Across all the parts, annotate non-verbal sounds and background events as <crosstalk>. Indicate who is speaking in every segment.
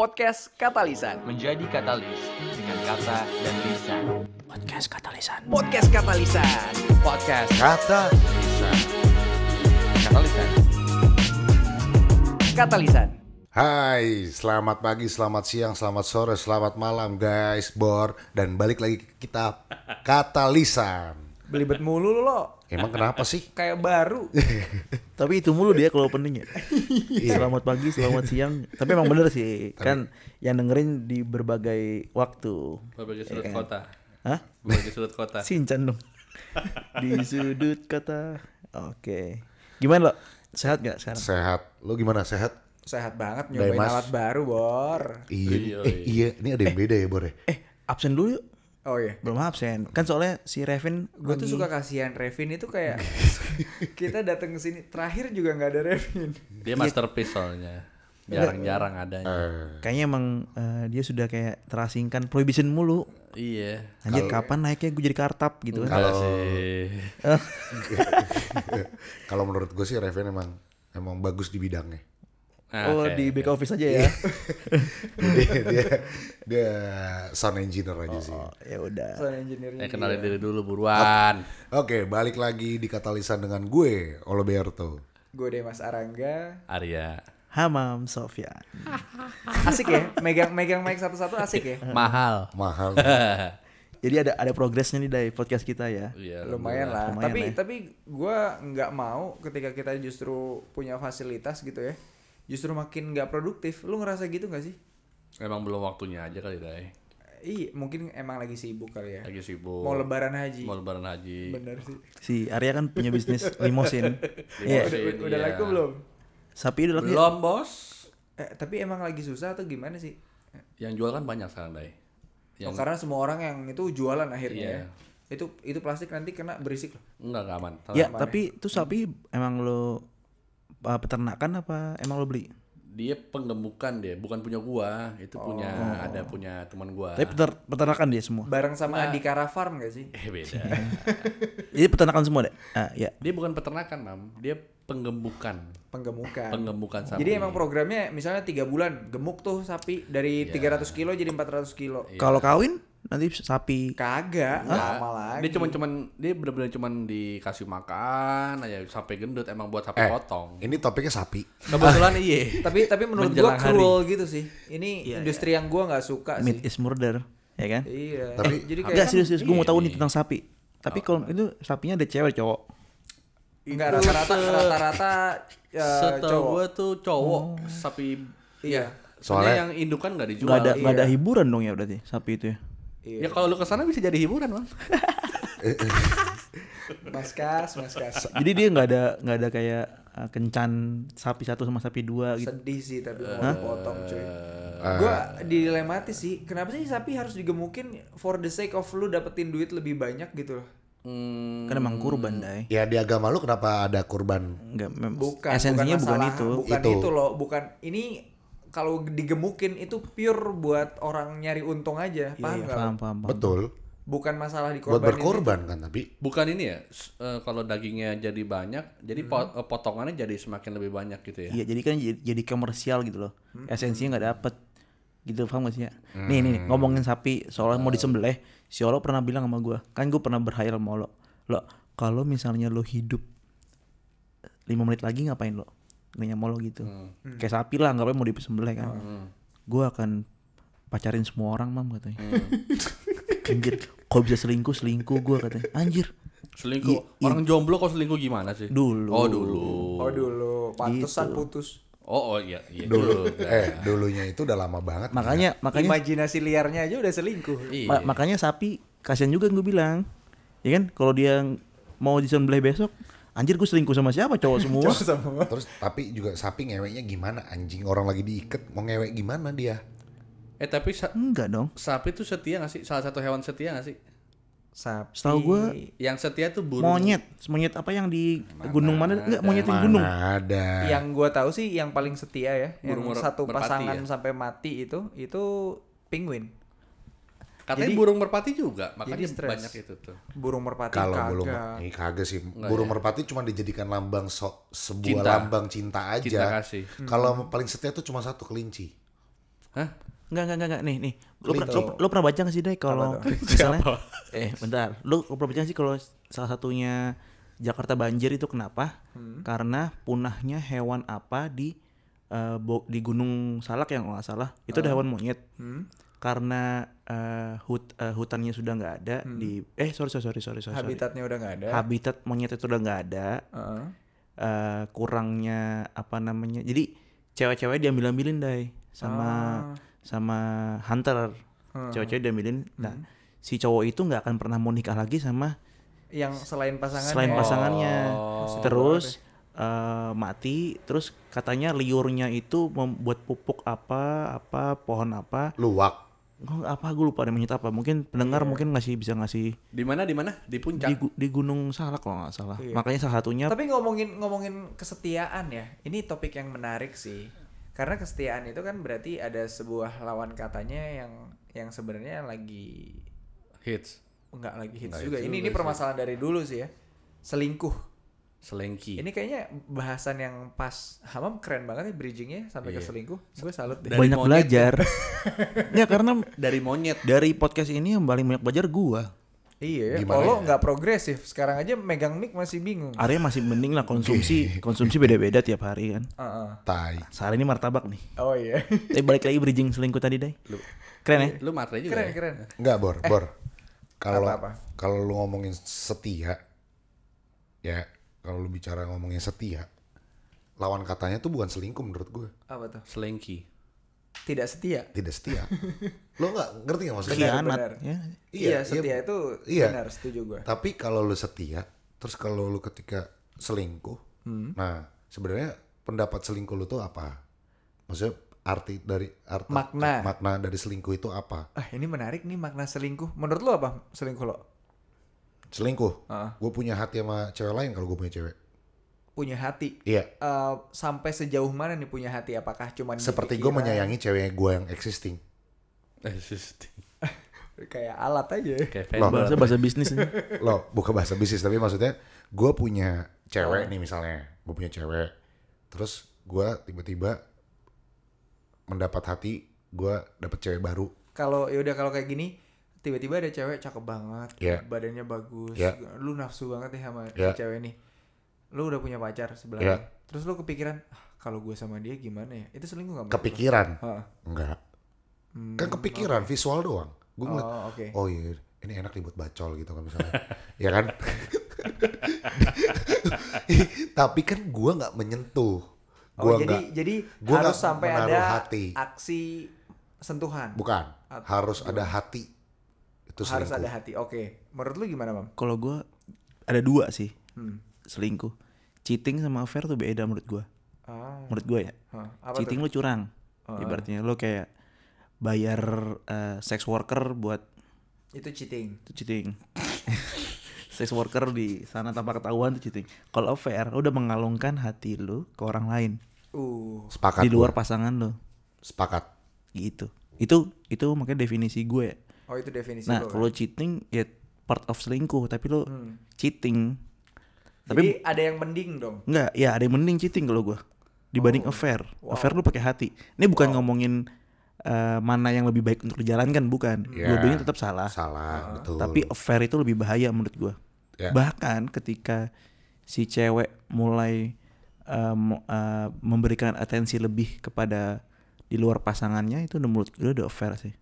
Speaker 1: Podcast Katalisan.
Speaker 2: menjadi katalis dengan kata dan lisan.
Speaker 3: Podcast Katalisan.
Speaker 1: Podcast Katalisan.
Speaker 2: Podcast kata lisan. Katalisan.
Speaker 1: Katalisan.
Speaker 4: Hai, selamat pagi, selamat siang, selamat sore, selamat malam guys, Bor dan balik lagi ke kita Katalisan.
Speaker 3: Belibet mulu lu lo,
Speaker 4: Emang kenapa sih?
Speaker 3: kayak baru.
Speaker 5: Tapi itu mulu dia kalau <laughs> openingnya. selamat pagi, selamat siang. Iya. Tapi emang bener sih, kan yang dengerin di berbagai waktu.
Speaker 6: Berbagai
Speaker 5: Ya
Speaker 6: sudut
Speaker 5: kan?
Speaker 6: kota.
Speaker 5: Hah?
Speaker 6: Berbagai sudut kota.
Speaker 5: <laughs> Sinchan dong. di sudut kata. Oke. Gimana lo? Sehat gak sekarang?
Speaker 4: Sehat. Lu gimana sehat?
Speaker 3: Sehat banget nyobain
Speaker 4: Mas.
Speaker 3: alat baru, Bor.
Speaker 4: Iya. Eh, iya, ini ada yang beda ya, Bor ya? <laughs>
Speaker 5: Eh, absen dulu yuk.
Speaker 3: Oh iya.
Speaker 5: Belum absen. Kan soalnya si Revin
Speaker 3: Gue tuh
Speaker 5: lagi-
Speaker 3: suka kasihan Revin itu kayak kita datang ke sini terakhir juga nggak ada Revin.
Speaker 6: Dia masterpiece soalnya. Jarang-jarang adanya.
Speaker 5: Kayaknya emang eh, dia sudah kayak terasingkan prohibition mulu.
Speaker 6: iya.
Speaker 5: Anjir kapan naiknya gue jadi kartap gitu kan.
Speaker 6: Kalau sih.
Speaker 4: Kalau menurut gue sih Raven emang emang bagus di bidangnya.
Speaker 6: Ah,
Speaker 5: oh
Speaker 6: oke.
Speaker 5: di back office aja ya.
Speaker 4: dia, dia dia sound engineer aja sih.
Speaker 5: oh, <laughs> ya udah.
Speaker 3: Sound
Speaker 6: Eh,
Speaker 3: engineer-nya dia.
Speaker 6: kenalin diri dulu buruan.
Speaker 4: Oke, balik lagi di Katalisan dengan gue, Oloberto.
Speaker 3: Gue deh Mas Arangga.
Speaker 6: Arya.
Speaker 5: Hamam Sofyan.
Speaker 3: Asik ya, megang megang mic satu-satu asik ya.
Speaker 6: Mahal.
Speaker 4: Mahal.
Speaker 5: Jadi ada ada progresnya nih dari podcast kita ya.
Speaker 6: <laughs> Iya.
Speaker 3: lumayan lah.
Speaker 5: Lumayan
Speaker 3: tapi
Speaker 5: lah ya.
Speaker 3: tapi gue nggak mau ketika kita justru punya fasilitas gitu ya, justru makin nggak produktif. Lu ngerasa gitu nggak sih?
Speaker 6: Emang belum waktunya aja kali Day.
Speaker 3: Iya, mungkin emang lagi sibuk kali ya.
Speaker 6: Lagi sibuk.
Speaker 3: Mau lebaran haji.
Speaker 6: Mau lebaran haji.
Speaker 3: Bener sih.
Speaker 5: Si Arya kan punya bisnis limosin.
Speaker 6: Iya.
Speaker 3: Udah,
Speaker 6: Iya.
Speaker 3: udah laku belum?
Speaker 5: Sapi udah laku ya?
Speaker 6: Belum, Bos.
Speaker 3: Eh, tapi emang lagi susah atau gimana sih?
Speaker 6: Yang jual kan banyak sekarang Day.
Speaker 3: Oh, karena semua orang yang itu jualan
Speaker 6: Iya.
Speaker 3: akhirnya. ya. Itu itu plastik nanti kena berisik loh.
Speaker 6: Enggak enggak aman.
Speaker 3: Iya.
Speaker 5: Ya, tapi tuh sapi emang lo uh, peternakan apa emang lo beli?
Speaker 6: Dia penggemukan dia, bukan punya gua, itu punya
Speaker 3: Oh.
Speaker 6: ada punya teman gua.
Speaker 5: Tapi peter- peternakan dia semua.
Speaker 3: Bareng
Speaker 6: Nah.
Speaker 3: sama Adikara Farm gak sih?
Speaker 6: Eh beda.
Speaker 3: <laughs>
Speaker 5: Jadi peternakan semua deh. Ah, ya.
Speaker 6: Dia bukan peternakan, Mam. Dia penggembukan.
Speaker 3: Penggemukan.
Speaker 6: Penggembukan sapi.
Speaker 3: Jadi emang programnya misalnya tiga bulan gemuk tuh
Speaker 6: Iya.
Speaker 3: sapi dari 300 kilo jadi 400 kilo.
Speaker 5: Kalau kawin nanti sapi
Speaker 3: Kagak,
Speaker 6: Iya.
Speaker 3: Ah, lama
Speaker 6: dia
Speaker 3: lagi.
Speaker 6: cuman cuman dia benar-benar cuman dikasih makan aja sampai gendut emang buat sapi
Speaker 4: Eh.
Speaker 6: potong.
Speaker 4: Ini topiknya sapi.
Speaker 6: Kebetulan
Speaker 5: Ah.
Speaker 6: iya.
Speaker 3: Tapi tapi menurut gua
Speaker 6: Menjelang hari. Iya,
Speaker 3: cruel gitu sih. Ini industri yang gua nggak suka
Speaker 5: meat
Speaker 3: sih.
Speaker 5: is murder, ya kan?
Speaker 3: Iya.
Speaker 4: Tapi-
Speaker 3: jadi kayak
Speaker 5: Enggak serius, serius gue mau tahu
Speaker 6: Iya.
Speaker 5: nih tentang sapi. Tapi kalau itu sapinya ada cewek cowok.
Speaker 3: enggak rata-rata rata-rata ya,
Speaker 6: Setahu
Speaker 3: cowok.
Speaker 6: gua tuh cowok
Speaker 5: Oh.
Speaker 6: sapi
Speaker 3: Iya.
Speaker 6: soalnya
Speaker 4: Soalnya-
Speaker 6: yang indukan nggak dijual.
Speaker 5: Enggak ada nggak
Speaker 6: iya.
Speaker 5: ada hiburan dong ya berarti sapi itu ya.
Speaker 3: Iya.
Speaker 6: Ya kalau lu kesana bisa jadi hiburan, Bang. Iya.
Speaker 3: Mas Kas, Mas Kas.
Speaker 5: Jadi dia nggak ada nggak ada kayak uh, kencan sapi satu sama sapi dua gitu.
Speaker 3: Sedih sih tapi mau potong cuy. Gua dilematis sih. Kenapa sih sapi harus digemukin for the sake of lu dapetin duit lebih banyak gitu loh.
Speaker 5: Kan emang kurban dai.
Speaker 4: Ya di agama lu kenapa ada kurban?
Speaker 5: Enggak, mem-
Speaker 3: Bukan.
Speaker 5: esensinya bukan,
Speaker 3: masalah-
Speaker 5: itu. gitu.
Speaker 3: Bukan itu,
Speaker 4: Itu.
Speaker 3: loh. Bukan ini kalau digemukin itu pure buat orang nyari untung aja.
Speaker 5: Iya,
Speaker 3: paham
Speaker 5: iya,
Speaker 3: nggak?
Speaker 5: paham, paham, paham.
Speaker 4: Betul.
Speaker 3: Bukan masalah dikorbanin.
Speaker 4: Buat berkorban kan tapi
Speaker 6: Bukan ini ya, s- eh, kalau dagingnya jadi banyak, jadi po-
Speaker 3: Hmm.
Speaker 6: eh, potongannya jadi semakin lebih banyak gitu ya.
Speaker 5: Iya, jadi kan jadi, jadi komersial gitu loh. Esensinya nggak dapet gitu paham gak sih ya? Nih nih nih, ngomongin sapi soalnya mau disembelih, si Olo pernah bilang sama gua, kan gua pernah berhayal sama Olo. Lo kalau misalnya lo hidup 5 menit lagi ngapain lo? Nanya sama lo gitu. Kayak sapi lah, ngapain mau disembelih kan. Gua akan pacarin semua orang mam katanya. Anjir, kok bisa selingkuh selingkuh gua katanya. Anjir.
Speaker 6: Selingkuh. Orang jomblo kok selingkuh gimana sih?
Speaker 5: Iya, Dulu.
Speaker 6: Oh, dulu.
Speaker 3: Oh dulu, pantesan
Speaker 5: Gitu.
Speaker 3: putus.
Speaker 6: Oh, oh iya, iya.
Speaker 4: dulu eh dulunya itu udah lama banget.
Speaker 5: Makanya makanya
Speaker 3: Imajinasi liarnya aja udah selingkuh. <laughs>
Speaker 6: Iya.
Speaker 5: Ma- makanya sapi kasihan juga gue bilang. Ya kan kalau dia mau disembelih besok, anjir gue selingkuh sama siapa cowok semua.
Speaker 4: Terus tapi juga sapi ngeweknya gimana anjing orang lagi diikat mau ngewek gimana dia?
Speaker 6: Eh tapi sa-
Speaker 5: Enggak dong.
Speaker 6: sapi tuh setia gak sih? Salah satu hewan setia gak sih?
Speaker 3: Sapi.
Speaker 5: Setahu gue
Speaker 6: Yang setia tuh burung.
Speaker 5: monyet, monyet apa yang di gunung mana? Enggak, monyet yang gunung.
Speaker 4: Mana ada.
Speaker 3: Yang gua tahu sih yang paling setia ya, yang
Speaker 6: Burung mer-
Speaker 3: satu
Speaker 6: merpati ya?
Speaker 3: pasangan sampai mati itu itu penguin,
Speaker 6: Katanya burung merpati juga, makanya
Speaker 3: jadi stres.
Speaker 6: banyak itu tuh.
Speaker 3: burung merpati
Speaker 4: Kalau
Speaker 3: kagak.
Speaker 4: belum ini kagak sih. burung merpati cuma dijadikan lambang so- sebuah
Speaker 6: ya. Cinta.
Speaker 4: lambang cinta aja.
Speaker 6: Cinta kasih.
Speaker 4: Kalau paling setia tuh cuma satu kelinci.
Speaker 6: Hah?
Speaker 5: Enggak, enggak, enggak, enggak. Nih, nih. Lu, pernah- lu, lu pernah baca gak sih, Dai, kalau misalnya Eh, bentar. Lu pernah baca gak sih kalau salah satunya Jakarta banjir itu kenapa? Karena punahnya hewan apa di eh, Bo- di Gunung Salak yang nggak salah, itu ada hewan monyet.
Speaker 3: Hmm?
Speaker 5: Karena eh, hut, eh, hutannya sudah nggak ada di eh sorry sorry sorry sorry sorry.
Speaker 3: Habitatnya udah nggak ada.
Speaker 5: Habitat monyet itu udah nggak ada.
Speaker 3: Heeh.
Speaker 5: eh kurangnya apa namanya jadi cewek-cewek diambil-ambilin dai sama sama hunter cewek-cewek diambilin nah si cowok itu nggak akan pernah mau nikah lagi sama
Speaker 3: Yang selain Oh, pasangan.
Speaker 5: selain pasangannya terus eh, mati terus katanya liurnya itu membuat pupuk apa apa pohon apa
Speaker 4: Luwak.
Speaker 5: Oh, apa gue lupa ada menyebut apa mungkin pendengar
Speaker 3: Iya.
Speaker 5: mungkin ngasih bisa ngasih
Speaker 6: Di mana di mana? Di puncak.
Speaker 5: di, gu- di gunung salak kalau nggak salah makanya salah satunya
Speaker 3: Iya. Tapi ngomongin ngomongin kesetiaan ya, ini topik yang menarik sih. Karena kesetiaan itu kan berarti ada sebuah lawan katanya yang yang sebenarnya lagi
Speaker 6: Hits.
Speaker 3: nggak lagi hits juga. Ini ini permasalahan dari dulu sih ya. Selingkuh.
Speaker 6: Selengki.
Speaker 3: Ini kayaknya bahasan yang pas. Hamam keren banget ya bridgingnya sampai ke selingkuh. Gue salut deh.
Speaker 6: dari
Speaker 5: banyak
Speaker 6: monyet.
Speaker 5: belajar <laughs> ya karena
Speaker 6: Dari monyet.
Speaker 3: <laughs>
Speaker 5: dari podcast ini yang paling banyak belajar gua.
Speaker 3: Iya,
Speaker 4: Gimana
Speaker 3: Polo nggak progresif. Sekarang aja megang mic masih bingung.
Speaker 5: Arya masih mending lah konsumsi konsumsi beda-beda tiap hari kan.
Speaker 3: Heeh.
Speaker 4: Tai.
Speaker 5: Sehari ini martabak nih.
Speaker 3: Oh iya.
Speaker 5: Tapi balik lagi bridging selingkuh tadi deh. Keren ya?
Speaker 6: Lu matre juga.
Speaker 3: keren
Speaker 6: ya?
Speaker 3: keren.
Speaker 4: Enggak, Bor, Bor. Kalau
Speaker 3: Eh, apa-apa.
Speaker 4: kalau lu ngomongin setia ya, kalau lu bicara ngomongin setia, lawan katanya tuh bukan selingkuh menurut gue.
Speaker 3: Apa tuh?
Speaker 6: Selengki. <laughs>
Speaker 3: Tidak setia.
Speaker 4: Tidak setia.
Speaker 3: <laughs>
Speaker 4: lu nggak ngerti nggak maksudnya?
Speaker 3: benar.
Speaker 5: Khianat. Ya.
Speaker 3: Iya, setia itu
Speaker 4: iya.
Speaker 3: benar setuju gue.
Speaker 4: Tapi kalau lu setia, terus kalau lu ketika selingkuh,
Speaker 3: Hmm.
Speaker 4: nah sebenarnya pendapat selingkuh lu tuh apa? Maksudnya arti dari arti eh,
Speaker 3: Makna.
Speaker 4: makna dari selingkuh itu apa?
Speaker 3: Ah, ini menarik nih makna selingkuh. Menurut lo apa selingkuh lo?
Speaker 4: Selingkuh.
Speaker 3: Heeh.
Speaker 4: Gue punya hati sama cewek lain kalau gue punya cewek.
Speaker 3: Punya hati.
Speaker 4: Iya.
Speaker 3: Eh, sampai sejauh mana nih punya hati? Apakah cuman di
Speaker 4: Seperti gue
Speaker 3: pikiran?
Speaker 4: menyayangi cewek gue yang existing.
Speaker 6: Eh, sus.
Speaker 3: kayak alat aja.
Speaker 6: Kayak
Speaker 3: Oh.
Speaker 6: fan.
Speaker 4: Loh.
Speaker 5: Bahasa bahasa bisnis ini.
Speaker 4: Loh, bukan bahasa bisnis tapi maksudnya gue punya
Speaker 3: Oh.
Speaker 4: cewek nih misalnya, gue punya cewek, terus gue tiba-tiba mendapat hati gue dapet cewek baru,
Speaker 3: Kalau ya udah kalau kayak gini tiba-tiba ada cewek cakep banget,
Speaker 4: Iya.
Speaker 3: badannya bagus,
Speaker 4: Iya.
Speaker 3: lu nafsu banget ya sama
Speaker 4: Iya.
Speaker 3: cewek ini. Lu udah punya pacar sebelahnya.
Speaker 4: Iya.
Speaker 3: Terus lu kepikiran, ah, kalau gue sama dia gimana ya? Itu selingkuh gak?
Speaker 4: kepikiran?
Speaker 3: Heeh.
Speaker 4: Enggak. Kan kepikiran visual doang. Gue ngeliat,
Speaker 3: Hmm. Oh, oke.
Speaker 4: oh iya, ini enak dibuat bacol gitu kan
Speaker 3: <laughs>
Speaker 4: misalnya, ya kan? <laughs> tapi kan gue nggak menyentuh, gue
Speaker 3: Oh, jadi
Speaker 4: nggak,
Speaker 3: jadi
Speaker 4: gua
Speaker 3: harus
Speaker 4: nggak
Speaker 3: sampai
Speaker 4: menaruh
Speaker 3: ada
Speaker 4: hati.
Speaker 3: aksi sentuhan.
Speaker 4: bukan,
Speaker 3: At-
Speaker 4: harus ada hati. Itu
Speaker 3: harus
Speaker 4: selingkuh.
Speaker 3: ada hati. Oke. Menurut lu gimana, Mam? Hmm.
Speaker 5: Kalau gua ada dua sih. Selingkuh. Cheating sama affair tuh beda menurut gua.
Speaker 3: Ah,
Speaker 5: Menurut gua ya.
Speaker 3: hah, apa Oh.
Speaker 5: cheating lu curang. Ibaratnya lu kayak bayar eh, sex worker buat
Speaker 3: tuh? Itu cheating.
Speaker 5: itu cheating
Speaker 3: <laughs>
Speaker 5: sex worker di sana tanpa ketahuan itu cheating kalau affair lu udah mengalungkan hati lu ke orang lain
Speaker 3: Uh,
Speaker 4: Sepakat.
Speaker 5: di luar
Speaker 4: gua.
Speaker 5: pasangan lu
Speaker 4: Sepakat.
Speaker 5: gitu itu itu makanya definisi gue
Speaker 3: oh itu definisi
Speaker 5: nah
Speaker 3: lu, kan? Hmm.
Speaker 5: kalau cheating ya part of selingkuh tapi lu cheating tapi
Speaker 3: Jadi ada yang mending dong.
Speaker 5: enggak ya ada yang mending cheating kalau gue
Speaker 3: Oh.
Speaker 5: dibanding affair affair lu pakai hati ini bukan ngomongin eh, mana yang lebih baik untuk dijalankan bukan
Speaker 4: Ya.
Speaker 5: dua-duanya tetap salah
Speaker 4: Salah, betul.
Speaker 5: Ah, Tapi affair itu lebih bahaya menurut gua.
Speaker 4: Ya.
Speaker 5: Bahkan ketika si cewek mulai eh, mo- eh, memberikan atensi lebih kepada di luar pasangannya itu udah menurut gue udah affair sih.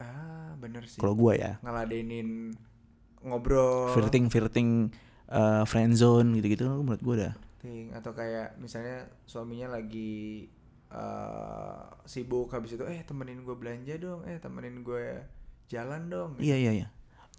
Speaker 3: Ah, bener sih.
Speaker 5: Kalau gua ya
Speaker 3: Ngeladenin ngobrol
Speaker 5: flirting flirting eh, friendzone gitu-gitu kan menurut gua udah.
Speaker 3: ting, atau kayak misalnya suaminya lagi eh, sibuk habis itu eh temenin gue belanja dong, eh temenin gue jalan dong.
Speaker 5: Iya iya iya.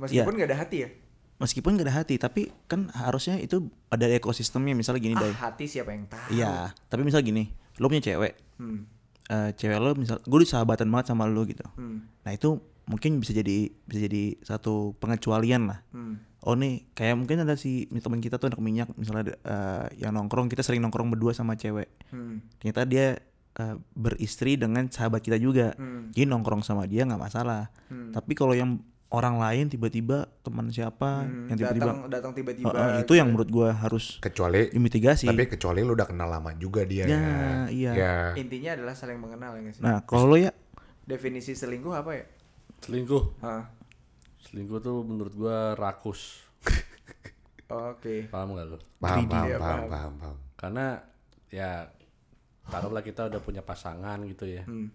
Speaker 3: Meskipun nggak ada hati ya.
Speaker 5: Meskipun gak ada hati tapi kan harusnya itu ada ekosistemnya misalnya gini
Speaker 3: Ah,
Speaker 5: Day.
Speaker 3: hati siapa yang tahu?
Speaker 5: Iya, tapi misal gini, lo punya cewek,
Speaker 3: Hmm.
Speaker 5: Eh, cewek lo misal, gue udah sahabatan banget sama lo gitu.
Speaker 3: Hmm.
Speaker 5: Nah itu mungkin bisa jadi bisa jadi satu pengecualian lah.
Speaker 3: Hmm.
Speaker 5: Oh nih, kayak mungkin ada si teman kita tuh anak minyak misalnya ada, eh, yang nongkrong kita sering nongkrong berdua sama cewek.
Speaker 3: Hmm.
Speaker 5: Ternyata dia eh, beristri dengan sahabat kita juga.
Speaker 3: Hmm.
Speaker 5: Jadi nongkrong sama dia nggak masalah. Tapi kalau yang orang lain tiba-tiba teman siapa
Speaker 3: Hmm,
Speaker 5: yang tiba-tiba
Speaker 3: datang gitu ya. datang tiba-tiba
Speaker 5: Eh, eh, itu yang menurut gua harus
Speaker 4: Kecuali
Speaker 5: mitigasi.
Speaker 4: Tapi kecuali lu udah kenal lama juga dia
Speaker 5: Ya, iya.
Speaker 4: Ya.
Speaker 3: intinya adalah saling mengenal ya nggak sih
Speaker 5: Nah, kalau lo ya
Speaker 3: definisi selingkuh apa ya?
Speaker 6: Selingkuh.
Speaker 3: Hah.
Speaker 6: Selingkuh tuh menurut gua <laughs> rakus.
Speaker 3: Oke.
Speaker 6: Paham gak lu?
Speaker 4: Paham, paham,
Speaker 3: Iya,
Speaker 4: paham,
Speaker 3: paham.
Speaker 4: paham, paham.
Speaker 6: Karena ya taruhlah kita udah punya pasangan gitu ya.
Speaker 3: Hmm.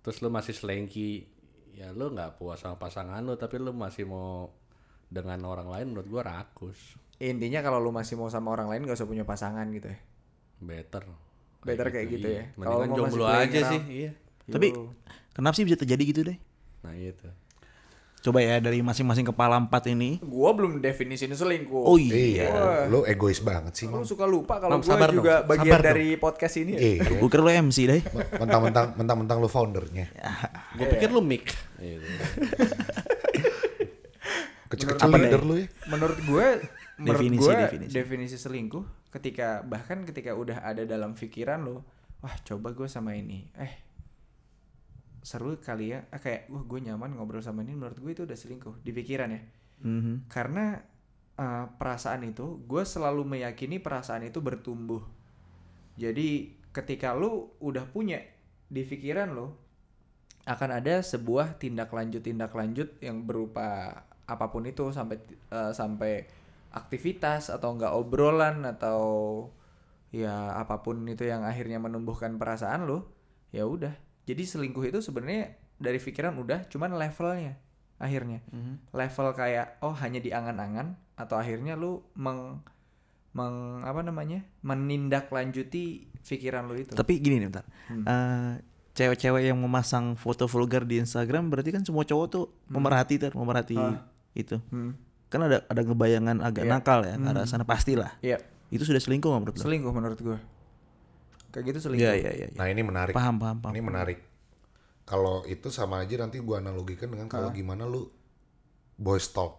Speaker 6: Terus lu masih selengki. Ya lu nggak puas sama pasangan lu tapi lu masih mau dengan orang lain menurut gua rakus.
Speaker 3: Intinya kalau lu masih mau sama orang lain gak usah punya pasangan gitu ya.
Speaker 6: Better. iya.
Speaker 3: Better kayak gitu ya.
Speaker 6: Mendingan
Speaker 3: Kalau mau masih gitu.
Speaker 6: jomblo
Speaker 3: playing
Speaker 6: aja
Speaker 3: around.
Speaker 6: sih, iya.
Speaker 5: Tapi
Speaker 3: Yo.
Speaker 5: kenapa sih bisa terjadi gitu deh?
Speaker 6: Nah, itu.
Speaker 5: Coba ya dari masing-masing kepala empat ini.
Speaker 3: gua belum definisi selingkuh.
Speaker 5: Oh iya.
Speaker 4: Iya, lu egois banget sih,
Speaker 3: Lu
Speaker 4: Mam.
Speaker 3: suka lupa
Speaker 6: Mam,
Speaker 3: kalau gua
Speaker 6: sabar
Speaker 3: juga
Speaker 6: dong,
Speaker 3: bagian
Speaker 5: sabar dong.
Speaker 3: dari podcast ini ya.
Speaker 4: Iya.
Speaker 5: Gue kira lu MC deh.
Speaker 4: Mentang-mentang mentang-mentang lu foundernya.
Speaker 5: Ya,
Speaker 3: Iya.
Speaker 6: Gua pikir lu mic. Gitu.
Speaker 4: Kecil-kecil
Speaker 5: Menurut- Iya.
Speaker 4: leader
Speaker 5: apa
Speaker 4: lu ya.
Speaker 3: menurut gue menurut
Speaker 5: Definisi,
Speaker 3: gue
Speaker 5: definisi.
Speaker 3: definisi. selingkuh ketika bahkan ketika udah ada dalam pikiran lo wah coba gue sama ini eh seru kali ya Ah, kayak wah gue nyaman ngobrol sama ini menurut gue itu udah selingkuh di pikiran ya
Speaker 4: Mm-hmm.
Speaker 5: Mhm.
Speaker 3: karena eh, perasaan itu gue selalu meyakini perasaan itu bertumbuh jadi ketika lu udah punya di pikiran lo akan ada sebuah tindak lanjut tindak lanjut yang berupa apapun itu sampai eh, sampai aktivitas atau enggak obrolan atau ya apapun itu yang akhirnya menumbuhkan perasaan lo ya udah jadi selingkuh itu sebenarnya dari pikiran udah cuman levelnya akhirnya level kayak oh hanya di angan-angan atau akhirnya lu meng meng apa namanya menindaklanjuti pikiran lu itu
Speaker 5: Tapi gini nih bentar.
Speaker 4: Hmm.
Speaker 5: Eh, Cewek-cewek yang memasang foto vulgar di Instagram berarti kan semua cowok tuh
Speaker 4: Hmm.
Speaker 5: memerhati ter, memerhati
Speaker 4: Ah.
Speaker 5: itu.
Speaker 3: Hmm.
Speaker 5: Kan ada ada kebayangan
Speaker 4: Iya.
Speaker 5: agak nakal
Speaker 4: Hmm.
Speaker 5: ya ke arah sana pastilah.
Speaker 3: Iya,
Speaker 5: Itu sudah selingkuh nggak menurut lu?
Speaker 3: selingkuh menurut gue kayak gitu selingkuh
Speaker 5: Iya iya iya. iya.
Speaker 4: Nah, ini menarik.
Speaker 5: Paham paham paham.
Speaker 4: Ini menarik. Kalau itu sama aja nanti gua analogikan dengan
Speaker 5: Ah.
Speaker 4: kalau gimana lu boys talk.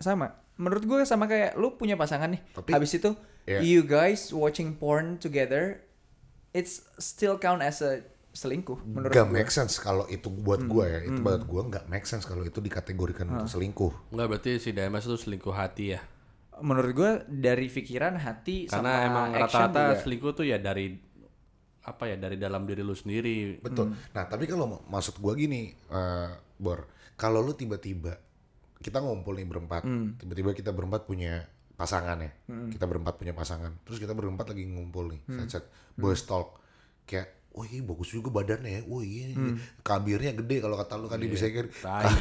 Speaker 3: sama menurut gue sama kayak lu punya pasangan nih
Speaker 4: Tapi-
Speaker 3: habis itu
Speaker 4: Iya.
Speaker 3: you guys watching porn together it's still count as a selingkuh menurut
Speaker 4: Gak
Speaker 3: gue
Speaker 4: make sense kalau itu buat gua ya. Itu
Speaker 5: Hmm.
Speaker 4: buat gua nggak make sense kalau itu
Speaker 5: Ah.
Speaker 4: dikategorikan untuk selingkuh.
Speaker 6: Enggak berarti si DMS itu selingkuh hati ya.
Speaker 3: menurut gue dari pikiran hati
Speaker 6: Karena
Speaker 3: sama
Speaker 6: emang
Speaker 3: action
Speaker 6: rata-rata
Speaker 3: juga.
Speaker 6: selingkuh tuh ya dari apa ya dari dalam diri lu sendiri.
Speaker 4: Betul. Nah, tapi kalau ma- maksud gua gini, eh, Bor, kalau lu tiba-tiba kita ngumpul nih berempat, tiba-tiba kita berempat punya pasangan ya. Kita berempat punya pasangan. Terus kita berempat lagi ngumpul nih, set-set boys talk. Kayak Oh iya bagus juga badannya ya. Oh iya, iya. kabirnya gede kalau kata lu kan dia bisa kan.
Speaker 3: <laughs>
Speaker 6: Tai.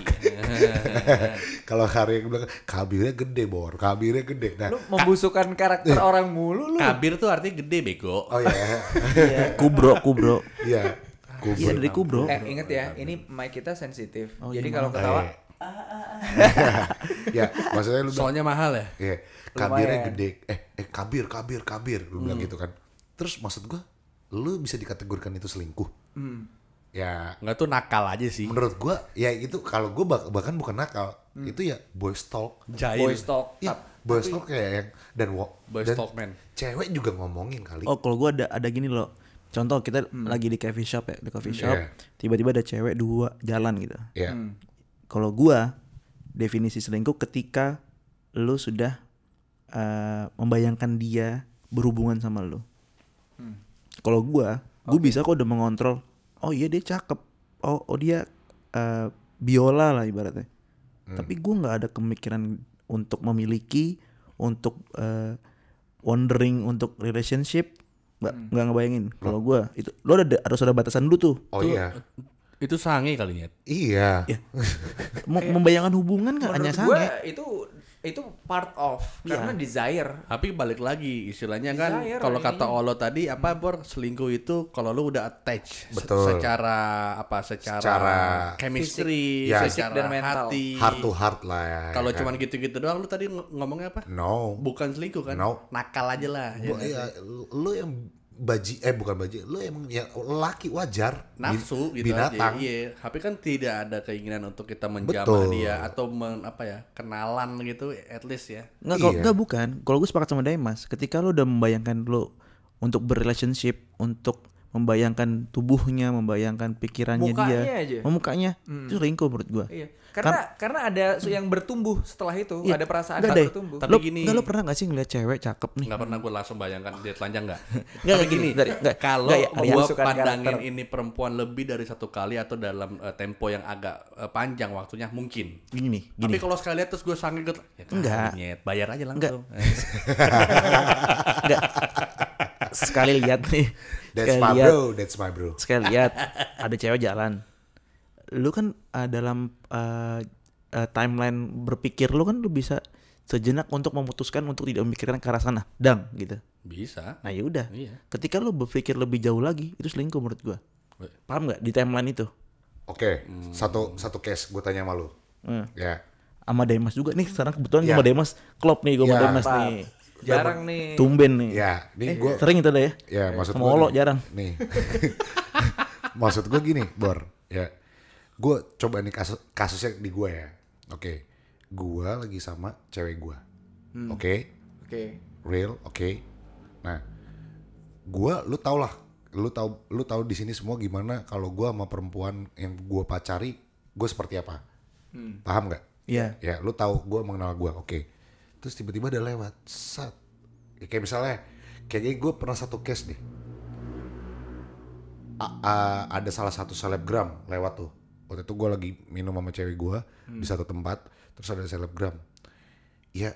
Speaker 4: <laughs> kalau karya bilang kabirnya gede bor, kabirnya gede. Nah,
Speaker 3: lu membusukkan
Speaker 4: Iya.
Speaker 3: karakter orang mulu lu
Speaker 6: Kabir tuh artinya gede bego.
Speaker 4: oh iya, <laughs>
Speaker 5: Kubro kubro.
Speaker 4: iya, kubur.
Speaker 5: Iya dari kubro.
Speaker 3: Eh inget ya, ini mic kita sensitif. Jadi kalau ketawa
Speaker 4: Iya. <laughs> ya, maksudnya lu bilang,
Speaker 6: Soalnya mahal ya.
Speaker 4: Iya, kabirnya
Speaker 3: Lumayan.
Speaker 4: gede. Eh, eh kabir, kabir, kabir, lu bilang gitu kan. Terus maksud gua, lu bisa dikategorikan itu selingkuh. Ya,
Speaker 6: Enggak tuh nakal aja sih.
Speaker 4: menurut gua ya itu kalau gua bak- bahkan bukan nakal, itu ya boys talk.
Speaker 6: Jahil.
Speaker 3: voice talk.
Speaker 4: Iya, boys talk kayak yang dan wo-
Speaker 6: Boys
Speaker 4: dan
Speaker 6: talk, man.
Speaker 4: Cewek juga ngomongin kali.
Speaker 5: Oh kalau gue ada ada gini loh. Contoh kita lagi di coffee shop ya, di coffee shop.
Speaker 4: Hmm. Iya.
Speaker 5: Tiba-tiba ada cewek dua jalan gitu.
Speaker 4: Iya.
Speaker 5: Kalau gua definisi selingkuh ketika lu sudah eh, membayangkan dia berhubungan sama lu. Kalau gua, gua bisa kok udah mengontrol. Oh iya dia cakep. Oh oh dia eh, biola lah ibaratnya. Tapi gua nggak ada kemikiran untuk memiliki, untuk eh, wondering untuk relationship nggak nggak ngebayangin kalau gua itu lo ada harus ada batasan dulu tuh
Speaker 4: Oh iya.
Speaker 6: Itu sange kali ya.
Speaker 4: Iya.
Speaker 5: Mem- membayangkan hubungan nggak hanya
Speaker 3: Menurut
Speaker 5: sange
Speaker 3: gue itu itu part of karena desire.
Speaker 6: Tapi balik lagi istilahnya kan
Speaker 3: Desire,
Speaker 6: kalau
Speaker 3: kayaknya.
Speaker 6: kata Olo tadi apa Bor selingkuh itu kalau lu udah attach se-
Speaker 4: Betul.
Speaker 6: secara apa secara,
Speaker 4: Secara-
Speaker 6: chemistry,
Speaker 4: Ya.
Speaker 6: secara
Speaker 3: Fisik dan mental.
Speaker 6: hati.
Speaker 4: Heart to heart lah ya.
Speaker 6: Iya. Kalau
Speaker 4: ya kan?
Speaker 6: cuman gitu-gitu doang lu tadi ng- ngomongnya apa?
Speaker 4: no.
Speaker 6: Bukan selingkuh kan?
Speaker 4: No.
Speaker 6: Nakal aja lah. ya
Speaker 4: Bu-
Speaker 6: kan?
Speaker 4: iya, lu lu yang baji eh bukan baji, lu emang ya laki wajar. Bin-
Speaker 6: nafsu gitu aja.
Speaker 4: binatang.
Speaker 6: Iya, tapi kan tidak ada keinginan untuk kita menjamah
Speaker 4: Betul.
Speaker 6: dia atau men, apa ya, kenalan gitu at least ya.
Speaker 5: Nggak, kalau
Speaker 4: Iya.
Speaker 5: nggak, bukan. Kalau gue sepakat sama Daimas, ketika lo udah membayangkan lo untuk berrelationship, untuk membayangkan tubuhnya, membayangkan pikirannya
Speaker 3: Mukanya
Speaker 5: dia,
Speaker 3: aja. Hmm.
Speaker 5: Oh, mukanya itu selingkuh menurut gua.
Speaker 3: Iya. Karena karena ada su- yang bertumbuh setelah itu,
Speaker 5: Iya,
Speaker 3: ada perasaan
Speaker 5: nggak
Speaker 3: yang
Speaker 5: deh.
Speaker 3: bertumbuh.
Speaker 6: Tapi
Speaker 5: Lo,
Speaker 6: gini-
Speaker 5: nggak, lo pernah gak sih ngeliat cewek cakep nih?
Speaker 6: Nggak pernah gue langsung bayangkan dia telanjang nggak?
Speaker 5: <laughs> Nggak,
Speaker 6: Tapi
Speaker 5: gini, bentar, nggak.
Speaker 6: kalau
Speaker 5: Nggak, ya, ada
Speaker 6: gue
Speaker 3: masukan
Speaker 6: pandangin
Speaker 3: karakter.
Speaker 6: ini perempuan lebih dari satu kali atau dalam eh, tempo yang agak eh, panjang waktunya mungkin.
Speaker 5: Gini nih, gini.
Speaker 6: Tapi kalau sekali lihat terus gue sangat gitu, ya kan,
Speaker 5: Nggak.
Speaker 6: nyet, bayar aja langsung. <laughs>
Speaker 5: Nggak. sekali lihat nih.
Speaker 4: <laughs> That's
Speaker 5: sekali
Speaker 4: my
Speaker 5: lihat,
Speaker 4: bro, that's my bro.
Speaker 5: sekali lihat ada cewek jalan. Lu kan eh, dalam eh, eh, timeline berpikir lu kan lu bisa sejenak untuk memutuskan untuk tidak memikirkan ke arah sana, dang gitu.
Speaker 6: Bisa.
Speaker 5: Nah yaudah,
Speaker 6: Iya.
Speaker 5: ketika lu berpikir lebih jauh lagi itu selingkuh menurut gua. Paham nggak di timeline itu?
Speaker 4: Oke, satu satu case gue tanya sama lu.
Speaker 5: Hmm.
Speaker 4: Ya,
Speaker 5: Sama Demas juga nih sekarang kebetulan gua
Speaker 4: Iya.
Speaker 5: sama Demas klop nih gua sama
Speaker 4: Iya.
Speaker 5: Demas
Speaker 3: Mantap.
Speaker 5: nih.
Speaker 3: Jarang nih.
Speaker 5: Tumben nih.
Speaker 4: ya, ini gue
Speaker 5: Sering itu ada ya.
Speaker 4: Ya maksud
Speaker 5: Sama
Speaker 4: gua
Speaker 5: Olo
Speaker 4: nih-
Speaker 5: jarang.
Speaker 4: Nih, <laughs> maksud gue gini, Bor. Ya, gue coba nih kasus kasusnya di gue ya. Oke, gue lagi sama cewek gue.
Speaker 5: Hmm.
Speaker 4: Oke,
Speaker 3: Oke.
Speaker 4: real, oke. Nah, gue, lu tau lah, lu tau, lu tau di sini semua gimana kalau gue sama perempuan yang gue pacari, gue seperti apa? Paham nggak?
Speaker 5: Iya.
Speaker 4: ya lu tahu gue mengenal gue oke terus tiba-tiba ada lewat sat Ya, kayak misalnya kayaknya gue pernah satu case deh A- a- ada salah satu selebgram lewat tuh waktu itu gue lagi minum sama cewek gue di satu tempat terus ada selebgram ya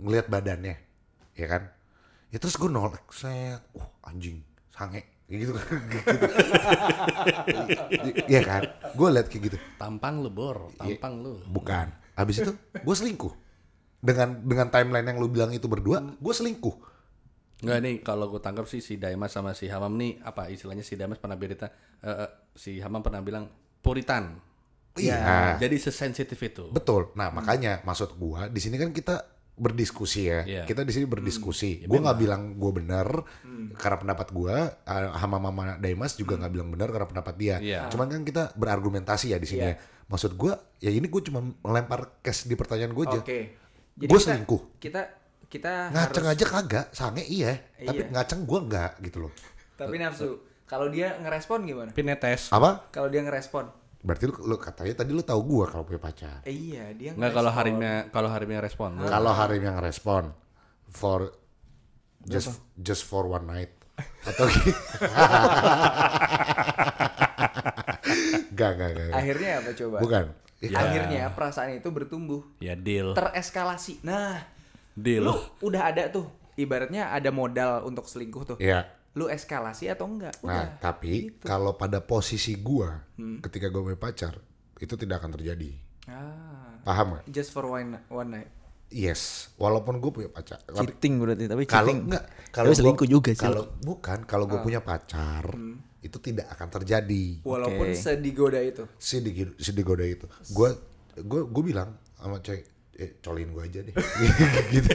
Speaker 4: ngelihat badannya ya kan ya terus gue nolak set uh anjing sange kayak gitu kan <laughs> gitu. ya kan gue lihat kayak gitu
Speaker 6: Tampang lu bor,
Speaker 5: Iya.
Speaker 6: tampang lu.
Speaker 4: Bukan. Habis itu gue selingkuh. Dengan dengan timeline yang lu bilang itu berdua, gue selingkuh.
Speaker 6: Nggak nih, kalau gue tangkap sih si Daimas sama si Hamam nih apa istilahnya si Daimas pernah berita, eh, eh, si Hamam pernah bilang puritan.
Speaker 4: Iya.
Speaker 5: Ah.
Speaker 6: Jadi sesensitif itu.
Speaker 4: Betul. Nah, makanya maksud gua di sini kan kita berdiskusi ya.
Speaker 6: Iya.
Speaker 4: Kita di sini berdiskusi. gua nggak bilang gua benar karena pendapat gua, eh, Hama Mama Daimas juga nggak bilang benar karena pendapat dia.
Speaker 6: Iya.
Speaker 4: Cuman kan kita berargumentasi ya di sini. ya. Maksud gua ya ini gua cuma melempar case di pertanyaan gua aja.
Speaker 3: Oke. Jadi
Speaker 4: Iya. Gua
Speaker 3: kita-
Speaker 4: selingkuh.
Speaker 3: Kita kita
Speaker 4: Ngaceng
Speaker 3: harus-
Speaker 4: aja kagak, sange iya, tapi
Speaker 3: Iya.
Speaker 4: ngaceng gua nggak gitu loh.
Speaker 3: Tapi nafsu. Kalau dia ngerespon gimana?
Speaker 6: Pinetes.
Speaker 5: Ah.
Speaker 4: Apa?
Speaker 3: Kalau dia ngerespon.
Speaker 4: Berarti lu, lu katanya tadi lu tahu gua kalau punya pacar.
Speaker 3: Eh, iya, dia
Speaker 6: Nggak kalau harimnya kalau harimnya respon. lu.
Speaker 4: Kalau Harim yang respon for just just for one night atau gitu. gak, gak, gak, gak.
Speaker 3: Akhirnya apa coba?
Speaker 4: Bukan. Iya. Ih,
Speaker 6: Ya.
Speaker 3: Akhirnya perasaan itu bertumbuh,
Speaker 6: Ya deal.
Speaker 3: tereskalasi. Nah,
Speaker 6: deal.
Speaker 3: lu udah ada tuh ibaratnya ada modal untuk selingkuh tuh.
Speaker 4: Iya.
Speaker 3: Lu eskalasi atau enggak?
Speaker 4: Nah,
Speaker 3: Udah.
Speaker 4: tapi kalau pada posisi gua ketika gua punya pacar itu tidak akan terjadi.
Speaker 3: Ah,
Speaker 4: Paham gak?
Speaker 3: just for one one night.
Speaker 4: Yes, walaupun gue punya pacar. Tapi
Speaker 5: Cheating berarti, tapi
Speaker 4: kalau
Speaker 5: cheating.
Speaker 4: enggak
Speaker 5: Kalau
Speaker 4: gua-
Speaker 5: selingkuh juga sih.
Speaker 4: Kalau bukan kalau gue punya pacar itu tidak akan terjadi.
Speaker 3: Walaupun sedigoda itu.
Speaker 4: si di si digoda gitu. itu gue gue gue bilang sama cewek eh, colin gue aja deh <laughs> gitu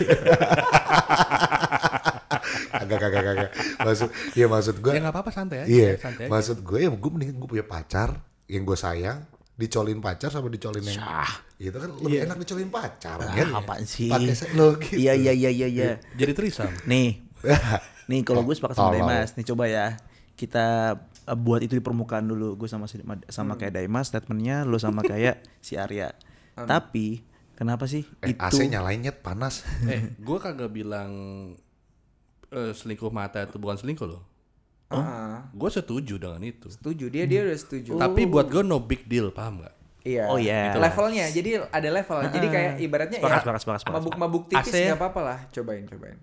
Speaker 4: agak agak agak maksud ya maksud gue
Speaker 6: Ya nggak apa-apa santai aja.
Speaker 4: iya
Speaker 6: Santai aja.
Speaker 4: maksud gue ya gue mendingan gue punya pacar yang gue sayang dicolin pacar sama dicolin yang itu kan lebih enak dicolin pacar kan
Speaker 5: Iya. apaan sih?
Speaker 4: pakai se- lo gitu
Speaker 5: Iya
Speaker 4: <laughs>
Speaker 5: iya iya iya iya.
Speaker 6: Jadi trisam.
Speaker 5: Nih.
Speaker 4: Eh,
Speaker 5: nih kalau gue sepakat sama
Speaker 4: Tolol.
Speaker 5: Daimas, nih coba ya. Kita eh, buat itu di permukaan dulu. Gue sama si-
Speaker 4: Hmm.
Speaker 5: sama kayak Daimas statementnya, lu sama kayak si Arya. Tapi kenapa sih
Speaker 4: Eh,
Speaker 5: itu
Speaker 4: AC nyalainnya panas
Speaker 6: eh, gue kagak bilang eh, selingkuh mata itu bukan selingkuh loh.
Speaker 3: Ah,
Speaker 6: Gue setuju dengan itu.
Speaker 3: setuju dia dia udah setuju.
Speaker 6: Tapi buat gue no big deal, paham nggak?
Speaker 3: Iya.
Speaker 5: Oh, iya. Gitu.
Speaker 3: Levelnya jadi ada level. Jadi kayak ibaratnya ya,
Speaker 5: Sepakat, sepakat, sepakat, sepakat.
Speaker 3: mabuk-mabuk tipis
Speaker 6: AC.
Speaker 3: nggak apa-apa lah. Cobain, cobain.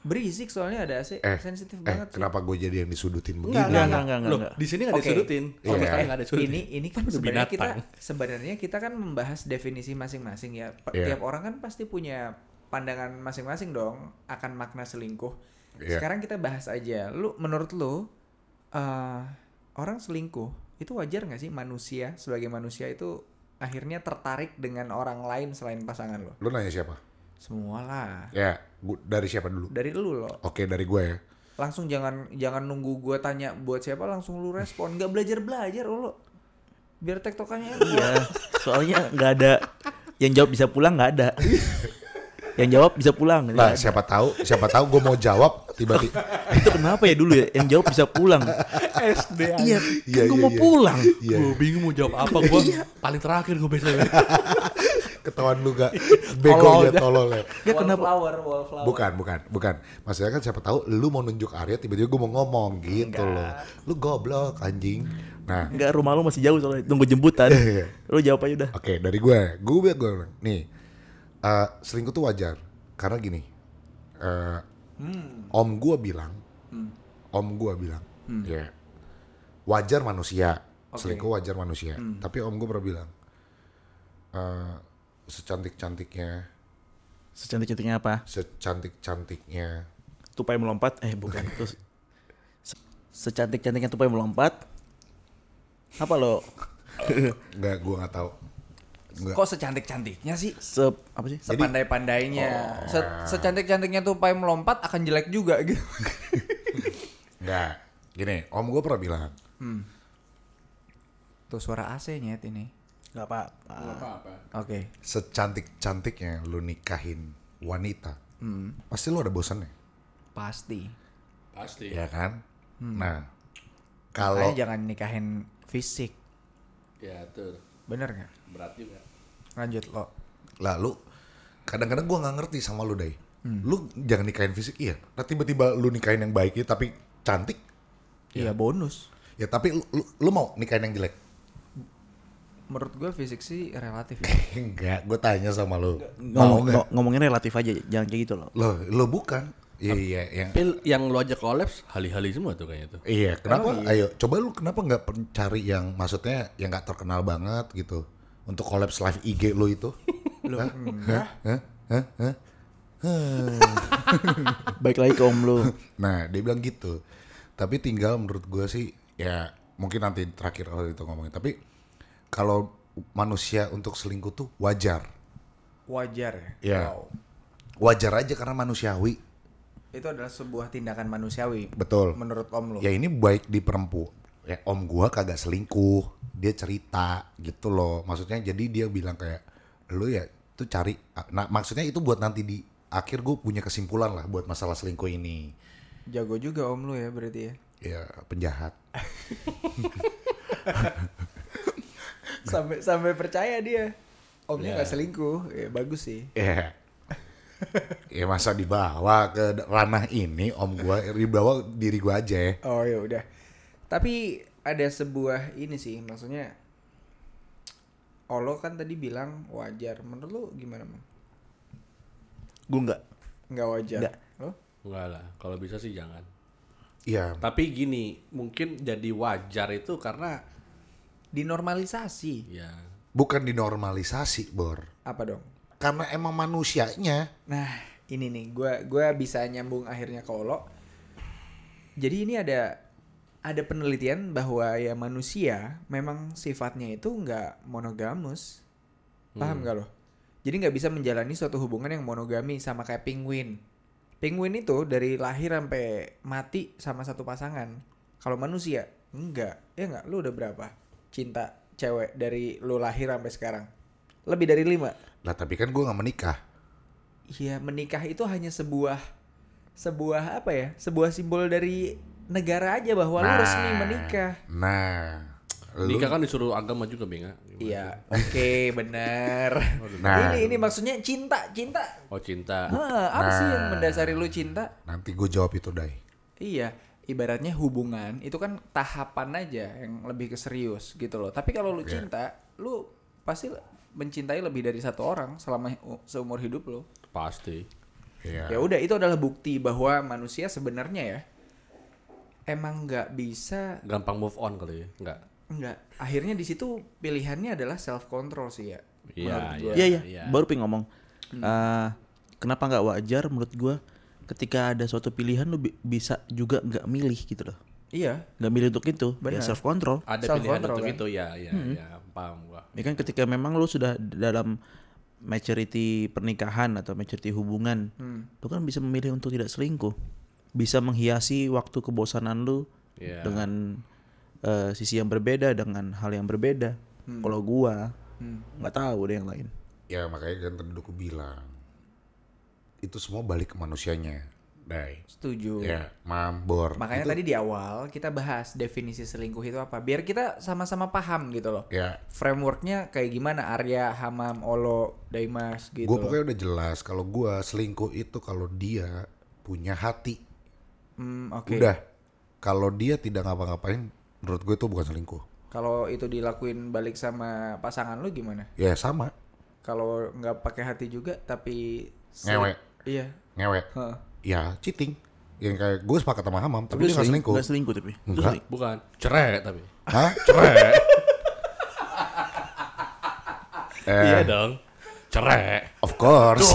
Speaker 3: Berisik soalnya ada AC
Speaker 4: eh
Speaker 3: sensitif
Speaker 4: eh,
Speaker 3: banget. sih.
Speaker 4: kenapa gue jadi yang disudutin
Speaker 5: Enggak,
Speaker 4: begini
Speaker 5: enggak, enggak, enggak, enggak,
Speaker 6: Loh,
Speaker 5: enggak.
Speaker 6: di sini nggak
Speaker 3: Oke.
Speaker 6: disudutin. Sama
Speaker 4: Iya.
Speaker 6: sekali nggak disudutin.
Speaker 3: ini ini kan
Speaker 6: Udah
Speaker 3: sebenarnya kita
Speaker 6: binatang.
Speaker 3: sebenarnya kita kan membahas definisi masing-masing ya. Per-
Speaker 4: Iya.
Speaker 3: Tiap orang kan pasti punya pandangan masing-masing dong akan makna selingkuh.
Speaker 4: Iya.
Speaker 3: Sekarang kita bahas aja. Lu menurut lu eh, orang selingkuh itu wajar nggak sih manusia sebagai manusia itu akhirnya tertarik dengan orang lain selain pasangan lo?
Speaker 4: lu nanya siapa
Speaker 3: Semualah.
Speaker 4: ya gua- dari siapa dulu
Speaker 3: Dari lu lo.
Speaker 4: oke dari gue ya
Speaker 3: Langsung jangan jangan nunggu gua tanya buat siapa langsung lu respon. Gak belajar-belajar lo. Biar tektokannya
Speaker 5: Iya, soalnya nggak ada yang jawab bisa pulang nggak ada. yang jawab bisa pulang gitu.
Speaker 4: Nah, siapa tahu, siapa tahu gue mau jawab tiba-tiba.
Speaker 5: itu kenapa ya dulu ya yang jawab bisa pulang
Speaker 3: SD
Speaker 5: iya
Speaker 4: Iya,
Speaker 5: kan gue
Speaker 4: iya,
Speaker 5: mau
Speaker 4: iya.
Speaker 5: pulang Hmm.
Speaker 4: Iya,
Speaker 6: Gue bingung mau jawab apa gue paling terakhir gue biasanya
Speaker 4: ketahuan lu gak begonya tolol ya.
Speaker 5: Dia kenapa
Speaker 3: Wallflower, wallflower.
Speaker 4: Bukan, bukan, bukan. Maksudnya kan siapa tahu lu mau nunjuk Arya tiba-tiba gue mau ngomong gitu loh. Lu goblok anjing. Nah,
Speaker 5: Enggak rumah lu masih jauh soalnya tunggu jemputan
Speaker 4: Iya.
Speaker 5: lu jawab aja udah
Speaker 4: oke dari gue, gue bilang gue bilang, nih eh, selingkuh tuh wajar karena gini. eh, Om gue bilang, om gue bilang, ya wajar manusia. Selingkuh wajar manusia. Tapi om gue pernah bilang, eh, secantik-cantiknya,
Speaker 5: secantik-cantiknya apa
Speaker 4: secantik-cantiknya
Speaker 5: tupai melompat eh bukan terus se- secantik-cantiknya tupai melompat apa lo
Speaker 4: Enggak, gua nggak tahu. Enggak.
Speaker 3: Kok secantik-cantiknya sih?
Speaker 5: se apa sih
Speaker 4: Jadi- Oh.
Speaker 3: Sepandai-pandainya. Se- Secantik-cantiknya tuh pai melompat akan jelek juga gitu.
Speaker 4: Enggak. Gini, om gue pernah bilang,
Speaker 3: tuh suara AC nyet ini.
Speaker 5: nggak apa-apa
Speaker 3: Oke.
Speaker 4: secantik-cantiknya lu nikahin wanita, pasti lu ada bosannya,
Speaker 3: Pasti.
Speaker 6: Pasti
Speaker 4: ya kan? Nah,
Speaker 3: Makanya
Speaker 4: kalau
Speaker 3: jangan nikahin fisik.
Speaker 6: Ya tuh
Speaker 3: Bener nggak?
Speaker 6: berat juga
Speaker 3: Lanjut lo.
Speaker 4: lalu kadang-kadang gua nggak ngerti sama lu deh. Lu jangan nikahin fisik iya. Nah tiba-tiba lu nikahin yang baik ya tapi cantik.
Speaker 3: Iya bonus.
Speaker 4: Ya tapi lu, lu- lu mau nikahin yang jelek? <laughs>
Speaker 3: Menurut gue fisik sih relatif. ya.
Speaker 4: Enggak, gue tanya sama lu. Mau
Speaker 5: Ngomong,
Speaker 4: nggak?
Speaker 5: ngo- ngomongin relatif aja jangan kayak gitu loh
Speaker 4: Lo, lo bukan. Iya, iya, yang
Speaker 6: Tapi yang lu ajak kolaps hali-hali semua tuh kayaknya tuh
Speaker 4: Iya, kenapa? Ayo, coba lu kenapa nggak pen- cari yang maksudnya yang nggak terkenal banget gitu untuk collabs live IG lu itu? lu Hah? Hah? Hah? Hah? Hah?
Speaker 5: baik lagi ke om lu
Speaker 4: Nah, dia bilang gitu. Tapi tinggal menurut gua sih ya mungkin nanti terakhir kalau itu ngomongin. Tapi kalau manusia untuk selingkuh tuh wajar.
Speaker 3: Wajar ya.
Speaker 4: Ya. Wajar aja karena manusiawi.
Speaker 3: Itu adalah sebuah tindakan manusiawi.
Speaker 4: Betul.
Speaker 3: Menurut om lo.
Speaker 4: Ya ini baik di perempu. Ya, om gua kagak selingkuh, dia cerita gitu loh. Maksudnya jadi dia bilang kayak lu ya tuh cari nah maksudnya itu buat nanti di akhir gue punya kesimpulan lah buat masalah selingkuh ini.
Speaker 3: Jago juga om lu ya berarti ya.
Speaker 4: Ya penjahat.
Speaker 3: Sampai sampai percaya dia.
Speaker 4: Iya.
Speaker 3: Omnya nggak selingkuh. Ya, bagus sih.
Speaker 4: Ya. ya masa dibawa ke ranah ini om gua dibawa diri gua aja ya.
Speaker 3: Oh ya udah. Tapi ada sebuah ini sih maksudnya Olo kan tadi bilang wajar. Menurut lu gimana, Mang?
Speaker 5: gue nggak
Speaker 3: Enggak wajar.
Speaker 5: Nggak.
Speaker 3: Lo?
Speaker 6: Enggak lah kalau bisa sih jangan
Speaker 4: Iya.
Speaker 6: Tapi gini mungkin jadi wajar itu karena
Speaker 3: Dinormalisasi.
Speaker 6: Ya
Speaker 4: Bukan dinormalisasi, Bor.
Speaker 3: Apa dong?
Speaker 4: Karena emang manusianya
Speaker 3: Nah, ini nih gua gua bisa nyambung akhirnya ke Olo. Jadi ini ada ada penelitian bahwa ya manusia memang sifatnya itu nggak monogamus. Paham nggak lo? Jadi nggak bisa menjalani suatu hubungan yang monogami sama kayak penguin. Penguin itu dari lahir sampai mati sama satu pasangan. Kalau manusia enggak, ya enggak. Lu udah berapa cinta cewek dari lu lahir sampai sekarang? Lebih dari lima.
Speaker 4: lah tapi kan gua nggak menikah.
Speaker 3: Iya, menikah itu hanya sebuah sebuah apa ya? Sebuah simbol dari negara aja bahwa lu resmi menikah.
Speaker 4: Nah, lu-
Speaker 6: Nikah kan disuruh agama juga Benga Gimana <laughs>
Speaker 3: Iya, oke, bener.
Speaker 4: Nah.
Speaker 3: Ini ini maksudnya cinta, cinta.
Speaker 6: sih? Oh cinta
Speaker 3: Hah, apa sih yang mendasari lu cinta?
Speaker 4: nanti gue jawab itu dai.
Speaker 3: Iya, ibaratnya hubungan itu kan tahapan aja yang lebih ke serius gitu loh. Tapi kalau lu cinta, lu pasti mencintai lebih dari satu orang selama seumur hidup lo.
Speaker 6: Pasti
Speaker 4: Iya.
Speaker 3: Ya udah itu adalah bukti bahwa manusia sebenarnya ya emang nggak bisa
Speaker 6: Gampang move on kali ya Enggak
Speaker 3: nggak akhirnya di situ pilihannya adalah self control sih ya.
Speaker 6: Iya
Speaker 3: menurut gua.
Speaker 5: Iya iya, baru pengen ngomong. Eh, kenapa nggak wajar menurut gua ketika ada suatu pilihan lu bi- bisa juga nggak milih gitu loh.
Speaker 3: Iya.
Speaker 5: Nggak milih untuk itu, ya
Speaker 3: Benar.
Speaker 5: self control.
Speaker 6: Ada
Speaker 3: Self
Speaker 6: pilihan
Speaker 3: control,
Speaker 6: untuk
Speaker 3: kan?
Speaker 6: itu ya ya
Speaker 5: Hmm.
Speaker 6: ya paham gua
Speaker 5: Ya kan ketika memang lu sudah dalam maturity pernikahan atau maturity hubungan, lu kan bisa memilih untuk tidak selingkuh. Bisa menghiasi waktu kebosanan lu
Speaker 6: Iya.
Speaker 5: dengan eh, sisi yang berbeda dengan hal yang berbeda. Kalau gua nggak tahu deh yang lain.
Speaker 4: Ya makanya kan tadi aku bilang itu semua balik ke manusianya Dai
Speaker 3: Setuju.
Speaker 4: ya mambor
Speaker 3: Makanya
Speaker 4: Itu-
Speaker 3: tadi di awal kita bahas definisi selingkuh itu apa, biar kita sama-sama paham gitu loh.
Speaker 4: ya
Speaker 3: Frameworknya kayak gimana? Arya, Hamam, Olo, Daimas gitu.
Speaker 4: gue
Speaker 3: loh.
Speaker 4: pokoknya udah jelas kalau gue selingkuh itu kalau dia punya hati
Speaker 3: Hmm, oke.
Speaker 4: udah kalau dia tidak ngapa-ngapain menurut gue itu bukan selingkuh
Speaker 3: Kalau itu dilakuin balik sama pasangan lu gimana?
Speaker 4: ya sama
Speaker 3: Kalau nggak pakai hati juga tapi sel-
Speaker 4: Ngewek.
Speaker 3: Iya.
Speaker 4: ngewek
Speaker 3: Heeh.
Speaker 4: ya cheating yang kayak gue sepakat sama Hamam tapi dia nggak
Speaker 5: seling-
Speaker 4: selingkuh
Speaker 5: nggak selingkuh tapi. Itu
Speaker 4: Enggak.
Speaker 5: seling-
Speaker 6: Bukan, cerai tapi.
Speaker 4: hah cerai eh,
Speaker 6: Iya dong. Cerai.
Speaker 4: of course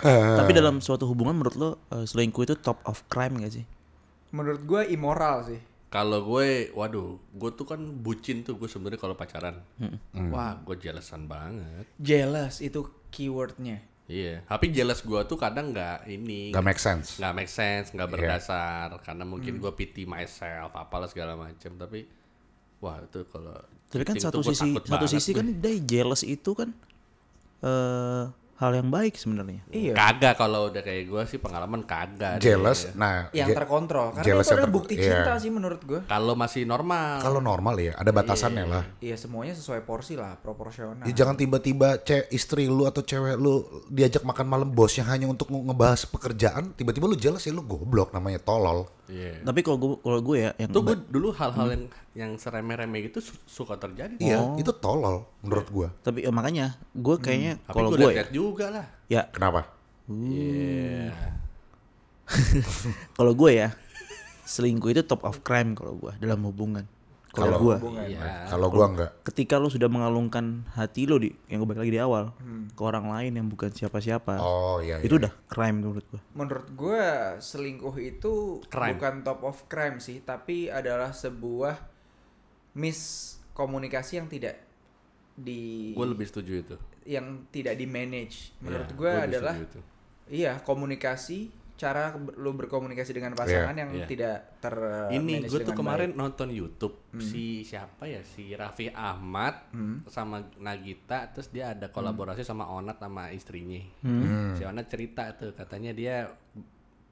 Speaker 4: Eh.
Speaker 5: Tapi dalam suatu hubungan menurut lo eh, selingkuh itu top of crime gak sih?
Speaker 3: Menurut gue immoral sih.
Speaker 6: Kalau gue, waduh, gue tuh kan bucin tuh gue sebenarnya kalau pacaran.
Speaker 5: Hmm.
Speaker 4: Hmm.
Speaker 6: Wah, gue jelesan banget.
Speaker 3: Jealous itu keywordnya.
Speaker 6: Iya, tapi jelas gue tuh kadang nggak ini,
Speaker 4: <laughs> nggak make sense Iya.
Speaker 6: nggak make sense, nggak berdasar. Karena
Speaker 5: Hmm.
Speaker 6: mungkin gue pity myself, apalah segala macam. Tapi, wah itu kalau
Speaker 5: Tapi kan
Speaker 6: cheating
Speaker 5: satu
Speaker 6: tuh gua
Speaker 5: sisi
Speaker 6: takut
Speaker 5: satu
Speaker 6: banget
Speaker 5: sisi
Speaker 6: gue.
Speaker 5: kan day jealous itu kan eh hal yang baik sebenarnya.
Speaker 3: Iya.
Speaker 6: kagak kalau udah kayak gue sih pengalaman kagak. deh.
Speaker 4: jealous nah
Speaker 3: yang
Speaker 4: je-
Speaker 3: terkontrol. Karena
Speaker 4: jealous
Speaker 3: itu
Speaker 4: yang
Speaker 3: adalah
Speaker 4: ter-
Speaker 3: bukti
Speaker 4: iya.
Speaker 3: cinta sih menurut gue.
Speaker 6: Kalau masih normal.
Speaker 4: kalau normal ya ada batasannya lah
Speaker 3: Iya semuanya sesuai porsi lah, proporsional.
Speaker 4: Ya, jangan tiba-tiba ce istri lu atau cewek lu diajak makan malam bosnya hanya untuk nge- ngebahas pekerjaan, tiba-tiba lu jelas ya lu goblok namanya tolol.
Speaker 6: Iya.
Speaker 5: Tapi kalau gue kalau gue ya yang
Speaker 6: Tuh gue dulu hal-hal yang yang seremeh-remeh gitu su- suka terjadi.
Speaker 4: Hmm. Iya, itu tolol menurut gua.
Speaker 5: tapi eh, makanya gue kayaknya
Speaker 6: Hmm, Tapi
Speaker 5: kalau
Speaker 6: gue
Speaker 5: gue ya,
Speaker 6: lihat juga lah.
Speaker 5: ya
Speaker 4: Kenapa? Hmm.
Speaker 6: Iya.
Speaker 5: kalau gue ya selingkuh itu top of crime kalau gue dalam hubungan. Kalau gue
Speaker 6: Ya. Iya.
Speaker 4: Nah, Kalau gua enggak.
Speaker 5: ketika lo sudah mengalungkan hati lo di yang gue balik lagi di awal ke orang lain yang bukan siapa-siapa
Speaker 4: Hmm. Oh iya.
Speaker 5: itu
Speaker 4: iya.
Speaker 5: udah crime menurut gue.
Speaker 3: Menurut gue selingkuh itu
Speaker 6: Crime.
Speaker 3: bukan top of crime sih, tapi adalah sebuah miskomunikasi yang tidak di
Speaker 6: Gue lebih setuju itu.
Speaker 3: yang tidak di manage. Menurut
Speaker 6: Iya,
Speaker 3: gue
Speaker 6: gua lebih
Speaker 3: adalah
Speaker 6: setuju itu.
Speaker 3: iya komunikasi cara ber- lu berkomunikasi dengan pasangan yang
Speaker 6: iya.
Speaker 3: tidak ter
Speaker 6: Ini
Speaker 3: eh, manage
Speaker 6: gue tuh
Speaker 3: dengan
Speaker 6: kemarin
Speaker 3: baik. Hmm.
Speaker 6: nonton YouTube si siapa ya si Raffi Ahmad sama Nagita terus dia
Speaker 3: Hmm.
Speaker 6: ada kolaborasi sama Onat sama istrinya. Si Onat cerita tuh katanya dia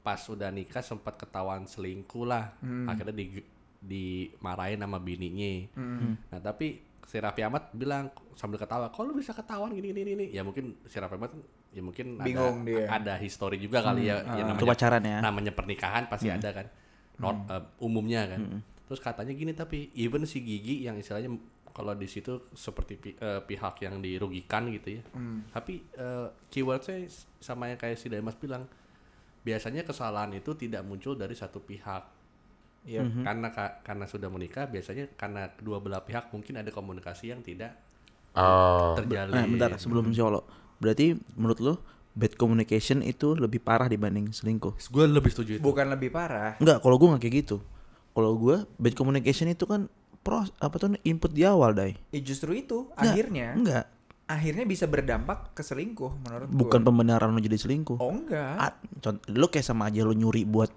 Speaker 6: pas udah nikah sempat ketahuan selingkuh lah
Speaker 3: Hmm.
Speaker 6: akhirnya di dimarahin sama bininya.
Speaker 3: Hmm.
Speaker 6: Nah tapi si Raffi Ahmad bilang sambil ketawa, kok lu bisa ketahuan gini gini gini? Ya mungkin si Raffi Ahmad kan, ya mungkin
Speaker 3: Bingung
Speaker 6: ada
Speaker 3: dia. Hmm. Ah.
Speaker 6: ada history juga kali ya, ya
Speaker 5: Itu pacaran ya.
Speaker 6: namanya pernikahan pasti ada kan Nor- eh, umumnya kan terus katanya gini tapi even si gigi yang istilahnya kalau di situ seperti pi- eh, pihak yang dirugikan gitu ya tapi eh, keywordnya s- sama yang kayak si Damas bilang biasanya kesalahan itu tidak muncul dari satu pihak
Speaker 3: Iya.
Speaker 6: karena ka- karena sudah menikah biasanya karena kedua belah pihak mungkin ada komunikasi yang tidak
Speaker 4: Oh,
Speaker 6: terjalin
Speaker 3: Iya,
Speaker 5: Nah, bentar sebelum siolo. Berarti menurut lo bad communication itu lebih parah dibanding selingkuh?
Speaker 6: gue lebih setuju itu
Speaker 3: bukan lebih parah.
Speaker 5: Enggak, kalau gue nggak kayak gitu. Kalau gue bad communication itu kan pros apa tuh input di awal, Dai.
Speaker 3: Eh, justru itu
Speaker 5: Nggak,
Speaker 3: akhirnya
Speaker 5: enggak,
Speaker 3: akhirnya bisa berdampak ke selingkuh menurut gua.
Speaker 5: bukan pembenaran lo jadi selingkuh.
Speaker 3: Oh enggak.
Speaker 5: Ah, cont- lo kayak sama aja lo nyuri buat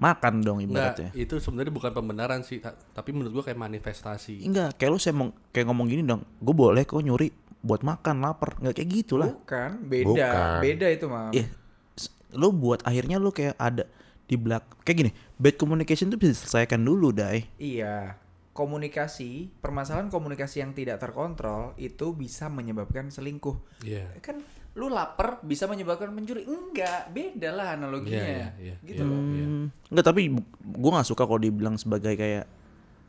Speaker 5: makan dong
Speaker 6: Nggak,
Speaker 5: ibaratnya.
Speaker 6: Nah, itu sebenarnya bukan pembenaran sih ta- tapi menurut gue kayak
Speaker 3: Iya.
Speaker 6: manifestasi
Speaker 5: Enggak, kayak lo semong kayak ngomong gini dong. Gue boleh kok nyuri buat makan lapar. Enggak kayak gitulah.
Speaker 3: Bukan, beda,
Speaker 4: Bukan.
Speaker 3: beda itu mah.
Speaker 5: Iya. s- Lo buat akhirnya lo kayak ada di belak kayak gini. Bad communication tuh bisa diselesaikan dulu, Dai.
Speaker 3: Iya, komunikasi, permasalahan komunikasi yang tidak terkontrol itu bisa menyebabkan selingkuh.
Speaker 6: Iya.
Speaker 3: Kan lu lapar bisa menyebabkan mencuri? Enggak, beda lah analoginya.
Speaker 6: Iya, iya,
Speaker 3: gitu
Speaker 6: iya,
Speaker 3: loh.
Speaker 6: iya.
Speaker 5: Hmm. Enggak, tapi gue nggak suka kalau dibilang sebagai kayak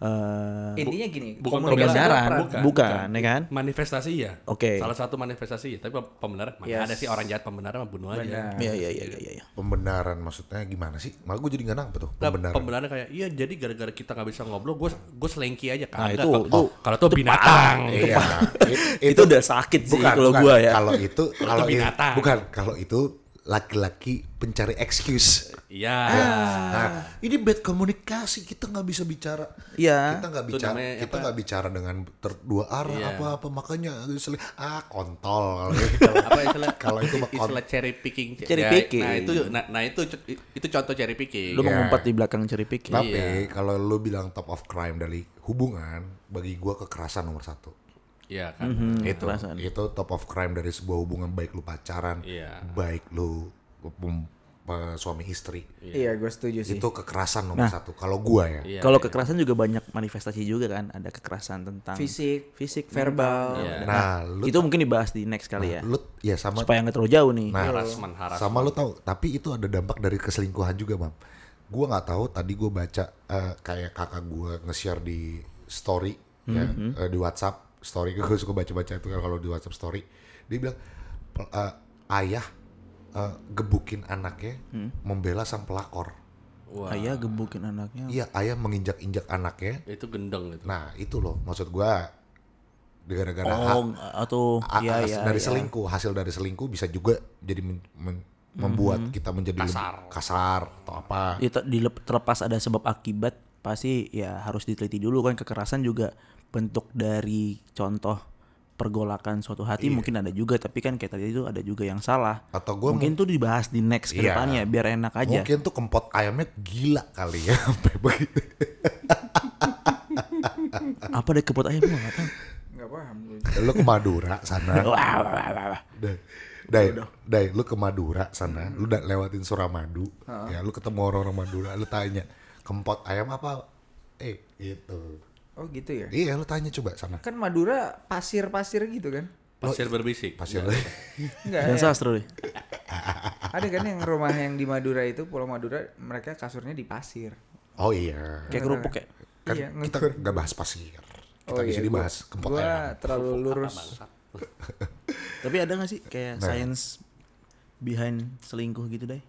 Speaker 5: eh
Speaker 3: Intinya gini,
Speaker 6: bukan
Speaker 3: komunikasi itu
Speaker 5: pembenaran,
Speaker 3: peran.
Speaker 5: bukan, ya kan?
Speaker 6: Manifestasi ya.
Speaker 5: Oke.
Speaker 6: Salah satu manifestasi ya, tapi pem- pembenar mana
Speaker 3: Yes.
Speaker 6: ada sih orang jahat pembenar mah bunuh aja.
Speaker 3: Benar.
Speaker 5: Iya, iya, iya, iya, iya.
Speaker 4: pembenaran maksudnya gimana sih? Malah gue jadi nggak nangkep tuh
Speaker 6: Nah,
Speaker 4: pembenaran.
Speaker 6: pembenaran kayak iya jadi gara-gara kita nggak bisa ngobrol, gue gue selengki aja kan.
Speaker 5: Nah, itu- itu-
Speaker 6: kalau tuh binatang.
Speaker 4: Iya, nah, <laughs> it-
Speaker 5: Itu, udah sakit sih
Speaker 4: bukan,
Speaker 5: kalau
Speaker 4: bukan.
Speaker 5: gue ya.
Speaker 4: Kalau itu kalau itu
Speaker 6: binatang.
Speaker 4: bukan kalau itu laki-laki pencari excuse.
Speaker 6: Iya.
Speaker 5: Ah.
Speaker 4: Nah, ini bad komunikasi kita nggak bisa bicara.
Speaker 5: Iya.
Speaker 4: Kita nggak
Speaker 6: Itu
Speaker 4: bicara.
Speaker 6: namanya
Speaker 4: Kita
Speaker 6: apa?
Speaker 4: nggak bicara dengan ter- dua arah
Speaker 6: Iya.
Speaker 4: apa-apa. Makanya seling- ah
Speaker 6: <laughs>
Speaker 4: kontol. Kalau- gitu.
Speaker 6: Apa istilah
Speaker 4: Kalau itu mah kon-
Speaker 6: istilah cherry picking.
Speaker 5: Cherry
Speaker 6: Ya,
Speaker 5: picking.
Speaker 6: Nah, itu nah, nah itu itu contoh cherry picking.
Speaker 4: Iya.
Speaker 5: Lu mengumpat di belakang ceri pikir.
Speaker 4: Tapi kalau lu bilang top of crime dari hubungan, bagi gua kekerasan nomor satu.
Speaker 6: Iya kan.
Speaker 5: Mhm.
Speaker 4: itu itu top of crime dari sebuah hubungan baik lu pacaran
Speaker 6: Iya.
Speaker 4: baik lu pem- pe- suami istri
Speaker 3: Iya, gue setuju sih.
Speaker 4: itu kekerasan nomor satu kalau gua ya
Speaker 6: Iya.
Speaker 5: Kalau kekerasan juga banyak manifestasi juga kan, ada kekerasan tentang
Speaker 3: Fisik,
Speaker 5: fisik,
Speaker 3: verbal.
Speaker 6: Iya.
Speaker 4: nah lu
Speaker 5: itu mungkin dibahas di next kali ya.
Speaker 4: lu ya sama
Speaker 5: Supaya nggak terlalu jauh nih.
Speaker 4: nah
Speaker 6: harassment, harassment.
Speaker 4: sama lu tahu tapi itu ada dampak dari keselingkuhan juga mam gua nggak tahu tadi gua baca eh, kayak kakak gua nge-share di story ya eh, di WhatsApp story <laughs> gue suka baca-baca itu kan kalau di WhatsApp story dia bilang pel- eh, ayah eh, gebukin anaknya membela sang pelakor
Speaker 6: Wah,
Speaker 5: Ayah gebukin anaknya.
Speaker 4: Iya, ayah menginjak-injak anaknya.
Speaker 5: Iya.
Speaker 6: itu gendeng itu.
Speaker 4: Nah, itu loh maksud gua gara-gara ha-
Speaker 5: Oh, atau
Speaker 4: a-
Speaker 3: Iya,
Speaker 5: ya
Speaker 4: as-
Speaker 5: ya.
Speaker 4: dari
Speaker 5: ya.
Speaker 4: selingkuh, hasil dari selingkuh bisa juga jadi men- men- membuat
Speaker 3: Mm-hmm.
Speaker 4: kita menjadi lebih
Speaker 6: Kasar.
Speaker 4: kasar atau apa.
Speaker 5: Ya,
Speaker 3: Iya.
Speaker 5: ter- dilep- terlepas ada sebab akibat pasti ya harus diteliti dulu kan kekerasan juga bentuk dari contoh pergolakan suatu hati mungkin ada juga tapi kan kayak tadi itu ada juga yang salah
Speaker 4: Atau gua
Speaker 5: mungkin tuh dibahas di next
Speaker 4: Iya.
Speaker 5: kedepannya biar enak aja
Speaker 4: Mungkin tuh kempot ayamnya gila kali ya <laughs> sampai begitu.
Speaker 5: apa ada kebut ayam gua nggak tahu
Speaker 3: Nggak paham. gue.
Speaker 4: Lu ke Madura sana.
Speaker 5: <laughs>
Speaker 3: <laughs>
Speaker 5: Wah, wah, wah, wah.
Speaker 4: Dai, Dai, Dai, lu ke Madura sana,
Speaker 3: Mm-hmm.
Speaker 4: lu udah lewatin Suramadu, ya lu ketemu orang-orang Madura, lu tanya, kempot ayam apa? Eh, gitu.
Speaker 3: Oh gitu ya.
Speaker 4: Iya, lu tanya coba sana.
Speaker 3: Kan Madura pasir-pasir gitu kan?
Speaker 6: Pasir berbisik.
Speaker 3: Iya,
Speaker 4: Pasir.
Speaker 5: <laughs>
Speaker 3: Enggak.
Speaker 5: dan
Speaker 3: ya.
Speaker 5: sastra deh
Speaker 3: Ada kan yang rumah yang di Madura itu, Pulau Madura, mereka kasurnya di pasir.
Speaker 4: <laughs> Oh iya.
Speaker 5: kayak kerupuk ya
Speaker 4: Kan
Speaker 3: Iya,
Speaker 4: kita nggak bahas pasir. Kita
Speaker 3: Oh
Speaker 4: bisa
Speaker 3: iya,
Speaker 4: dibahas kempot
Speaker 3: Gua
Speaker 4: ayam.
Speaker 3: terlalu lurus.
Speaker 5: tapi ada nggak sih kayak science behind selingkuh gitu deh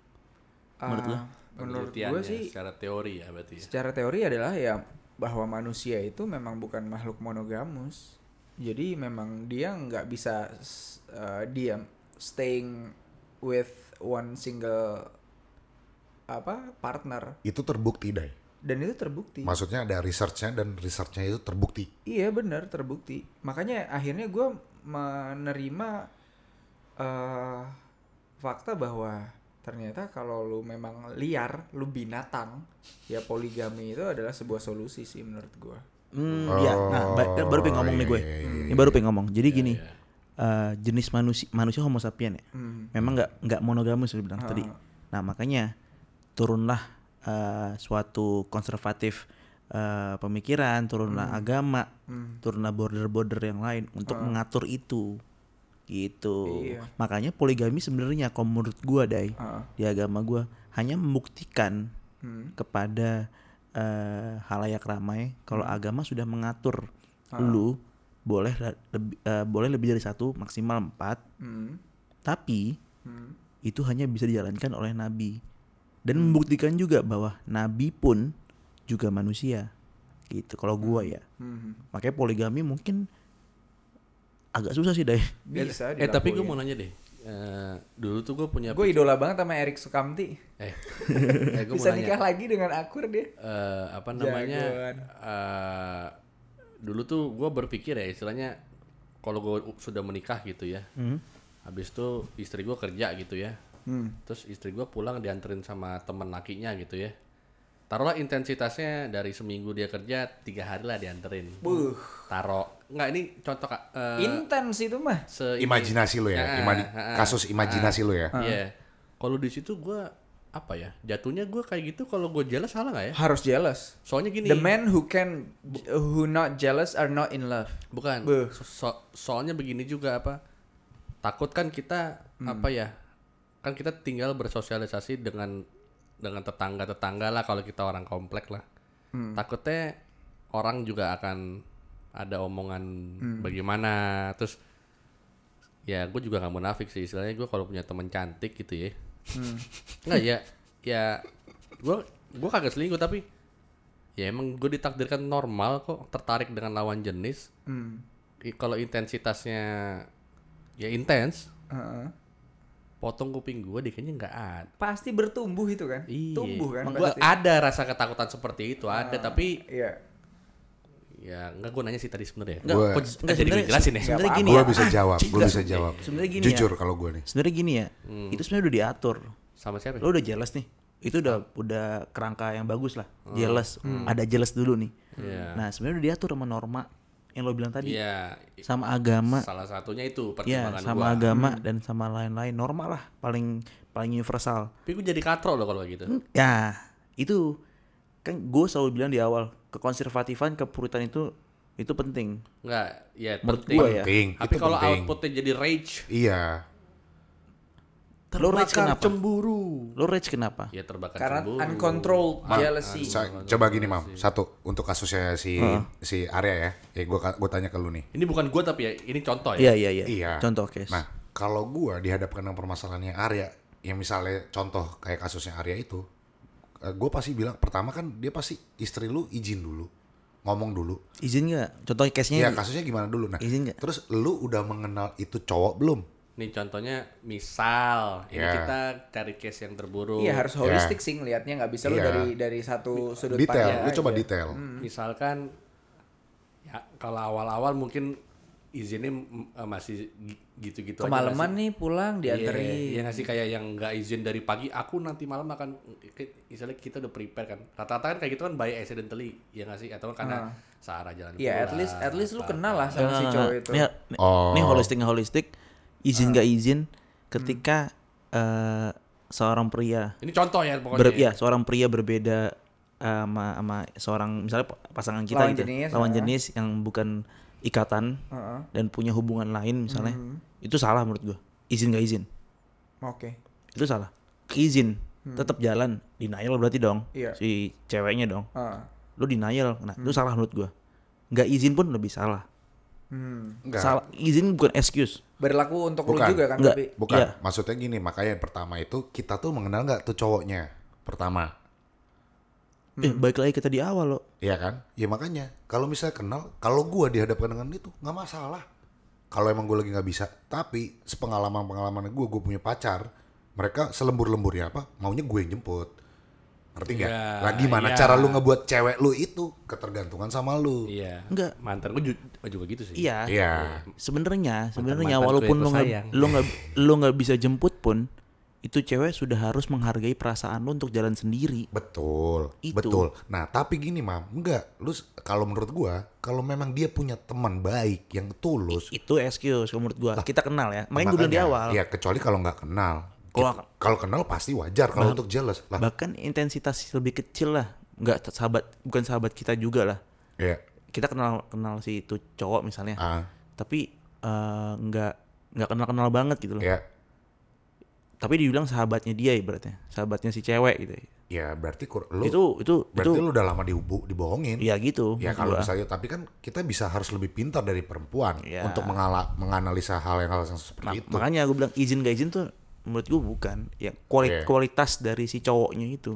Speaker 5: menurut lo
Speaker 3: Ah, menurut gue
Speaker 6: Penelitiannya
Speaker 3: sih
Speaker 6: secara teori ya berarti ya.
Speaker 3: secara teori adalah ya bahwa manusia itu memang bukan makhluk monogamus. Jadi memang dia nggak bisa s- eh, diam staying with one single apa partner
Speaker 4: Itu terbukti, Dai.
Speaker 3: dan itu terbukti.
Speaker 4: Maksudnya ada researchnya dan researchnya itu terbukti.
Speaker 3: Iya benar terbukti. Makanya akhirnya gue menerima eh fakta bahwa ternyata kalau lu memang liar, lu binatang, ya poligami itu adalah sebuah solusi sih menurut gue.
Speaker 5: Hmm, iya. Nah, ba- baru pengen ngomong nih gue. Ini baru pengen ngomong. Jadi gini, eh, jenis manusia manusia Homo sapien ya.
Speaker 3: Hmm,
Speaker 5: Memang nggak nggak monogamus sudah bilang tadi. Nah, makanya turunlah eh, suatu konservatif eh, pemikiran, turunlah agama,
Speaker 3: hmm.
Speaker 5: turunlah border-border yang lain untuk mengatur itu. Gitu.
Speaker 3: Iya.
Speaker 5: Makanya poligami sebenarnya kalau menurut gua, Dai, di agama gua hanya membuktikan
Speaker 3: Hmm,
Speaker 5: kepada eh, halayak ramai kalau agama sudah mengatur lu boleh ra- lebih, eh, boleh lebih dari satu maksimal empat
Speaker 3: Hmm.
Speaker 5: tapi
Speaker 3: Hmm.
Speaker 5: itu hanya bisa dijalankan oleh nabi dan membuktikan juga bahwa nabi pun juga manusia gitu kalau gua ya
Speaker 3: Hmm.
Speaker 5: makanya poligami mungkin agak susah sih deh
Speaker 3: Bisa
Speaker 6: Eh tapi gue mau nanya deh. Eh, dulu tuh gue punya
Speaker 3: Gue idola banget sama Erik Sukamti. <laughs>
Speaker 6: eh, eh gue mau
Speaker 3: Bisa
Speaker 6: nanya
Speaker 3: nikah lagi dengan akur dia.
Speaker 6: Eh, apa namanya
Speaker 3: Jagoan.
Speaker 6: eh, dulu tuh gue berpikir ya istilahnya kalau gue sudah menikah gitu ya
Speaker 3: Hmm.
Speaker 6: habis itu istri gue kerja gitu ya terus istri gue pulang dianterin sama temen lakinya gitu ya taruhlah intensitasnya dari seminggu dia kerja tiga hari lah dianterin
Speaker 3: Buh. Iya.
Speaker 6: taro nggak ini contoh kak eh,
Speaker 3: Intens itu mah.
Speaker 6: se- ini-
Speaker 4: Imajinasi lu ya,
Speaker 6: Ah,
Speaker 4: imani-
Speaker 6: ah, ah.
Speaker 4: kasus imajinasi lu ya.
Speaker 6: Iya. Kalau di situ gua apa ya? Jatuhnya gua kayak gitu kalau gua jelas salah nggak ya?
Speaker 3: Harus jealous.
Speaker 6: Soalnya gini.
Speaker 3: The man who can who not jealous are not in love.
Speaker 6: Bukan.
Speaker 3: Beuh.
Speaker 6: So- so- soalnya begini juga apa? Takut kan kita apa ya? Kan kita tinggal bersosialisasi dengan dengan tetangga-tetangga lah kalau kita orang komplek lah. Takutnya orang juga akan ada omongan bagaimana terus ya gue juga nggak munafik sih istilahnya gue kalau punya teman cantik gitu ya <laughs> nggak ya ya gue gue kagak selingkuh tapi ya emang gue ditakdirkan normal kok tertarik dengan lawan jenis
Speaker 3: Hmm.
Speaker 6: I- kalau intensitasnya ya intens
Speaker 3: Heeh.
Speaker 6: potong kuping gue dikayaknya nggak ada
Speaker 3: pasti bertumbuh itu kan
Speaker 6: Iya.
Speaker 3: tumbuh kan
Speaker 6: Emang gua
Speaker 3: pasti
Speaker 6: ada rasa ketakutan seperti itu ada tapi
Speaker 3: iya
Speaker 6: ya nggak gue nanya sih tadi sebenarnya
Speaker 5: Enggak,
Speaker 4: Gua-
Speaker 6: kok j- jadi gue jelasin ya
Speaker 5: sebenarnya gini
Speaker 4: Gue
Speaker 5: ya
Speaker 4: bisa jawab, gue
Speaker 5: enggak.
Speaker 4: bisa jawab.
Speaker 5: Sebenarnya gini ya.
Speaker 4: Jujur kalau gue nih.
Speaker 5: sebenarnya gini ya itu sebenarnya udah diatur
Speaker 6: sama siapa ya?
Speaker 5: lo udah jealous nih itu udah udah Hmm. kerangka yang bagus lah jealous ada jealous dulu nih
Speaker 6: Iya.
Speaker 5: nah sebenarnya udah diatur sama norma yang lo bilang tadi
Speaker 6: Iya, i-
Speaker 5: sama agama
Speaker 6: salah satunya itu
Speaker 5: ya
Speaker 6: pertimbangan
Speaker 5: sama
Speaker 6: gua.
Speaker 5: agama dan sama lain-lain normal lah paling paling universal
Speaker 6: Tapi gue jadi katro loh kalau gitu.
Speaker 5: ya itu kan gue selalu bilang di awal kekonservatifan kepuritan itu itu penting
Speaker 6: Enggak, ya
Speaker 5: Menurut
Speaker 6: penting.
Speaker 5: gua ya.
Speaker 4: Penting,
Speaker 6: Tapi
Speaker 4: itu
Speaker 6: kalau
Speaker 4: penting.
Speaker 6: outputnya jadi rage,
Speaker 4: Iya.
Speaker 5: lo rage
Speaker 6: terbakar
Speaker 5: kenapa
Speaker 6: cemburu.
Speaker 5: lo rage kenapa
Speaker 6: Ya terbakar
Speaker 3: Karena
Speaker 6: cemburu.
Speaker 3: uncontrolled
Speaker 4: Mam,
Speaker 3: jealousy.
Speaker 4: sa- coba gini mam, satu untuk kasusnya si si Arya ya, ya gue gue tanya ke lu nih.
Speaker 6: Ini bukan gue tapi ya, ini contoh ya.
Speaker 5: iya iya iya
Speaker 4: Iya.
Speaker 5: contoh case
Speaker 4: Nah kalau gue dihadapkan dengan permasalahannya Arya, yang misalnya contoh kayak kasusnya Arya itu, gue pasti bilang pertama kan dia pasti istri lu izin dulu, ngomong dulu.
Speaker 5: izin nggak contoh case nya
Speaker 4: Iya kasusnya gimana dulu. Nah
Speaker 5: Izin nggak?
Speaker 4: terus lu udah mengenal itu cowok belum?
Speaker 6: Nih contohnya misal ini
Speaker 4: Ya.
Speaker 6: kita cari case yang terburuk.
Speaker 3: Iya harus holistik sih ngelihatnya nggak bisa lu
Speaker 4: Iya.
Speaker 3: dari dari satu sudut
Speaker 4: Detail, lu
Speaker 3: aja.
Speaker 4: coba
Speaker 6: Iya.
Speaker 4: detail.
Speaker 6: Hmm.
Speaker 3: Hmm.
Speaker 6: Misalkan ya kalau awal-awal mungkin izinnya mm, eh, masih gi- gitu-gitu aja
Speaker 3: Kemalaman
Speaker 6: nggak sih?
Speaker 3: nih pulang
Speaker 6: Iya,
Speaker 3: dianterin.
Speaker 6: Iya nggak sih kayak yang nggak izin dari pagi. Aku nanti malam akan misalnya kita udah prepare kan. Rata-rata kan kayak gitu kan by accidentally ya nggak sih atau karena searah jalan.
Speaker 3: Ah. Iya, at
Speaker 6: pulang,
Speaker 3: least at least lu
Speaker 6: apa.
Speaker 3: kenal
Speaker 5: Ah,
Speaker 3: lah sama si cowok itu.
Speaker 5: Nih, nih-
Speaker 4: Oh.
Speaker 5: nih holistik nggak holistik, izin nggak izin ketika eh, seorang pria
Speaker 6: Ini contoh ya
Speaker 3: Oh,
Speaker 6: pokoknya.
Speaker 5: ber, ya
Speaker 3: iya.
Speaker 5: seorang pria berbeda eh, sama sama seorang misalnya pa- pasangan kita
Speaker 3: Lawan
Speaker 5: gitu,
Speaker 3: jenis,
Speaker 5: lawan
Speaker 3: ah.
Speaker 5: jenis yang bukan ikatan
Speaker 3: Heeh. Hmm.
Speaker 5: dan punya hubungan lain misalnya, itu salah menurut gua. Izin nggak izin,
Speaker 3: Oke.
Speaker 5: itu salah. Izin tetap jalan, denial berarti dong
Speaker 3: Hmm. Iya. Hmm.
Speaker 5: si ceweknya dong.
Speaker 3: Ah.
Speaker 5: Lu denial, nah itu salah menurut gua. Nggak izin pun lebih salah.
Speaker 3: Hmm.
Speaker 4: Enggak.
Speaker 5: Salah izin bukan excuse.
Speaker 3: Berlaku untuk
Speaker 4: Bukan.
Speaker 3: lu juga kan
Speaker 5: Nggak.
Speaker 3: tapi
Speaker 4: Bukan,
Speaker 5: Iya.
Speaker 4: maksudnya gini, makanya yang pertama itu kita tuh mengenal nggak tuh cowoknya pertama,
Speaker 3: Hmm.
Speaker 5: Eh, baik lagi kita di awal loh.
Speaker 4: iya kan? Ya makanya kalau misalnya kenal, kalau gua dihadapkan dengan itu nggak masalah. Kalau emang gue lagi nggak bisa, tapi sepengalaman pengalaman gue, gue punya pacar, mereka selembur lemburnya apa? Maunya gue yang jemput, ngerti nggak?
Speaker 6: Iya,
Speaker 4: Lah
Speaker 6: iya.
Speaker 4: gimana cara lu ngebuat cewek lu itu ketergantungan sama lu?
Speaker 6: Iya.
Speaker 5: Enggak.
Speaker 6: Mantan gue juga, gitu sih.
Speaker 5: Iya.
Speaker 4: Iya.
Speaker 5: Sebenarnya, sebenarnya
Speaker 6: mantanku
Speaker 5: walaupun
Speaker 6: yang
Speaker 5: lu
Speaker 6: ku
Speaker 5: nggak
Speaker 6: sayang.
Speaker 5: lu nggak lu nggak bisa jemput pun itu cewek sudah harus menghargai perasaan lu untuk jalan sendiri.
Speaker 4: Betul,
Speaker 5: Itu.
Speaker 4: betul. Nah, tapi gini, Mam, enggak. Lu s- kalau menurut gua, kalau memang dia punya teman baik yang tulus,
Speaker 5: Itu excuse kalau menurut gua. Kita kenal ya.
Speaker 4: Makanya,
Speaker 5: Main dulu di awal.
Speaker 4: Iya, kecuali kalau nggak kenal.
Speaker 5: Kalau
Speaker 4: Ki- Kalau kenal pasti wajar kalau untuk jealous lah.
Speaker 5: Bahkan intensitas lebih kecil lah. Enggak sahabat bukan sahabat kita juga lah.
Speaker 4: Iya.
Speaker 5: Kita kenal kenal si itu cowok misalnya.
Speaker 4: Ah,
Speaker 5: Tapi eh, nggak nggak kenal-kenal banget gitu loh.
Speaker 4: iya.
Speaker 5: Tapi dibilang sahabatnya dia ibaratnya. Sahabatnya si cewek gitu.
Speaker 4: Ya, berarti kur- lu
Speaker 5: itu itu
Speaker 4: berarti
Speaker 5: itu
Speaker 4: lu udah lama dihubu, dibohongin.
Speaker 5: ya gitu.
Speaker 4: Ya
Speaker 5: maksud
Speaker 4: kalau
Speaker 5: gua.
Speaker 4: misalnya tapi kan kita bisa harus lebih pintar dari perempuan
Speaker 5: Iya.
Speaker 4: untuk mengala- menganalisa hal yang hal yang seperti
Speaker 5: Ma-
Speaker 4: itu.
Speaker 5: makanya gue bilang izin gak izin tuh menurut gue bukan ya kuali-
Speaker 4: Iya.
Speaker 5: kualitas dari si cowoknya itu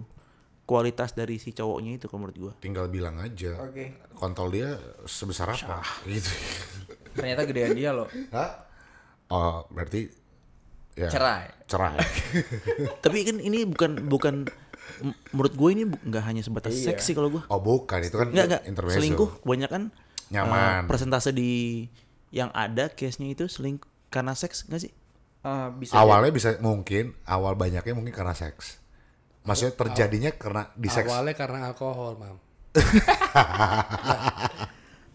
Speaker 5: kualitas dari si cowoknya itu kalau menurut
Speaker 4: <laughs>
Speaker 5: gue
Speaker 4: Tinggal bilang aja.
Speaker 3: Oke.
Speaker 4: Kontol dia sebesar apa gitu.
Speaker 3: ternyata gedean dia loh.
Speaker 4: Hah? Oh, berarti ya,
Speaker 3: Cerai. <laughs>
Speaker 4: Cerai.
Speaker 5: tapi kan ini bukan bukan m- menurut gue ini bu- nggak hanya sebatas seksi kalau gue
Speaker 4: Oh, bukan itu kan
Speaker 5: nggak nggak
Speaker 4: intermezzo.
Speaker 5: selingkuh kebanyakan eh,
Speaker 4: Nyaman.
Speaker 5: persentase di yang ada case nya itu selingkuh karena seks nggak sih
Speaker 3: Ah, bisa
Speaker 4: awalnya bisa mungkin awal banyaknya mungkin karena seks maksudnya terjadinya karena di seks
Speaker 6: Awalnya karena alkohol,
Speaker 4: <laughs>
Speaker 6: Mam.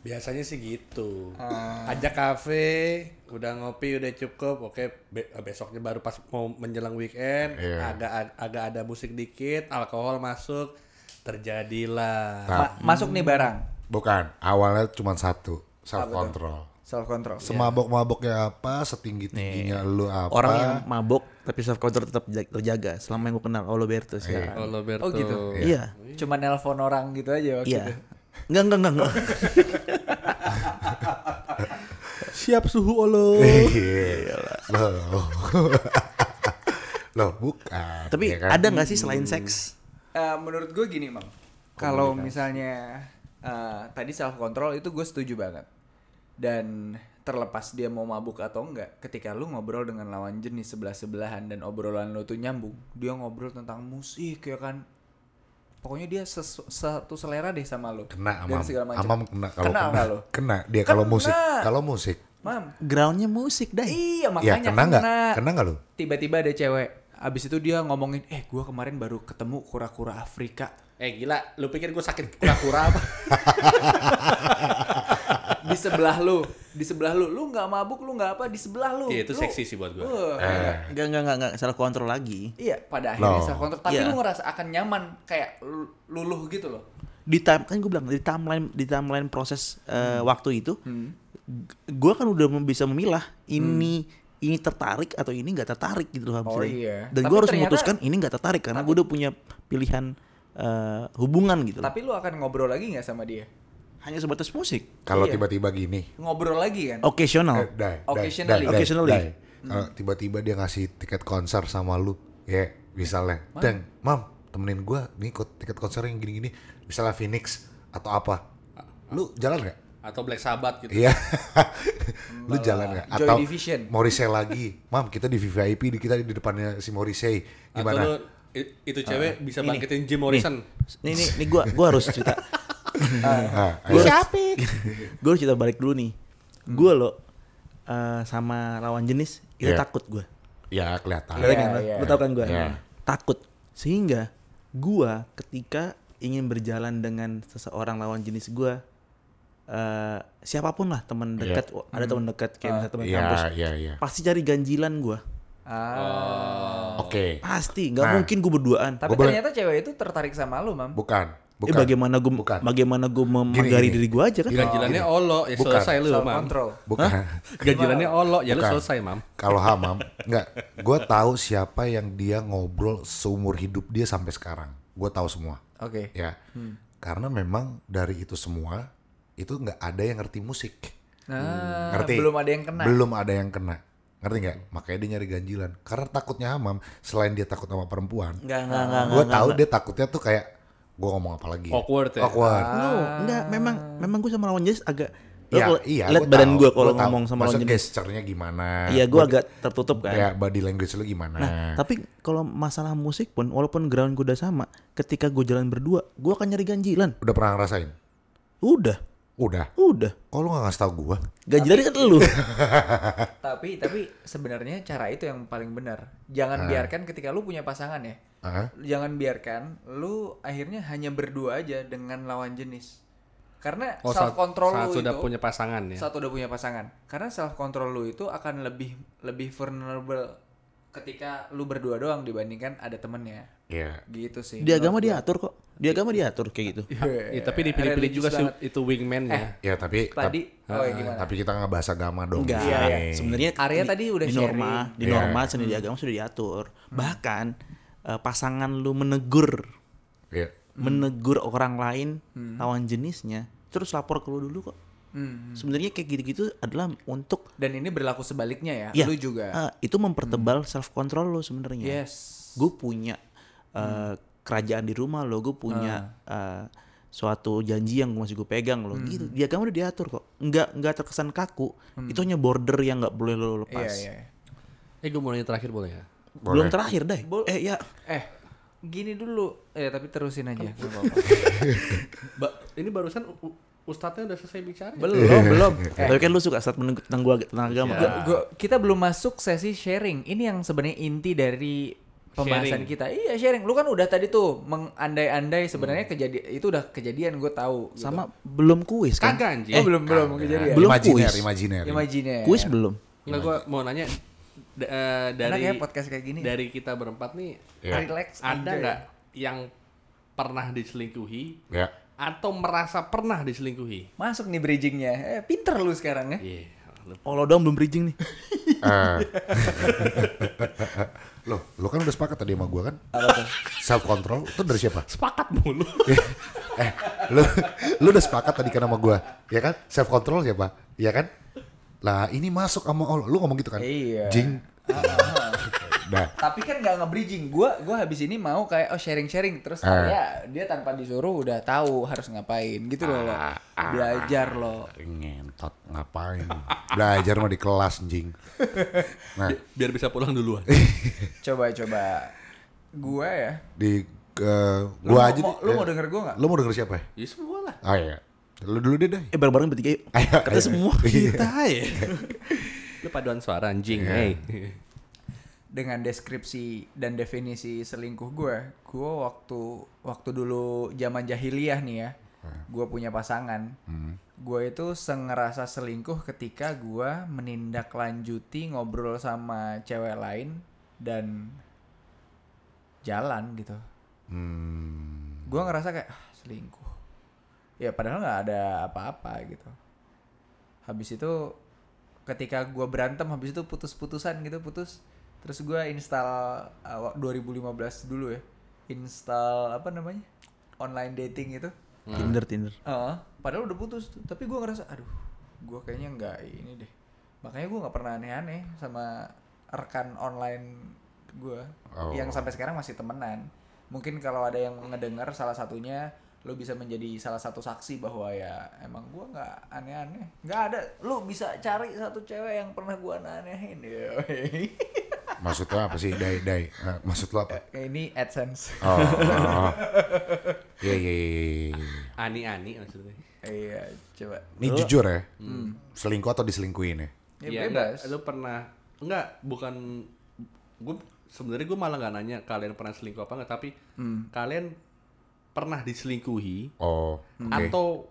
Speaker 6: Biasanya sih gitu.
Speaker 4: Ah.
Speaker 6: Ajak kafe, udah ngopi, udah cukup. Oke, be- besoknya baru pas mau menjelang weekend,
Speaker 4: Iya.
Speaker 6: agak agak ada musik dikit, alkohol masuk,
Speaker 4: Ah.
Speaker 6: terjadilah.
Speaker 3: Ma- masuk nih barang.
Speaker 4: bukan awalnya cuma satu self control
Speaker 3: Self control.
Speaker 4: semabok-maboknya ya apa setinggi tingginya lu apa
Speaker 5: orang
Speaker 4: <laughs>
Speaker 5: yang mabok tapi self control tetap ja- terjaga selama yang gue kenal Oloberto
Speaker 4: Iya.
Speaker 5: sekarang
Speaker 6: Oh, Roberto.
Speaker 3: Oh, gitu.
Speaker 5: kan? iya
Speaker 3: Cuma nelpon orang gitu aja waktu itu.
Speaker 5: iya Enggak, enggak,
Speaker 4: <laughs>
Speaker 5: enggak, enggak.
Speaker 6: Siap suhu olo.
Speaker 4: Iya. loh <laughs> loh bukan
Speaker 5: Tapi
Speaker 4: ya kan?
Speaker 5: ada nggak sih selain seks?
Speaker 3: Eh, menurut gue gini, Mam. Kalau misalnya eh, tadi self control itu gue setuju banget. Dan terlepas dia mau mabuk atau enggak, ketika lu ngobrol dengan lawan jenis sebelah-sebelahan dan obrolan lu tuh nyambung, dia ngobrol tentang musik ya kan. Pokoknya dia sesu- satu selera deh sama lu.
Speaker 4: kena
Speaker 3: dan
Speaker 4: amam
Speaker 3: segala macam.
Speaker 4: amam kena kalau
Speaker 3: Kena
Speaker 4: kena
Speaker 3: nggak
Speaker 4: kena,
Speaker 3: lu?
Speaker 4: dia kalau
Speaker 3: Kena.
Speaker 4: musik kalau musik
Speaker 3: Mam,
Speaker 5: Groundnya musik dah.
Speaker 4: ya
Speaker 3: iya makanya
Speaker 4: kena nggak kena nggak lu
Speaker 3: Tiba-tiba ada cewek, abis itu dia ngomongin, eh gue kemarin baru ketemu kura-kura Afrika.
Speaker 6: Eh gila, lu pikir gue sakit kura-kura apa?
Speaker 3: di sebelah lu, di sebelah lu, lu nggak mabuk, lu nggak apa, di sebelah lu.
Speaker 6: <laughs> Iya, itu
Speaker 3: Lu-
Speaker 6: seksi sih buat gua.
Speaker 3: Wah,
Speaker 5: Enggak enggak enggak enggak salah kontrol lagi.
Speaker 3: Iya, pada akhirnya
Speaker 4: No.
Speaker 3: self control. Tapi
Speaker 5: Iya.
Speaker 3: lu ngerasa akan nyaman kayak lu- luluh gitu loh.
Speaker 5: Di time kan gue bilang di timeline di timeline proses eh,
Speaker 3: Hmm.
Speaker 5: waktu itu g- gua kan udah mem- bisa memilah ini ini tertarik atau ini nggak tertarik gitu loh Ham,
Speaker 3: Hmm. Oh
Speaker 5: sebenarnya.
Speaker 3: iya.
Speaker 5: Dan
Speaker 3: Tapi
Speaker 5: gua harus
Speaker 3: ternyata-
Speaker 5: memutuskan ini nggak tertarik karena gua udah punya pilihan eh, hubungan gitu. loh.
Speaker 3: Tapi lu akan ngobrol lagi nggak sama dia?
Speaker 5: Hanya sebatas musik.
Speaker 4: Kalau
Speaker 3: Iya.
Speaker 4: tiba-tiba gini,
Speaker 3: Ngobrol lagi kan?
Speaker 4: eh,
Speaker 5: Occasional.
Speaker 4: dai, dai,
Speaker 3: Occasionally.
Speaker 4: dai, dai,
Speaker 5: Oh. Occasionally.
Speaker 4: dai. Kalau tiba-tiba dia ngasih tiket konser sama lu, ya misalnya, dan mam temenin gua nih ikut tiket konser yang gini-gini, misalnya Phoenix atau apa, lu jalan nggak?
Speaker 6: Atau Black Sabbath gitu.
Speaker 4: Iya. <laughs> lu jalan nggak?
Speaker 3: Joy
Speaker 4: Atau
Speaker 3: Division.
Speaker 4: Morrissey lagi. Mam, kita di VIP di kita di depannya si Morrissey.
Speaker 6: Atau
Speaker 4: Gimana? Ah.
Speaker 6: lu, i- itu cewek bisa bangkitin Jim Morrison.
Speaker 5: Nih nih nih gua gua harus
Speaker 3: <laughs>
Speaker 5: cerita.
Speaker 4: Ah, ayo.
Speaker 5: Gue <laughs> gue harus cerita balik dulu nih.
Speaker 3: Hmm.
Speaker 5: Gue lo eh, sama lawan jenis itu
Speaker 4: Iya.
Speaker 5: takut gue.
Speaker 4: Ya kelihatan.
Speaker 5: Ngerti kan?
Speaker 3: iya.
Speaker 5: Lo tau kan gue?
Speaker 4: Iya.
Speaker 5: Takut. Sehingga gue ketika ingin berjalan dengan seseorang lawan jenis gue eh siapapun lah teman dekat oh, ada teman dekat kayak misalnya teman
Speaker 4: Iya,
Speaker 5: kampus
Speaker 4: iya, iya.
Speaker 5: pasti cari ganjilan gue Oh.
Speaker 4: Oke.
Speaker 5: pasti nggak
Speaker 4: Nah.
Speaker 5: mungkin gue berduaan
Speaker 3: Tapi
Speaker 4: Gua boleh-
Speaker 3: ternyata cewek itu tertarik sama lu, Mam.
Speaker 4: Bukan.
Speaker 5: eh
Speaker 4: Bukan.
Speaker 5: bagaimana gue
Speaker 4: Bukan.
Speaker 5: bagaimana gue memagari
Speaker 4: gini.
Speaker 5: diri gue aja kan
Speaker 4: Gini.
Speaker 6: Ganjilannya olo, ya
Speaker 4: Bukan.
Speaker 6: selesai lu,
Speaker 3: Self
Speaker 6: Mam.
Speaker 3: control.
Speaker 4: Bukan.
Speaker 6: Ganjilannya olo, ya lu
Speaker 4: Bukan.
Speaker 6: selesai, Mam.
Speaker 4: Kalau Hamam, enggak. Gue tahu siapa yang dia ngobrol seumur hidup dia sampai sekarang. Gue tahu semua.
Speaker 3: Oke.
Speaker 4: Ya.
Speaker 5: Hmm.
Speaker 4: Karena memang dari itu semua itu nggak ada yang ngerti musik.
Speaker 5: Eh,
Speaker 3: Nah,
Speaker 4: ngerti
Speaker 3: belum ada yang kena.
Speaker 4: Hmm. belum ada yang kena ngerti nggak makanya dia nyari ganjilan karena takutnya hamam selain dia takut sama perempuan
Speaker 5: nggak nggak nggak
Speaker 4: gue
Speaker 5: nggak,
Speaker 4: tahu
Speaker 5: nggak.
Speaker 4: dia takutnya tuh kayak gue ngomong apa lagi ya?
Speaker 6: Awkward ya?
Speaker 4: awkward
Speaker 5: No, enggak, memang memang gue sama lawan jenis agak Lo
Speaker 4: Ya,
Speaker 5: kalau
Speaker 4: iya,
Speaker 5: lihat
Speaker 4: gua
Speaker 5: badan
Speaker 4: tahu,
Speaker 5: gue kalau
Speaker 4: gua tahu.
Speaker 5: ngomong sama lawan
Speaker 4: Maksudnya Iya,
Speaker 5: jenis.
Speaker 4: gesturnya gimana
Speaker 5: Iya, gue agak tertutup kan.
Speaker 4: kayak body language lu gimana
Speaker 5: Nah, tapi kalau masalah musik pun walaupun ground gue udah sama, ketika gue jalan berdua, gue akan nyari ganjilan.
Speaker 4: udah pernah ngerasain
Speaker 5: Udah,
Speaker 4: udah
Speaker 5: udah.
Speaker 4: kok lu nggak ngasih tau gue
Speaker 5: Ganjilan kan <laughs> lu.
Speaker 3: Tapi tapi sebenarnya cara itu yang paling benar. Jangan biarkan ketika lu punya pasangan ya.
Speaker 4: Ah.
Speaker 3: Jangan biarkan lu akhirnya hanya berdua aja dengan lawan jenis. Karena
Speaker 6: Oh,
Speaker 3: self
Speaker 6: saat,
Speaker 3: control
Speaker 6: saat
Speaker 3: lu
Speaker 6: sudah
Speaker 3: itu
Speaker 6: punya pasangan ya.
Speaker 3: saat udah punya pasangan. Karena self control lu itu akan lebih lebih vulnerable ketika lu berdua doang dibandingkan ada temennya.
Speaker 4: Iya.
Speaker 3: Gitu sih.
Speaker 5: Di agama diatur kok. Di agama diatur kayak gitu.
Speaker 6: Ya, tapi dipilih-pilih
Speaker 3: religious
Speaker 6: juga sih
Speaker 3: banget.
Speaker 6: itu wingman-nya.
Speaker 4: ya tapi
Speaker 3: Tadi oh ya
Speaker 4: tapi,
Speaker 3: gimana?
Speaker 4: tapi kita nggak bahas agama dong
Speaker 5: Enggak.
Speaker 4: Iya,
Speaker 5: Sebenarnya
Speaker 3: Arya
Speaker 5: di-
Speaker 3: tadi udah Hmm.
Speaker 5: di norma, di
Speaker 4: Iya.
Speaker 5: norma seni di agama sudah diatur. Bahkan eh, pasangan lu menegur
Speaker 4: Iya.
Speaker 3: Hmm.
Speaker 5: menegur orang lain lawan jenisnya terus lapor ke lu dulu kok
Speaker 3: Hmm.
Speaker 5: sebenarnya kayak gitu-gitu adalah untuk
Speaker 3: Dan ini berlaku sebaliknya ya.
Speaker 6: Iya.
Speaker 5: Ya,
Speaker 3: Lu
Speaker 6: Ah,
Speaker 3: juga. Hmm.
Speaker 5: eh, itu mempertebal self control lo
Speaker 6: iya.
Speaker 5: sebenarnya
Speaker 3: Yes.
Speaker 5: gue punya eh, kerajaan di rumah lo gue punya eh, suatu janji yang masih gue pegang lo gitu dia kamu udah diatur kok nggak nggak terkesan kaku itu hanya border yang nggak boleh lo
Speaker 3: Iya,
Speaker 5: lepas
Speaker 3: iya.
Speaker 6: Eh, gue mau nanya terakhir boleh ya?
Speaker 5: belum terakhir deh
Speaker 3: Bol-
Speaker 5: eh ya
Speaker 3: Eh, gini dulu. Eh, tapi terusin aja. nggak
Speaker 6: <laughs>
Speaker 3: apa-apa.
Speaker 6: Ba- ini barusan u- u- ustadznya udah selesai bicara. ya?
Speaker 3: belum, belum.
Speaker 5: tapi kan lu suka saat menunggu tentang gue tentang agama
Speaker 3: Gua- gua- kita belum masuk sesi sharing. Ini yang sebenarnya inti dari
Speaker 6: Sharing.
Speaker 3: pembahasan kita. Iya, sharing. Lu kan udah tadi tuh mengandai-andai sebenarnya
Speaker 6: Hmm.
Speaker 3: kejadian itu udah kejadian gue tahu. gitu.
Speaker 5: sama belum kuis kan
Speaker 6: Kagak anjing.
Speaker 3: Oh, belum belum kejadian.
Speaker 5: Belum
Speaker 4: imajiner,
Speaker 5: kuis.
Speaker 4: imajiner.
Speaker 3: Imajiner.
Speaker 5: kuis belum
Speaker 6: Enggak gua mau nanya d- eh,
Speaker 3: Enak
Speaker 6: dari
Speaker 3: ya podcast kayak gini.
Speaker 6: dari kita berempat nih
Speaker 4: Iya.
Speaker 3: Nah, Relax,
Speaker 6: ada ya?
Speaker 3: enjoy.
Speaker 6: nggak yang pernah diselingkuhi
Speaker 4: Ya.
Speaker 6: atau merasa pernah diselingkuhi?
Speaker 3: Masuk nih bridgingnya. Eh, pinter lu sekarang ya.
Speaker 6: Iya. lu-
Speaker 5: Oh lo doang belum bridging nih
Speaker 4: Eh. Loh, lo kan udah sepakat tadi sama gue kan? Self control itu dari siapa?
Speaker 6: Sepakat mulu.
Speaker 4: eh, lu lu udah sepakat tadi kan sama gue, ya kan? Self control siapa? Ya kan? Lah ini masuk sama Allah, lu ngomong gitu kan?
Speaker 3: Iya. <laughs>
Speaker 4: Jing. Nah,
Speaker 3: Tapi kan nggak nge-bridging. Gua gua habis ini mau kayak oh sharing-sharing terus
Speaker 6: Ah.
Speaker 3: Arya dia tanpa disuruh udah tahu harus ngapain gitu loh. lo.
Speaker 6: Ah,
Speaker 3: Belajar loh.
Speaker 4: ngentot ngapain? Belajar mah di kelas, jing. Nah,
Speaker 6: Biar bisa pulang duluan.
Speaker 3: Coba coba. Gua ya.
Speaker 4: di eh,
Speaker 3: Lu
Speaker 4: gua
Speaker 3: mau-
Speaker 4: aja.
Speaker 3: mau-
Speaker 4: deh,
Speaker 3: lu
Speaker 4: ya.
Speaker 3: mau denger gua nggak?
Speaker 4: Lu mau denger siapa? ya?
Speaker 6: ya semua lah.
Speaker 4: Ah iya. Lu dulu deh deh.
Speaker 5: <laughs> Eh bareng-bareng bertiga yuk.
Speaker 4: Ayo, ayo.
Speaker 5: Kata semua kita ya.
Speaker 6: Lu paduan suara anjing, hey.
Speaker 3: dengan deskripsi dan definisi selingkuh gue, gue waktu waktu dulu zaman jahiliyah nih ya, gue punya pasangan, Gue itu sengerasa selingkuh ketika gue menindaklanjuti ngobrol sama cewek lain dan jalan gitu.
Speaker 4: Hmm.
Speaker 3: Gue ngerasa kayak "Ah, selingkuh. Ya padahal nggak ada apa-apa gitu. Habis itu ketika gue berantem habis itu putus-putusan gitu putus. Terus gue install eh, awal 2015 dulu ya. Install apa namanya? Online dating itu.
Speaker 5: Iya. Tinder Tinder.
Speaker 3: Heeh, padahal udah putus tuh. tapi gua ngerasa aduh gua kayaknya nggak ini deh makanya gua nggak pernah aneh-aneh sama rekan online gua
Speaker 4: Oh.
Speaker 3: yang sampai sekarang masih temenan mungkin kalau ada yang ngedengar salah satunya lo bisa menjadi salah satu saksi bahwa ya emang gua nggak aneh-aneh nggak ada lo bisa cari satu cewek yang pernah gua aneh-anehin Yoi. <laughs>
Speaker 4: Maksudnya apa sih, Dai? Dai, Eh, maksud lo apa?
Speaker 3: ini adsense
Speaker 4: Oh, oh. Iya, iya, iya, iya, iya.
Speaker 6: Ani-ani maksudnya.
Speaker 3: iya coba
Speaker 4: Ini jujur ya, selingkuh atau diselingkuhin ya?
Speaker 3: ya,
Speaker 6: Iya,
Speaker 3: bebas
Speaker 6: enggak, Lu pernah enggak bukan gue sebenarnya gue malah nggak nanya kalian pernah selingkuh apa enggak tapi kalian pernah diselingkuhi
Speaker 4: Oh, oke.
Speaker 6: atau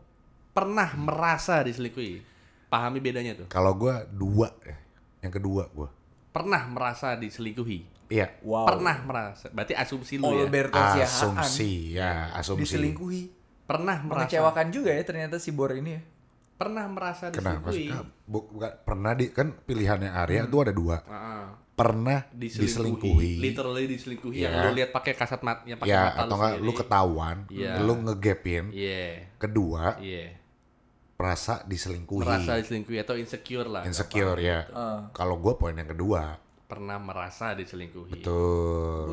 Speaker 6: pernah merasa diselingkuhi. Pahami bedanya tuh.
Speaker 4: Kalau gua dua, ya. yang kedua gua.
Speaker 6: Pernah merasa diselingkuhi.
Speaker 4: Iya,
Speaker 3: wow
Speaker 6: Pernah merasa. Berarti asumsi lu ya.
Speaker 3: Alberto Siahaan
Speaker 4: asumsi ya, asumsi.
Speaker 3: diselingkuhi
Speaker 6: Pernah merasa.
Speaker 3: mengecewakan juga ya ternyata si Bor ini ya.
Speaker 6: Pernah merasa
Speaker 4: Kenapa
Speaker 6: diselingkuhi.
Speaker 4: sih? Kak? Bu- bukan- pernah di kan pilihannya Arya
Speaker 3: Hmm.
Speaker 4: tuh ada dua.
Speaker 6: Heeh.
Speaker 4: Pernah
Speaker 6: Ah, diselingkuhi,
Speaker 4: diselingkuhi.
Speaker 6: literally diselingkuhi yang
Speaker 4: Iya.
Speaker 6: lu lihat pakai kasat mat yang pakai
Speaker 4: ya
Speaker 6: mata
Speaker 4: atau enggak lu
Speaker 6: sendiri.
Speaker 4: ketahuan,
Speaker 6: Iya.
Speaker 4: lu ngegapin.
Speaker 6: Iya.
Speaker 4: Kedua,
Speaker 6: Iya.
Speaker 4: merasa diselingkuhi.
Speaker 6: Merasa diselingkuhi atau insecure lah.
Speaker 4: insecure ya.
Speaker 6: gitu. Ah.
Speaker 4: Kalau gue poin yang kedua,
Speaker 6: Pernah merasa diselingkuhi. Iya.
Speaker 4: tuh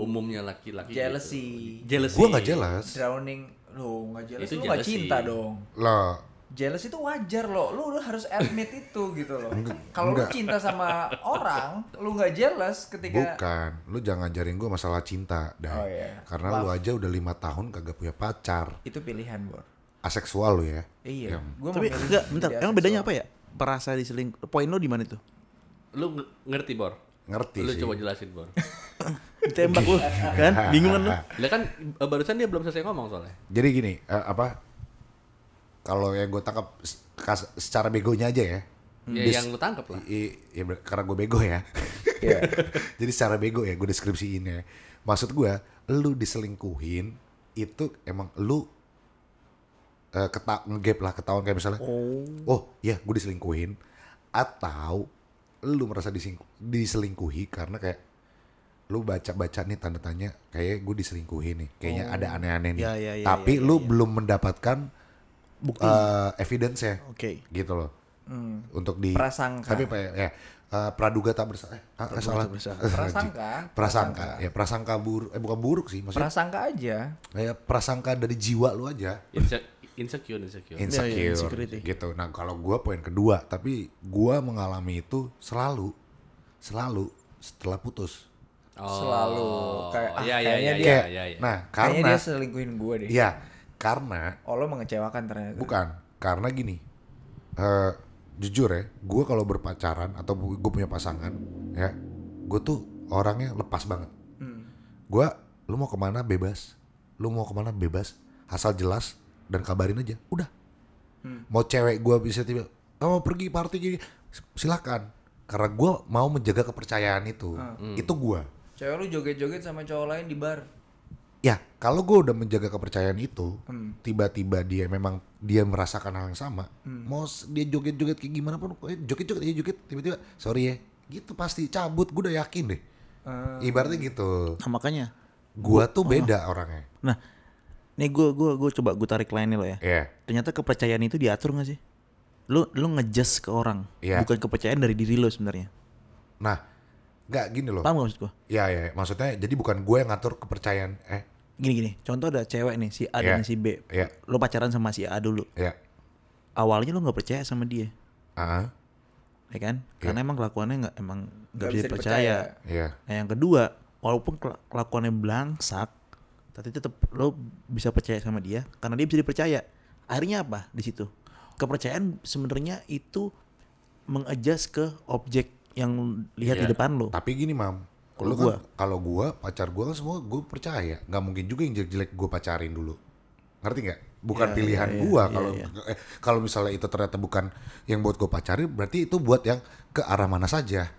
Speaker 6: Umumnya laki-laki
Speaker 3: Jealousy,
Speaker 6: gitu. Jealousy.
Speaker 4: gue nggak jelas.
Speaker 3: drowning, lo nggak jelas,
Speaker 6: Itu
Speaker 3: lo nggak
Speaker 6: jealousy.
Speaker 3: cinta dong.
Speaker 4: Lah,
Speaker 6: Iya.
Speaker 3: Jealous itu wajar loh, lo udah harus admit itu gitu loh.
Speaker 4: Enggak,
Speaker 3: Kalau lo
Speaker 4: enggak.
Speaker 3: cinta sama orang, lo nggak jealous ketika
Speaker 4: bukan. Lu jangan ngajarin gue masalah cinta, dah.
Speaker 3: Oh, iya.
Speaker 4: Karena lu aja udah lima tahun kagak punya pacar,
Speaker 3: itu pilihan Bor.
Speaker 4: aseksual lu ya.
Speaker 3: Iya,
Speaker 4: Yang
Speaker 3: gue
Speaker 5: Tapi enggak, bentar. Emang bedanya apa ya? Perasa diseling poin lo di mana tuh?
Speaker 6: Lu nge- ngerti, Bor?
Speaker 4: ngerti
Speaker 6: Lu
Speaker 4: sih.
Speaker 6: coba jelasin, Bor.
Speaker 5: Ditembak lo kan? Bingung kan lo?
Speaker 6: Lah kan eh, barusan dia belum selesai ngomong soalnya.
Speaker 4: Jadi gini, eh, apa? Kalau yang gue tangkap s- kas- secara begonya aja ya.
Speaker 6: Ya
Speaker 4: Dis-
Speaker 6: yang lu tangkap lah.
Speaker 4: I- i- ya ber- karena gue bego ya. <laughs> Jadi secara bego ya gue deskripsiin ya. Maksud gue, lu diselingkuhin itu emang lu eh keta ngegap lah ketahuan kayak misalnya, oh, ya gue diselingkuhin atau lu merasa dising- diselingkuhi karena kayak lu baca-baca nih tanda tanya kayak gue diselingkuhin nih kayaknya ada aneh-aneh nih
Speaker 5: Ya, ya, ya,
Speaker 4: tapi
Speaker 5: ya, ya,
Speaker 4: lu
Speaker 5: ya.
Speaker 4: belum mendapatkan
Speaker 5: Bukti.
Speaker 4: eh, evidence ya
Speaker 5: Oke.
Speaker 4: gitu loh untuk di
Speaker 3: Prasangka.
Speaker 4: tapi apa ya, ya, eh, praduga tak bersalah eh, ah, eh, salah <laughs>
Speaker 3: Prasangka.
Speaker 4: prasangka ya prasangka buruk eh bukan buruk sih maksudnya
Speaker 3: Prasangka aja.
Speaker 4: ya, prasangka dari jiwa lu aja
Speaker 6: Inse- insecure, insecure.
Speaker 4: insecure
Speaker 5: ya, insecurity.
Speaker 4: gitu nah kalau gua poin kedua tapi gua mengalami itu selalu selalu setelah putus
Speaker 6: Oh.
Speaker 3: Selalu kayak, ah,
Speaker 6: ya, ya,
Speaker 3: kayaknya
Speaker 6: ya,
Speaker 3: dia-
Speaker 6: ya, ya,
Speaker 4: Kayak-
Speaker 6: ya.
Speaker 4: nah
Speaker 3: Kayaknya
Speaker 4: karena
Speaker 3: dia selingkuhin gue deh.
Speaker 4: ya karena
Speaker 3: Oh lo mengecewakan ternyata.
Speaker 4: Bukan, karena gini. eh, jujur ya, gue kalau berpacaran atau gue punya pasangan, ya, gue tuh orangnya lepas banget. Gue, lu mau kemana bebas, lu mau kemana bebas, asal jelas dan kabarin aja, udah. Mau cewek gue bisa tiba, "Ah, mau pergi party gini, silakan. Karena gue mau menjaga kepercayaan itu, itu gue.
Speaker 3: Cewek lu joget-joget sama cowok lain di bar.
Speaker 4: Ya, kalau gue udah menjaga kepercayaan itu, tiba-tiba dia memang dia merasakan hal yang sama. Mau s- dia joget-joget kayak gimana pun, eh, joget-joget ya joget, tiba-tiba sorry ya, gitu pasti cabut. Gue udah yakin deh. Ibaratnya gitu.
Speaker 5: Nah, makanya.
Speaker 4: Gua tuh beda orangnya.
Speaker 5: Nah, nih gue gua gua coba gue tarik lainnya lo ya.
Speaker 4: Iya.
Speaker 5: Ternyata kepercayaan itu diatur gak sih? Lu lu ngejudge ke orang,
Speaker 4: Iya.
Speaker 5: bukan kepercayaan dari diri lo sebenarnya.
Speaker 4: Nah, nggak gini loh.
Speaker 5: Paham gak maksud gue?
Speaker 4: Ya, ya, maksudnya jadi bukan gue yang ngatur kepercayaan. Eh,
Speaker 5: Gini gini, contoh ada cewek nih si A
Speaker 4: Iya.
Speaker 5: dan si B.
Speaker 4: Iya.
Speaker 5: Lo pacaran sama si A dulu.
Speaker 4: ya,
Speaker 5: Awalnya lo nggak percaya sama dia,
Speaker 4: ah,
Speaker 5: ya kan?
Speaker 4: Iya.
Speaker 5: Karena emang kelakuannya nggak emang nggak bisa,
Speaker 3: bisa
Speaker 5: dipercaya.
Speaker 3: dipercaya.
Speaker 4: ya,
Speaker 5: Nah yang kedua, walaupun kela- kelakuannya belangsak, tapi tetap lo bisa percaya sama dia karena dia bisa dipercaya. Akhirnya apa di situ? Kepercayaan sebenarnya itu mengadjust ke objek yang lihat di depan lo.
Speaker 4: Tapi gini mam,
Speaker 5: Kalau
Speaker 4: lu kan-
Speaker 5: gua.
Speaker 4: kalau gua pacar gua kan semua gue percaya, nggak mungkin juga yang jelek-jelek gue pacarin dulu, ngerti nggak?
Speaker 5: Ya,
Speaker 4: bukan pilihan gua kalau eh, kalau misalnya itu ternyata bukan yang buat gua pacari berarti itu buat yang ke arah mana saja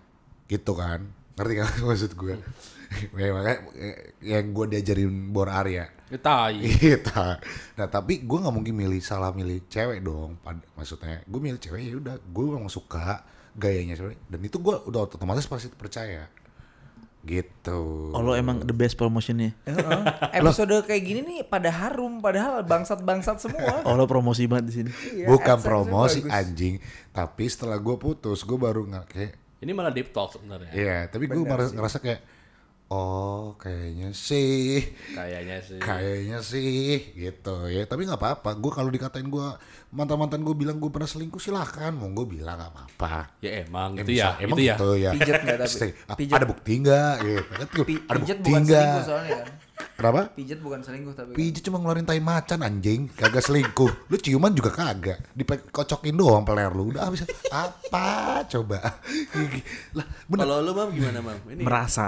Speaker 4: gitu kan ngerti kan <laughs> maksud gua
Speaker 5: Iya.
Speaker 4: <laughs> ya, makanya eh, yang gua diajarin bor area
Speaker 6: Ya, Tai.
Speaker 4: kita nah tapi gue nggak mungkin milih salah milih cewek dong Pad- maksudnya gue milih cewek ya udah gue memang suka gayanya cewek dan itu gue udah otomatis pasti percaya gitu
Speaker 5: Oh lo emang the best promotionnya.
Speaker 3: Heeh. <laughs> Episode kayak gini nih pada harum padahal bangsat-bangsat semua.
Speaker 5: Oh lo promosi banget di sini.
Speaker 3: Iya,
Speaker 4: bukan
Speaker 3: AdSense-nya
Speaker 4: promosi
Speaker 3: bagus.
Speaker 4: anjing tapi setelah gue putus gue baru nggak kayak
Speaker 6: Ini malah deep talk sebenarnya.
Speaker 4: iya tapi gue merasa, ngerasa kayak oh kayaknya sih
Speaker 6: Kayaknya sih.
Speaker 4: kayaknya sih gitu ya tapi nggak apa-apa gue kalau dikatain gue mantan-mantan gue bilang gue pernah selingkuh silahkan mau gue bilang nggak apa-apa
Speaker 6: Ya emang
Speaker 4: Ya,
Speaker 6: itu
Speaker 4: bisa.
Speaker 6: ya,
Speaker 4: emang
Speaker 6: itu ya.
Speaker 4: gitu ya.
Speaker 3: Pijet
Speaker 4: <laughs>
Speaker 3: nggak tapi?
Speaker 4: Stay. Ah,
Speaker 3: Pijet.
Speaker 4: Ada bukti nggak? Gitu. Kan tuh,
Speaker 3: Pi-
Speaker 4: ada
Speaker 3: pijet
Speaker 4: bukti
Speaker 3: bukan
Speaker 4: nggak?
Speaker 3: selingkuh soalnya kan.
Speaker 4: Kenapa?
Speaker 3: Pijet bukan selingkuh tapi kan.
Speaker 4: Pijet cuma ngeluarin tai macan anjing, kagak selingkuh. Lu ciuman juga kagak, dikocokin doang peler lu. Udah habis apa coba? <laughs> lah, bener.
Speaker 6: Kalau lu Bang gimana Bang? Ini
Speaker 5: Merasa,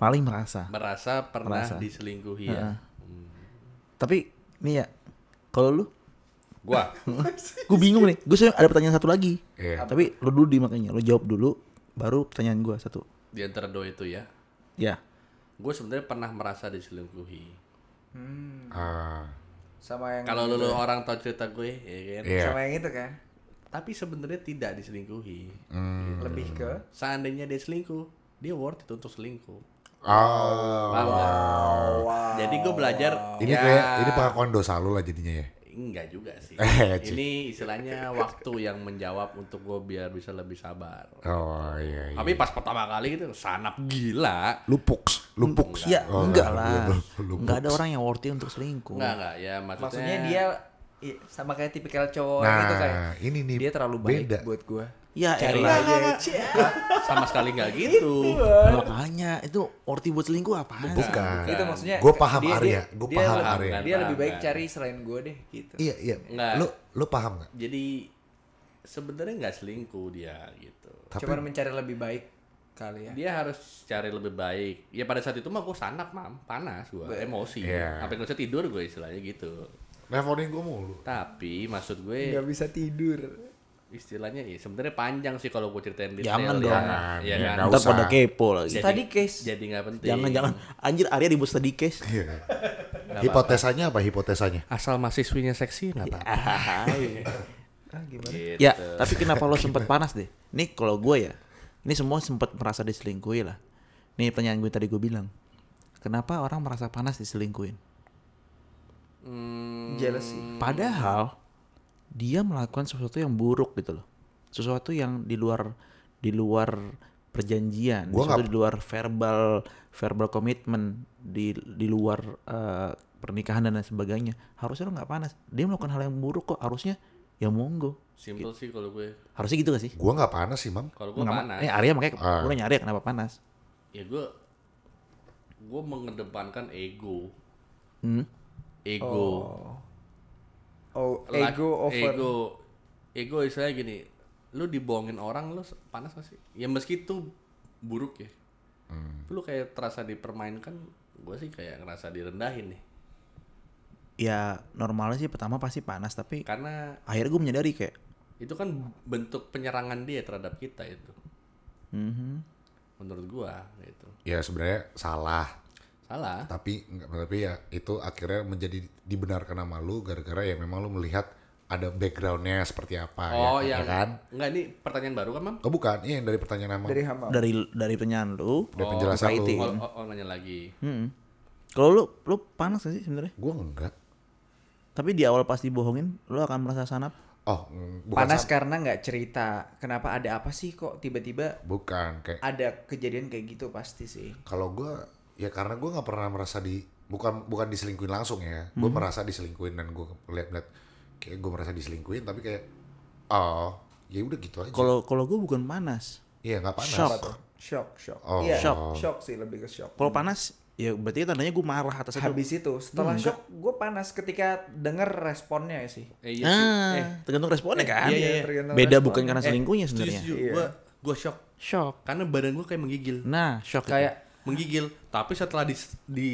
Speaker 5: paling merasa.
Speaker 6: merasa pernah
Speaker 5: Merasa.
Speaker 6: diselingkuhi ya.
Speaker 5: Tapi nih ya, kalau lu,
Speaker 6: Gua
Speaker 5: gue bingung nih. Gue ada pertanyaan satu lagi.
Speaker 4: Iya.
Speaker 5: Tapi lo dulu di makanya, lo jawab dulu, baru pertanyaan gue satu.
Speaker 6: di antara dua itu ya.
Speaker 5: Ya.
Speaker 6: Gue sebenarnya pernah merasa diselingkuhi.
Speaker 4: Ah,
Speaker 3: Sama yang
Speaker 6: Kalau lu, lu orang tau cerita gue, ya kan?
Speaker 4: iya.
Speaker 3: sama yang itu kan.
Speaker 6: Tapi sebenarnya tidak diselingkuhi.
Speaker 4: Hmm.
Speaker 3: Lebih ke
Speaker 6: Seandainya dia selingkuh, dia worth it untuk selingkuh.
Speaker 4: Ah,
Speaker 6: Paham nggak? Jadi gue belajar.
Speaker 4: ini
Speaker 6: ya,
Speaker 4: kayak ini pengakuan dosa lu lah jadinya ya.
Speaker 6: Enggak juga
Speaker 4: <laughs>
Speaker 6: sih.
Speaker 4: Eh, Ci.
Speaker 6: ini istilahnya waktu yang menjawab untuk gue biar bisa lebih sabar.
Speaker 4: Oh iya. iya.
Speaker 6: Tapi pas pertama kali gitu sanap gila.
Speaker 4: Lu puks, lu puks.
Speaker 5: Ya
Speaker 3: Iya,
Speaker 4: Oh,
Speaker 5: enggak
Speaker 4: lu-
Speaker 5: lah.
Speaker 4: lu- lu
Speaker 5: Enggak ada
Speaker 4: puks.
Speaker 5: orang yang worthy untuk selingkuh.
Speaker 6: Enggak enggak ya maksudnya.
Speaker 3: maksudnya dia i- sama kayak tipikal cowok
Speaker 4: Nah,
Speaker 3: gitu kayak.
Speaker 4: ini nih
Speaker 3: Dia terlalu baik
Speaker 4: beda.
Speaker 3: buat gua.
Speaker 5: Ya
Speaker 3: Cari
Speaker 5: elah.
Speaker 3: aja. Cie.
Speaker 6: sama sekali
Speaker 3: <laughs>
Speaker 6: enggak gitu.
Speaker 4: Iya.
Speaker 5: Makanya itu worthy buat selingkuh apaan?
Speaker 4: Bukan.
Speaker 3: Itu maksudnya
Speaker 4: Gue paham
Speaker 3: dia-
Speaker 4: Arya.
Speaker 3: dia-
Speaker 4: Gue
Speaker 3: dia
Speaker 4: paham
Speaker 3: lebih-
Speaker 4: Arya.
Speaker 3: Dia lebih baik
Speaker 6: Paham,
Speaker 3: cari selain gua deh gitu.
Speaker 4: Iya iya.
Speaker 6: Nggak.
Speaker 4: Lu lu paham nggak?
Speaker 6: Jadi sebenarnya enggak selingkuh dia gitu.
Speaker 4: Tapi
Speaker 3: Cuman mencari lebih baik kali ya.
Speaker 6: Dia harus cari lebih baik. Ya pada saat itu mah gue sanap mam, panas gue, emosi.
Speaker 4: Iya.
Speaker 6: Sampai nggak bisa tidur gue istilahnya gitu.
Speaker 4: nelfonin gue mulu.
Speaker 6: Tapi maksud gue
Speaker 5: Iya.
Speaker 3: Gak bisa tidur.
Speaker 6: istilahnya ya sebenarnya panjang sih kalau gue ceritain detail ya.
Speaker 5: Jangan dong. Iya,
Speaker 6: Jangan. Ya,
Speaker 4: Ya,
Speaker 6: kan?
Speaker 4: nggak
Speaker 5: Ntar
Speaker 4: usah.
Speaker 5: pada kepo lagi.
Speaker 3: Study case.
Speaker 6: Jadi nggak penting.
Speaker 5: Jangan jangan. Anjir Arya dibuat study <laughs> case.
Speaker 4: Iya. Hipotesanya apa hipotesanya?
Speaker 6: Asal mahasiswinya seksi nggak
Speaker 5: Iya,
Speaker 6: apa.
Speaker 3: Ah, gimana?
Speaker 6: Gitu.
Speaker 5: Ya, tapi kenapa lo sempet panas deh? Nih kalau gue ya, ini semua sempet merasa diselingkuhi lah. Nih pertanyaan gue tadi gue bilang, kenapa orang merasa panas diselingkuhin?
Speaker 3: Jealousy.
Speaker 5: Padahal dia melakukan sesuatu yang buruk gitu loh. Sesuatu yang di luar di luar perjanjian,
Speaker 4: Gua
Speaker 5: sesuatu
Speaker 4: nggak-
Speaker 5: di luar verbal verbal komitmen, di di luar eh, pernikahan dan lain sebagainya. Harusnya lo nggak panas. Dia melakukan hal yang buruk kok. Harusnya ya monggo.
Speaker 6: Simple sih kalau gue.
Speaker 5: Harusnya gitu gak sih?
Speaker 4: Gue nggak panas sih mam.
Speaker 6: Kalau gue
Speaker 5: Nggak ma- eh,
Speaker 6: panas.
Speaker 5: Ini Arya makanya
Speaker 4: Ah.
Speaker 5: gue nyari kenapa panas.
Speaker 6: ya gue gue mengedepankan ego
Speaker 5: Hmm.
Speaker 6: ego
Speaker 3: Oh,
Speaker 6: Lak-
Speaker 3: ego over.
Speaker 6: ego ego istilahnya gini lu dibohongin orang lu panas gak sih ya meski itu buruk ya
Speaker 4: Hmm.
Speaker 6: lu kayak terasa dipermainkan gue sih kayak ngerasa direndahin nih
Speaker 5: Ya normalnya sih pertama pasti panas tapi
Speaker 6: karena
Speaker 5: akhirnya gue menyadari kayak
Speaker 6: itu kan bentuk penyerangan dia terhadap kita itu
Speaker 4: Hmm.
Speaker 5: mhm.
Speaker 6: menurut gua gitu
Speaker 4: Ya sebenarnya salah.
Speaker 6: salah
Speaker 4: Tapi nggak- tapi ya itu akhirnya menjadi dibenarkan sama lu gara-gara ya memang lu melihat ada backgroundnya seperti apa
Speaker 6: oh
Speaker 4: ya,
Speaker 6: yang
Speaker 4: ya kan?
Speaker 6: enggak ini pertanyaan baru kan mam
Speaker 4: Oh bukan, iya yang dari pertanyaan Amang.
Speaker 3: Dari hama.
Speaker 5: dari dari pertanyaan lu
Speaker 4: Dari penjelasan
Speaker 5: buka itu.
Speaker 4: lu.
Speaker 6: oh, oh, oh, nanya lagi
Speaker 5: Mm-mm. Kalau lu lu panas gak sih sebenarnya?
Speaker 4: Gue enggak.
Speaker 5: Tapi di awal pas dibohongin, lu akan merasa sanap.
Speaker 4: Oh, mm, bukan
Speaker 3: Panas
Speaker 4: sa-
Speaker 3: karena nggak cerita. Kenapa ada apa sih kok tiba-tiba
Speaker 4: bukan kayak
Speaker 3: ada kejadian kayak gitu pasti sih.
Speaker 4: kalau gue ya karena gue nggak pernah merasa di bukan bukan diselingkuin langsung ya
Speaker 5: Hmm.
Speaker 4: gue merasa diselingkuin dan gue lihat-lihat kayak gue merasa diselingkuin tapi kayak oh ya udah gitu aja
Speaker 5: Kalau kalau gue bukan panas.
Speaker 4: iya nggak panas
Speaker 5: Shock.
Speaker 3: Shock, shock.
Speaker 4: Oh.
Speaker 3: Iya,
Speaker 5: Shock.
Speaker 3: shock sih lebih ke shock.
Speaker 5: Kalau panas, ya berarti tandanya gue marah atas itu.
Speaker 3: Habis itu setelah
Speaker 4: Hmm.
Speaker 3: shock gue panas ketika denger responnya sih.
Speaker 6: eh, iya sih.
Speaker 5: Ah, tergantung responnya kan.
Speaker 6: iya, iya, iya.
Speaker 3: tergantung
Speaker 5: Beda
Speaker 3: respon.
Speaker 5: bukan karena selingkuhnya
Speaker 6: Setuju,
Speaker 5: sebenarnya.
Speaker 6: setuju. Gua, gua shock.
Speaker 5: Shock.
Speaker 6: Karena badan gua kayak menggigil.
Speaker 5: Nah, shock
Speaker 6: Kayak menggigil. Tapi setelah di, di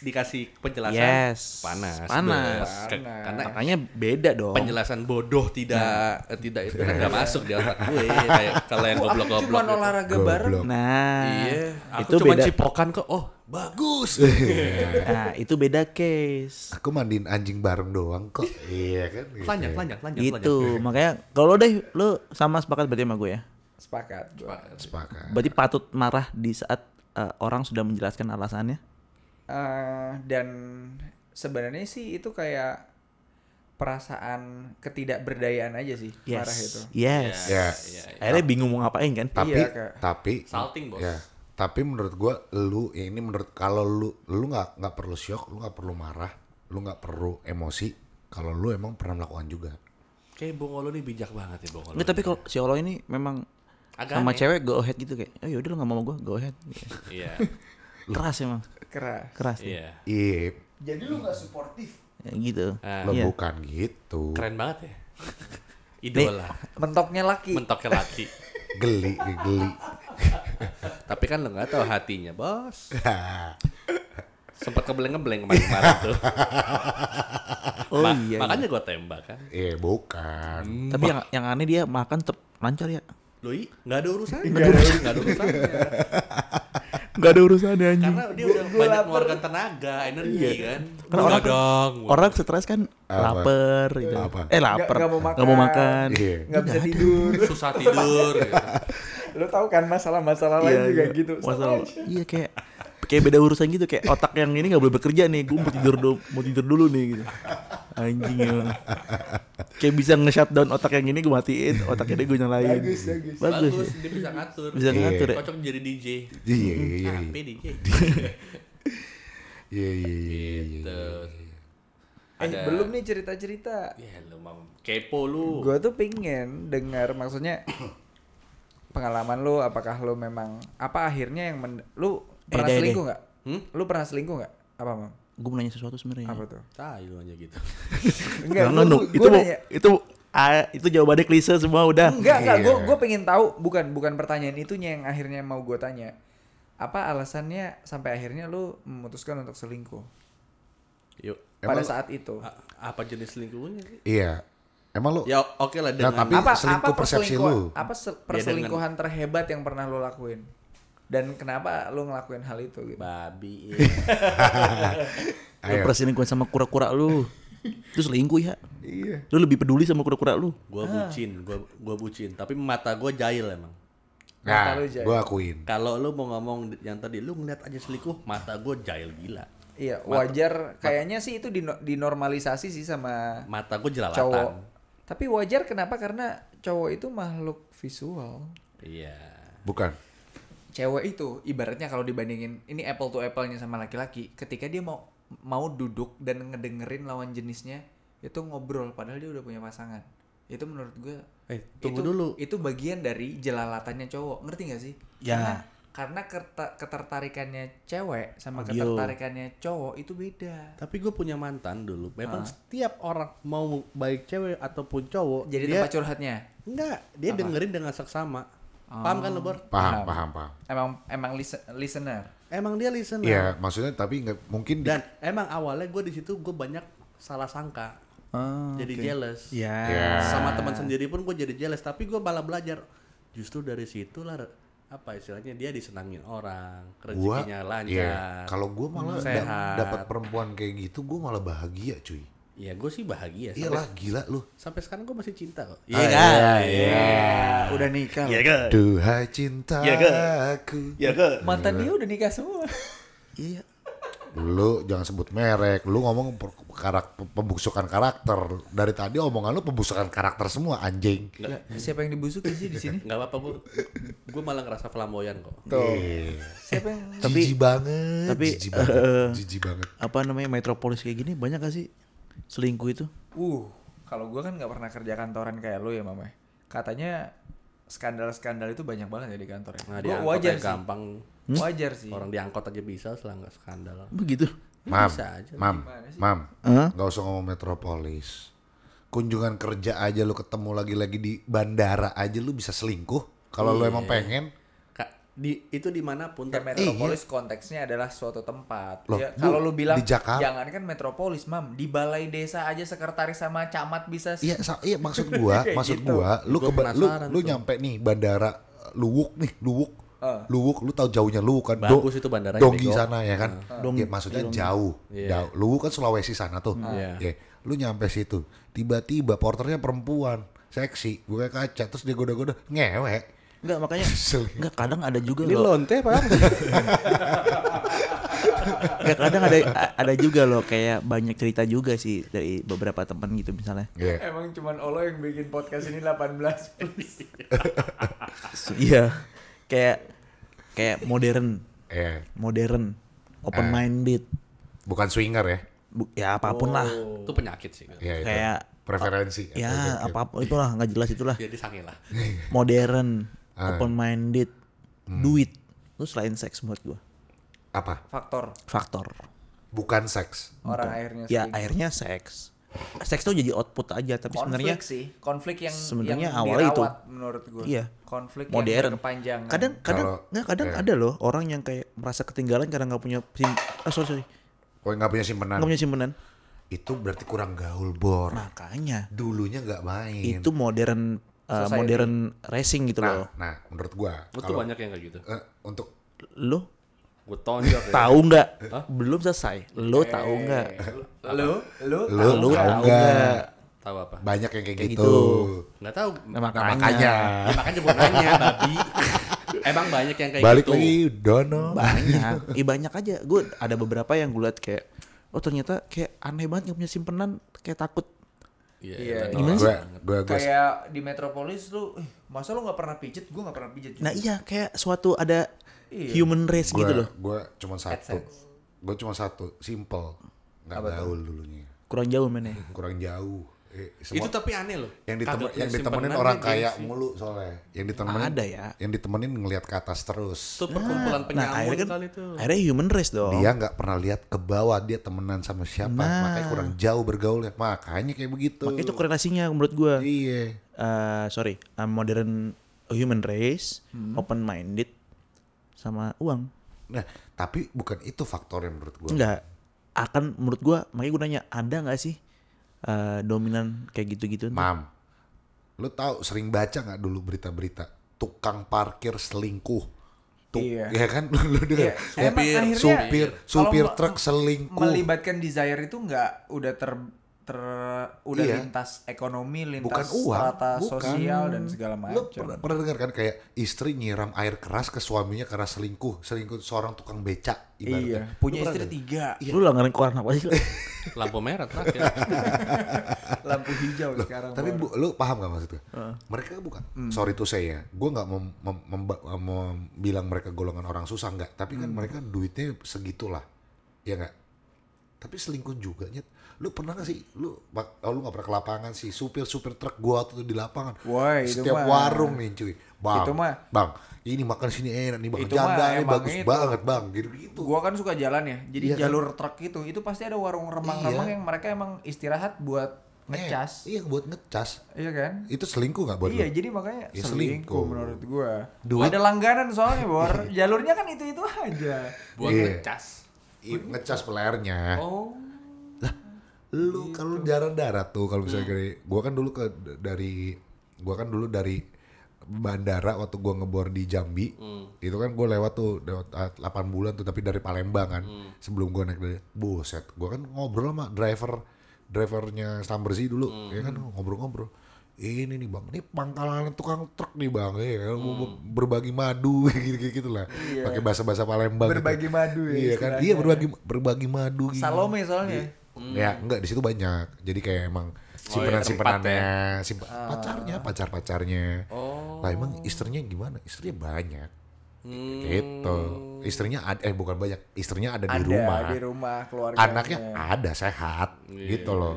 Speaker 6: dikasih penjelasan
Speaker 5: Yes.
Speaker 6: panas.
Speaker 5: Panas.
Speaker 6: Bos. Ke- Karena
Speaker 5: Makanya beda dong.
Speaker 6: penjelasan bodoh tidak eh, tidak itu nggak masuk di otak gue kayak kalau yang goblok-goblok.
Speaker 3: Cuman
Speaker 6: gitu.
Speaker 3: olahraga bareng.
Speaker 4: Goblok.
Speaker 5: Nah,
Speaker 6: Iya, aku
Speaker 5: itu
Speaker 6: cuma
Speaker 5: beda. Iya.
Speaker 6: cipokan kok. Oh, bagus.
Speaker 5: Nah, itu beda case.
Speaker 4: Aku mandiin anjing bareng doang kok. Iya kan. gitu.
Speaker 6: Telanjang, telanjang, telanjang.
Speaker 5: Gitu. Makanya kalau deh lu sama sepakat berarti sama gue ya.
Speaker 3: Sepakat. gua.
Speaker 4: Sepakat.
Speaker 5: Berarti patut marah di saat eh, orang sudah menjelaskan alasannya.
Speaker 3: Eh, dan sebenarnya sih itu kayak perasaan ketidakberdayaan aja sih
Speaker 5: Yes.
Speaker 3: marah itu.
Speaker 5: Yes.
Speaker 6: Iya.
Speaker 4: Ya.
Speaker 5: Akhirnya bingung mau ngapain kan?
Speaker 4: Tapi
Speaker 3: Iya, Kak.
Speaker 4: tapi
Speaker 6: Salting, Bos.
Speaker 4: Ya. Tapi menurut gua lu ya ini menurut kalau lu lu nggak nggak perlu shock, lu nggak perlu marah, lu nggak perlu emosi kalau lu emang pernah melakukan juga.
Speaker 6: Kayak Bongolo nih bijak banget ya Bongolo.
Speaker 5: Nggak, tapi kalau si Olo ini memang
Speaker 6: Agak
Speaker 5: sama
Speaker 6: aneh.
Speaker 5: cewek go ahead gitu kayak, oh yaudah lu gak mau sama gue, go ahead.
Speaker 6: Iya.
Speaker 5: Keras emang,
Speaker 3: Keras.
Speaker 5: keras. <laughs>
Speaker 6: Iya.
Speaker 4: Iya,
Speaker 3: Jadi lu nggak suportif.
Speaker 5: Ya, gitu.
Speaker 6: Ah.
Speaker 4: lo
Speaker 5: Iya.
Speaker 4: bukan gitu.
Speaker 6: Keren banget ya. Idola,
Speaker 3: Mentoknya laki.
Speaker 6: mentoknya laki.
Speaker 4: Geli, geli.
Speaker 6: tapi kan lo nggak tahu hatinya,
Speaker 5: <laughs>
Speaker 6: Bos. Sempat kebleng-kebleng kemarin-kemarin tuh.
Speaker 5: <laughs> Oh
Speaker 6: Ma-
Speaker 5: iya.
Speaker 6: Makanya gue tembak kan.
Speaker 4: Iya, bukan.
Speaker 5: Tapi yang, yang aneh dia makan tetap lancar ya.
Speaker 6: Lo i, nggak ada urusannya. Nggak ada urusannya. Nggak ada
Speaker 5: <laughs>
Speaker 6: urusannya.
Speaker 5: Gak ada urusannya anjing.
Speaker 6: Karena dia udah banyak mengeluarkan tenaga, energi kan.
Speaker 5: Iya. Karena orang-
Speaker 6: Begadang,
Speaker 5: Orang stres kan lapar gitu.
Speaker 4: Apa?
Speaker 5: Eh lapar.
Speaker 3: Nggak- nggak mau
Speaker 5: Nggak mau
Speaker 3: makan.
Speaker 5: makan.
Speaker 4: Iya.
Speaker 3: Nggak bisa tidur. <laughs>
Speaker 6: susah tidur. gitu.
Speaker 3: lu tahu kan masalah-masalah
Speaker 5: Iya,
Speaker 3: lain juga gitu. Sama
Speaker 5: Masalah.
Speaker 3: aja.
Speaker 5: Iya kayak kayak beda urusan gitu kayak otak yang ini nggak boleh bekerja nih gue mau tidur dulu mau tidur dulu nih gitu anjing emang kayak bisa nge-shutdown otak yang ini gue matiin otak ini gue nyalain
Speaker 3: Bagus, bagus.
Speaker 5: <laughs> bagus,
Speaker 6: Bagus,
Speaker 5: ya?
Speaker 6: dia bisa ngatur.
Speaker 5: bisa ngatur ya
Speaker 6: Cocok jadi DJ.
Speaker 4: Iya, iya, iya,
Speaker 6: Apa ya,
Speaker 4: iya.
Speaker 5: <laughs>
Speaker 6: DJ?
Speaker 4: Iya, iya, iya, iya.
Speaker 6: Terus.
Speaker 3: Eh belum nih cerita-cerita.
Speaker 6: Ya lu mau kepo lu.
Speaker 3: Gue tuh pingin dengar
Speaker 5: <coughs>
Speaker 3: maksudnya pengalaman lu apakah lu memang apa akhirnya yang men- lu
Speaker 5: Eh,
Speaker 3: pernah
Speaker 5: deh, deh.
Speaker 3: selingkuh nggak? Lu pernah selingkuh nggak? Apa mam?
Speaker 5: gue mau nanya sesuatu sebenarnya
Speaker 3: Apa tuh?
Speaker 6: Tai lu aja <laughs> gitu.
Speaker 3: Enggak,
Speaker 5: Hmm. Jangan
Speaker 3: gua-
Speaker 5: dong.
Speaker 3: gua-
Speaker 5: Itu
Speaker 3: gua
Speaker 5: mau-
Speaker 3: nanya.
Speaker 5: itu ah, itu jawabannya klise semua udah.
Speaker 3: Enggak, enggak. Gue
Speaker 4: Iya.
Speaker 3: gue pengen tahu bukan bukan pertanyaan itunya yang akhirnya mau gue tanya. Apa alasannya sampai akhirnya lu memutuskan untuk selingkuh
Speaker 6: Yuk.
Speaker 3: pada
Speaker 4: Emang-
Speaker 3: saat itu?
Speaker 6: A- apa jenis selingkuhnya sih?
Speaker 4: Iya. Emang lu
Speaker 6: Ya oke lah dengan
Speaker 4: Nah, tapi- selingkuh persepsi
Speaker 3: perselingkuhan-
Speaker 4: lu.
Speaker 3: Apa se- perselingkuhan terhebat yang pernah lu lakuin? Dan kenapa lu ngelakuin hal itu gitu?
Speaker 6: babi. iya.
Speaker 5: Lu
Speaker 4: Ayo.
Speaker 5: perselingkuhan sama kura-kura
Speaker 3: <laughs>
Speaker 5: lu. Terus selingkuh ya. Iya. Lu lebih peduli sama kura-kura lu.
Speaker 6: <laughs> gua bucin, gua gua bucin, tapi mata gua jahil emang.
Speaker 4: nah,
Speaker 3: Mata lu jahil.
Speaker 4: gue akuin.
Speaker 6: Kalau lu mau ngomong di- yang tadi lu ngeliat aja selingkuh, mata gua jahil gila.
Speaker 3: Iya, wajar. Kayaknya sih itu dino- dinormalisasi sih sama
Speaker 6: Mata gua
Speaker 3: cowok.
Speaker 6: jelalatan.
Speaker 3: Tapi wajar kenapa? Karena cowok itu makhluk visual.
Speaker 6: Iya.
Speaker 4: Bukan.
Speaker 3: Cewek itu ibaratnya kalau dibandingin ini apple to apple-nya sama laki-laki, ketika dia mau mau duduk dan ngedengerin lawan jenisnya itu ngobrol padahal dia udah punya pasangan. Itu menurut gue
Speaker 6: Eh, tunggu
Speaker 3: itu,
Speaker 6: dulu.
Speaker 3: Itu bagian dari jelalatannya cowok. Ngerti gak sih?
Speaker 5: Ya.
Speaker 3: Karena karena kerta- ketertarikannya cewek sama
Speaker 5: Audio.
Speaker 3: ketertarikannya cowok itu beda.
Speaker 6: Tapi gue punya mantan dulu.
Speaker 4: Ah.
Speaker 6: Memang setiap orang mau baik cewek ataupun cowok,
Speaker 3: Jadi
Speaker 6: dia
Speaker 3: tempat curhatnya.
Speaker 6: enggak, dia dengerin dengan seksama.
Speaker 4: Oh.
Speaker 6: Paham kan lo, Bor?
Speaker 4: Paham, paham, paham.
Speaker 3: Emang emang lise- listener.
Speaker 6: Emang dia listener.
Speaker 4: Iya, maksudnya tapi nggak mungkin di-
Speaker 6: Dan emang awalnya gue di situ gue banyak salah sangka.
Speaker 3: Oh,
Speaker 6: jadi jealous.
Speaker 5: Iya.
Speaker 6: Sama teman sendiri pun gue jadi jealous, tapi gue malah belajar justru dari situlah re- apa istilahnya dia disenangin orang,
Speaker 4: gua
Speaker 6: rezekinya lancar.
Speaker 4: iya. kalau gua malah da-
Speaker 6: sehat.
Speaker 4: dapat perempuan kayak gitu gua malah bahagia cuy
Speaker 6: Ya gue sih bahagia. Sampai,
Speaker 3: Iya
Speaker 4: iyalah gila lu
Speaker 6: sampai sekarang gue masih cinta kok.
Speaker 4: Ah,
Speaker 6: kan?
Speaker 4: iya,
Speaker 3: udah nikah.
Speaker 6: Iya kan?
Speaker 4: duhai cintaku
Speaker 6: Iya, kan? Iya kan?
Speaker 3: Mantan dia udah nikah semua. <laughs>
Speaker 5: Iya.
Speaker 4: lu jangan sebut merek lu ngomong per- karak- pembusukan karakter dari tadi omongan lu pembusukan karakter semua anjing
Speaker 3: Siapa yang dibusukin sih di sini?
Speaker 6: Gak apa-apa gue Gue malah ngerasa flamboyan kok
Speaker 4: Iya.
Speaker 3: Siapa yang
Speaker 5: Tapi-
Speaker 4: jijik banget
Speaker 5: tapi,
Speaker 4: jijik banget
Speaker 5: eh,
Speaker 4: jijik banget
Speaker 5: Apa namanya metropolis kayak gini banyak gak sih selingkuh itu?
Speaker 3: Uh, kalau gua kan nggak pernah kerja kantoran kayak lu ya, Mama. Katanya skandal-skandal itu banyak banget ya di kantor ya.
Speaker 6: Nah
Speaker 3: Gua
Speaker 6: diangkot
Speaker 3: wajar
Speaker 6: aja
Speaker 3: sih.
Speaker 6: gampang
Speaker 5: Hmm?
Speaker 3: Wajar sih.
Speaker 6: Orang diangkot aja bisa selangga skandal
Speaker 5: Begitu.
Speaker 4: mam
Speaker 6: bisa aja,
Speaker 4: mam mam
Speaker 5: Hah?
Speaker 4: nggak usah ngomong metropolis kunjungan kerja aja
Speaker 5: Iya.
Speaker 4: lu ketemu lagi-lagi di bandara aja lu bisa selingkuh kalau lu emang pengen
Speaker 6: Kak di itu dimanapun
Speaker 3: Kayak
Speaker 6: ter-
Speaker 5: iya.
Speaker 3: metropolis konteksnya adalah suatu tempat.
Speaker 4: Loh,
Speaker 3: Ya,
Speaker 4: lu
Speaker 3: kalau lu bilang
Speaker 4: di Jakarta-
Speaker 3: jangan kan metropolis, Mam, di balai desa aja sekretaris sama camat bisa s-
Speaker 4: Iya, sa- iya
Speaker 5: <laughs>
Speaker 4: maksud gua,
Speaker 3: Kayak
Speaker 4: maksud
Speaker 3: gitu.
Speaker 4: gua, lu
Speaker 6: Gua
Speaker 4: ke lu,
Speaker 6: penasaran
Speaker 4: lu
Speaker 6: tuh.
Speaker 4: nyampe nih bandara eh, Luwuk nih, Luwuk.
Speaker 5: Ah.
Speaker 3: Eh.
Speaker 4: Luwuk, lu tahu jauhnya Luwuk kan?
Speaker 6: Bagus itu bandaranya, bego.
Speaker 4: Dongi
Speaker 6: Ah.
Speaker 4: sana ya kan? Ya,
Speaker 5: Dongi.
Speaker 4: maksudnya jauh.
Speaker 6: Iya.
Speaker 4: Jauh. Luwuk kan Sulawesi sana tuh.
Speaker 6: Iya.
Speaker 4: Ya, Lu nyampe situ, tiba-tiba porternya perempuan, seksi, gue kaca, terus dia goda-goda, ngewek.
Speaker 5: Enggak makanya
Speaker 4: Kesel.
Speaker 5: enggak kadang ada juga
Speaker 6: Ini
Speaker 5: loh.
Speaker 6: lonte apa?
Speaker 5: Enggak kadang ada a- ada juga loh kayak banyak cerita juga sih dari beberapa teman gitu misalnya.
Speaker 4: Iya.
Speaker 3: <laughs> Emang cuman Olo yang bikin podcast ini 18 plus.
Speaker 5: So, Iya. Kayak kayak modern,
Speaker 4: Iya.
Speaker 5: modern, open
Speaker 4: Eh.
Speaker 5: minded.
Speaker 4: Bukan swinger ya.
Speaker 5: Bu- ya apapun lah.
Speaker 6: itu penyakit sih.
Speaker 4: Iya, itu.
Speaker 5: Kayak-
Speaker 4: preferensi. Iya,
Speaker 5: Ya, apapun itulah nggak jelas itulah.
Speaker 6: Jadi sange
Speaker 4: <laughs>
Speaker 6: lah.
Speaker 5: Modern,
Speaker 4: Ah.
Speaker 5: open minded, duit. Itu selain seks buat gua.
Speaker 4: Apa?
Speaker 3: Faktor
Speaker 5: Faktor.
Speaker 4: Bukan seks.
Speaker 3: orang akhirnya
Speaker 5: Ya
Speaker 3: sering.
Speaker 5: akhirnya seks. Seks tuh jadi output aja tapi sebenarnya
Speaker 3: konflik sih, konflik yang
Speaker 5: sebenarnya
Speaker 3: yang
Speaker 5: awalnya itu.
Speaker 3: dirawat menurut gue.
Speaker 5: Iya.
Speaker 3: Konflik
Speaker 5: modern.
Speaker 3: yang berkepanjangan.
Speaker 5: Kadang kadang
Speaker 4: Kalau-
Speaker 5: nggak kadang
Speaker 4: iya.
Speaker 5: ada loh orang yang kayak merasa ketinggalan karena nggak punya sim, ah, sorry sorry
Speaker 4: Kok nggak punya simpenan?
Speaker 5: nggak punya simpenan.
Speaker 4: Itu berarti kurang gaul, Bor.
Speaker 5: Makanya
Speaker 4: Dulunya nggak main.
Speaker 5: itu modern uh,
Speaker 3: Society.
Speaker 5: modern racing gitu loh.
Speaker 4: Nah, nah menurut gua
Speaker 6: Itu
Speaker 4: kalau
Speaker 6: banyak yang kayak gitu.
Speaker 4: eh, untuk
Speaker 5: Lo
Speaker 6: Gue tonjok. ya.
Speaker 5: tahu nggak? Belum selesai. Lo
Speaker 3: Eh.
Speaker 5: tahu nggak?
Speaker 3: lu lu
Speaker 4: lu
Speaker 5: Lu
Speaker 4: tahu
Speaker 5: tahu
Speaker 4: nggak
Speaker 6: Tahu apa?
Speaker 4: banyak yang kayak,
Speaker 5: Kayak
Speaker 4: gitu.
Speaker 6: Nggak tahu.
Speaker 5: Nah,
Speaker 4: Nah,
Speaker 5: makanya.
Speaker 4: makanya
Speaker 6: Ya, makanya gue nanya, babi. <laughs> Emang banyak yang kayak
Speaker 4: <laughs> balik
Speaker 6: gitu.
Speaker 4: lagi dono.
Speaker 5: banyak. Ih banyak aja. Gue ada beberapa yang gue liat kayak oh ternyata kayak aneh banget nggak punya simpenan kayak takut.
Speaker 6: Iya.
Speaker 3: Iya,
Speaker 6: betul.
Speaker 5: Gimana sih?
Speaker 4: Gua gua gua
Speaker 3: kayak di metropolis lu, "Ih, masa lu nggak pernah pijet? Gue nggak pernah pijet.
Speaker 5: Nah iya kayak suatu ada
Speaker 3: Iya.
Speaker 5: human race
Speaker 4: gua,
Speaker 5: gitu loh.
Speaker 4: gua cuma satu.
Speaker 3: AdSense.
Speaker 4: Gua cuma satu, simple. Nggak gaul dulunya.
Speaker 5: Kurang jauh mainnya.
Speaker 4: Kurang jauh. Eh, semua-
Speaker 6: Itu tapi aneh loh.
Speaker 4: yang
Speaker 6: Kagak
Speaker 4: ditemen,
Speaker 6: punya
Speaker 4: yang ditemenin
Speaker 6: simpenan gitu.
Speaker 4: orang
Speaker 6: dia
Speaker 4: kaya
Speaker 6: gengsi.
Speaker 4: mulu soalnya. Yang ditemenin
Speaker 5: Ada ya.
Speaker 4: Yang ditemenin ngelihat ke atas terus.
Speaker 6: Itu
Speaker 4: Ah, nah,
Speaker 6: perkumpulan penyamun
Speaker 5: akhirnya kan
Speaker 6: kali itu.
Speaker 5: akhirnya human race dong.
Speaker 3: Oh.
Speaker 4: dia nggak pernah lihat ke bawah dia temenan sama siapa
Speaker 5: Nah.
Speaker 4: makanya kurang jauh bergaulnya makanya kayak begitu
Speaker 5: Makanya itu korelasinya menurut gua.
Speaker 4: iya
Speaker 5: Eh, sorry, eh, modern human race,
Speaker 6: Hmm.
Speaker 5: open minded, sama uang.
Speaker 4: nah tapi bukan itu faktornya menurut gua
Speaker 5: Enggak akan menurut gua makanya gue nanya ada nggak sih eh, dominan kayak gitu-gitu? tuh?
Speaker 4: mam lu tahu sering baca nggak dulu berita-berita tukang parkir selingkuh Tuk,
Speaker 3: Iya.
Speaker 4: ya kan <laughs> lu dengar
Speaker 3: Iya,
Speaker 4: supir
Speaker 3: emang akhirnya
Speaker 4: supir
Speaker 3: kalau
Speaker 4: supir
Speaker 3: me-
Speaker 4: truk selingkuh
Speaker 3: melibatkan desire itu nggak udah ter ter udah
Speaker 4: Iya.
Speaker 3: lintas ekonomi
Speaker 4: bukan
Speaker 3: lintas
Speaker 4: uang
Speaker 3: strata
Speaker 4: bukan.
Speaker 3: sosial dan segala
Speaker 4: lu
Speaker 3: macam
Speaker 4: pernah, pernah dengar kan kayak istri nyiram air keras ke suaminya karena selingkuh selingkuh seorang tukang becak
Speaker 3: iya
Speaker 4: ibaratnya
Speaker 3: punya istri tiga
Speaker 5: Lu langgaran koran apa sih?
Speaker 6: <laughs>
Speaker 5: <laughs>
Speaker 6: Lampu merah terakhir.
Speaker 3: lampu hijau sekarang
Speaker 4: Iya. Tapi
Speaker 3: baru.
Speaker 4: bu, lu paham gak maksud gue? Mereka bukan,
Speaker 3: Hmm.
Speaker 4: sorry to say ya, gue gak mem- mem- memba- mem- bilang mereka golongan orang susah nggak, tapi
Speaker 3: Hmm.
Speaker 4: kan mereka duitnya segitulah, ya nggak? Tapi selingkuh juga nyet. Lu pernah gak sih, lu, bak- oh, lu gak pernah ke lapangan sih, supir-supir truk gua tuh di lapangan.
Speaker 3: Woi, itu
Speaker 4: Setiap
Speaker 3: mah.
Speaker 4: warung nih cuy, bang,
Speaker 3: Itu mah.
Speaker 4: bang, ini makan sini enak nih bang,
Speaker 3: Itu mah
Speaker 4: janda ini
Speaker 3: emang
Speaker 4: bagus
Speaker 3: itu.
Speaker 4: banget bang, gitu-gitu.
Speaker 3: gua kan suka jalan ya jadi
Speaker 4: Iya kan?
Speaker 3: jalur truk itu itu pasti ada warung remang-remang
Speaker 4: Iya.
Speaker 3: yang mereka emang istirahat buat ngecas
Speaker 4: Eh, iya buat ngecas.
Speaker 3: iya kan
Speaker 4: Itu selingkuh gak buat
Speaker 3: iya
Speaker 4: lu?
Speaker 3: jadi makanya
Speaker 4: Ya,
Speaker 3: selingkuh,
Speaker 4: selingkuh.
Speaker 3: menurut gua
Speaker 4: Duit.
Speaker 3: ada langganan soalnya
Speaker 4: <laughs>
Speaker 3: bor jalurnya kan itu itu aja
Speaker 6: Buat
Speaker 4: Iya.
Speaker 6: ngecas.
Speaker 3: Oh,
Speaker 4: Iya, ngecas pelayarnya.
Speaker 6: Oh.
Speaker 3: Gitu.
Speaker 4: lu kalau jarang darat tuh kalau
Speaker 3: Hmm.
Speaker 4: misalnya dari gua kan dulu ke dari gua kan dulu dari bandara waktu gua ngebor di Jambi
Speaker 3: Hmm.
Speaker 4: itu kan gua lewat tuh lewat ah, 8 bulan tuh tapi dari Palembang kan
Speaker 3: Hmm.
Speaker 4: sebelum gua naik dari boset gua kan ngobrol sama driver drivernya Stambersi dulu
Speaker 3: Hmm.
Speaker 4: ya kan ngobrol-ngobrol ini nih bang, ini pangkalan tukang truk nih bang, ya, kan,
Speaker 3: Hmm.
Speaker 4: berbagi madu <laughs> gitu-gitu lah, pakai bahasa-bahasa Palembang. gitu.
Speaker 3: Iya. Berbagi madu ya
Speaker 4: iya kan, iya berbagi berbagi madu. gitu.
Speaker 3: Salome soalnya
Speaker 4: Ya, enggak di situ banyak. Jadi kayak emang simpenan-simpenannya, simpen- pacarnya, pacar-pacarnya. Oh. Lah emang istrinya gimana? Istrinya banyak.
Speaker 6: Hmm.
Speaker 4: Gitu. Istrinya ada eh bukan banyak, istrinya ada, di
Speaker 3: ada
Speaker 4: rumah.
Speaker 3: di rumah keluarga Iya.
Speaker 4: Anaknya ada sehat gitu loh.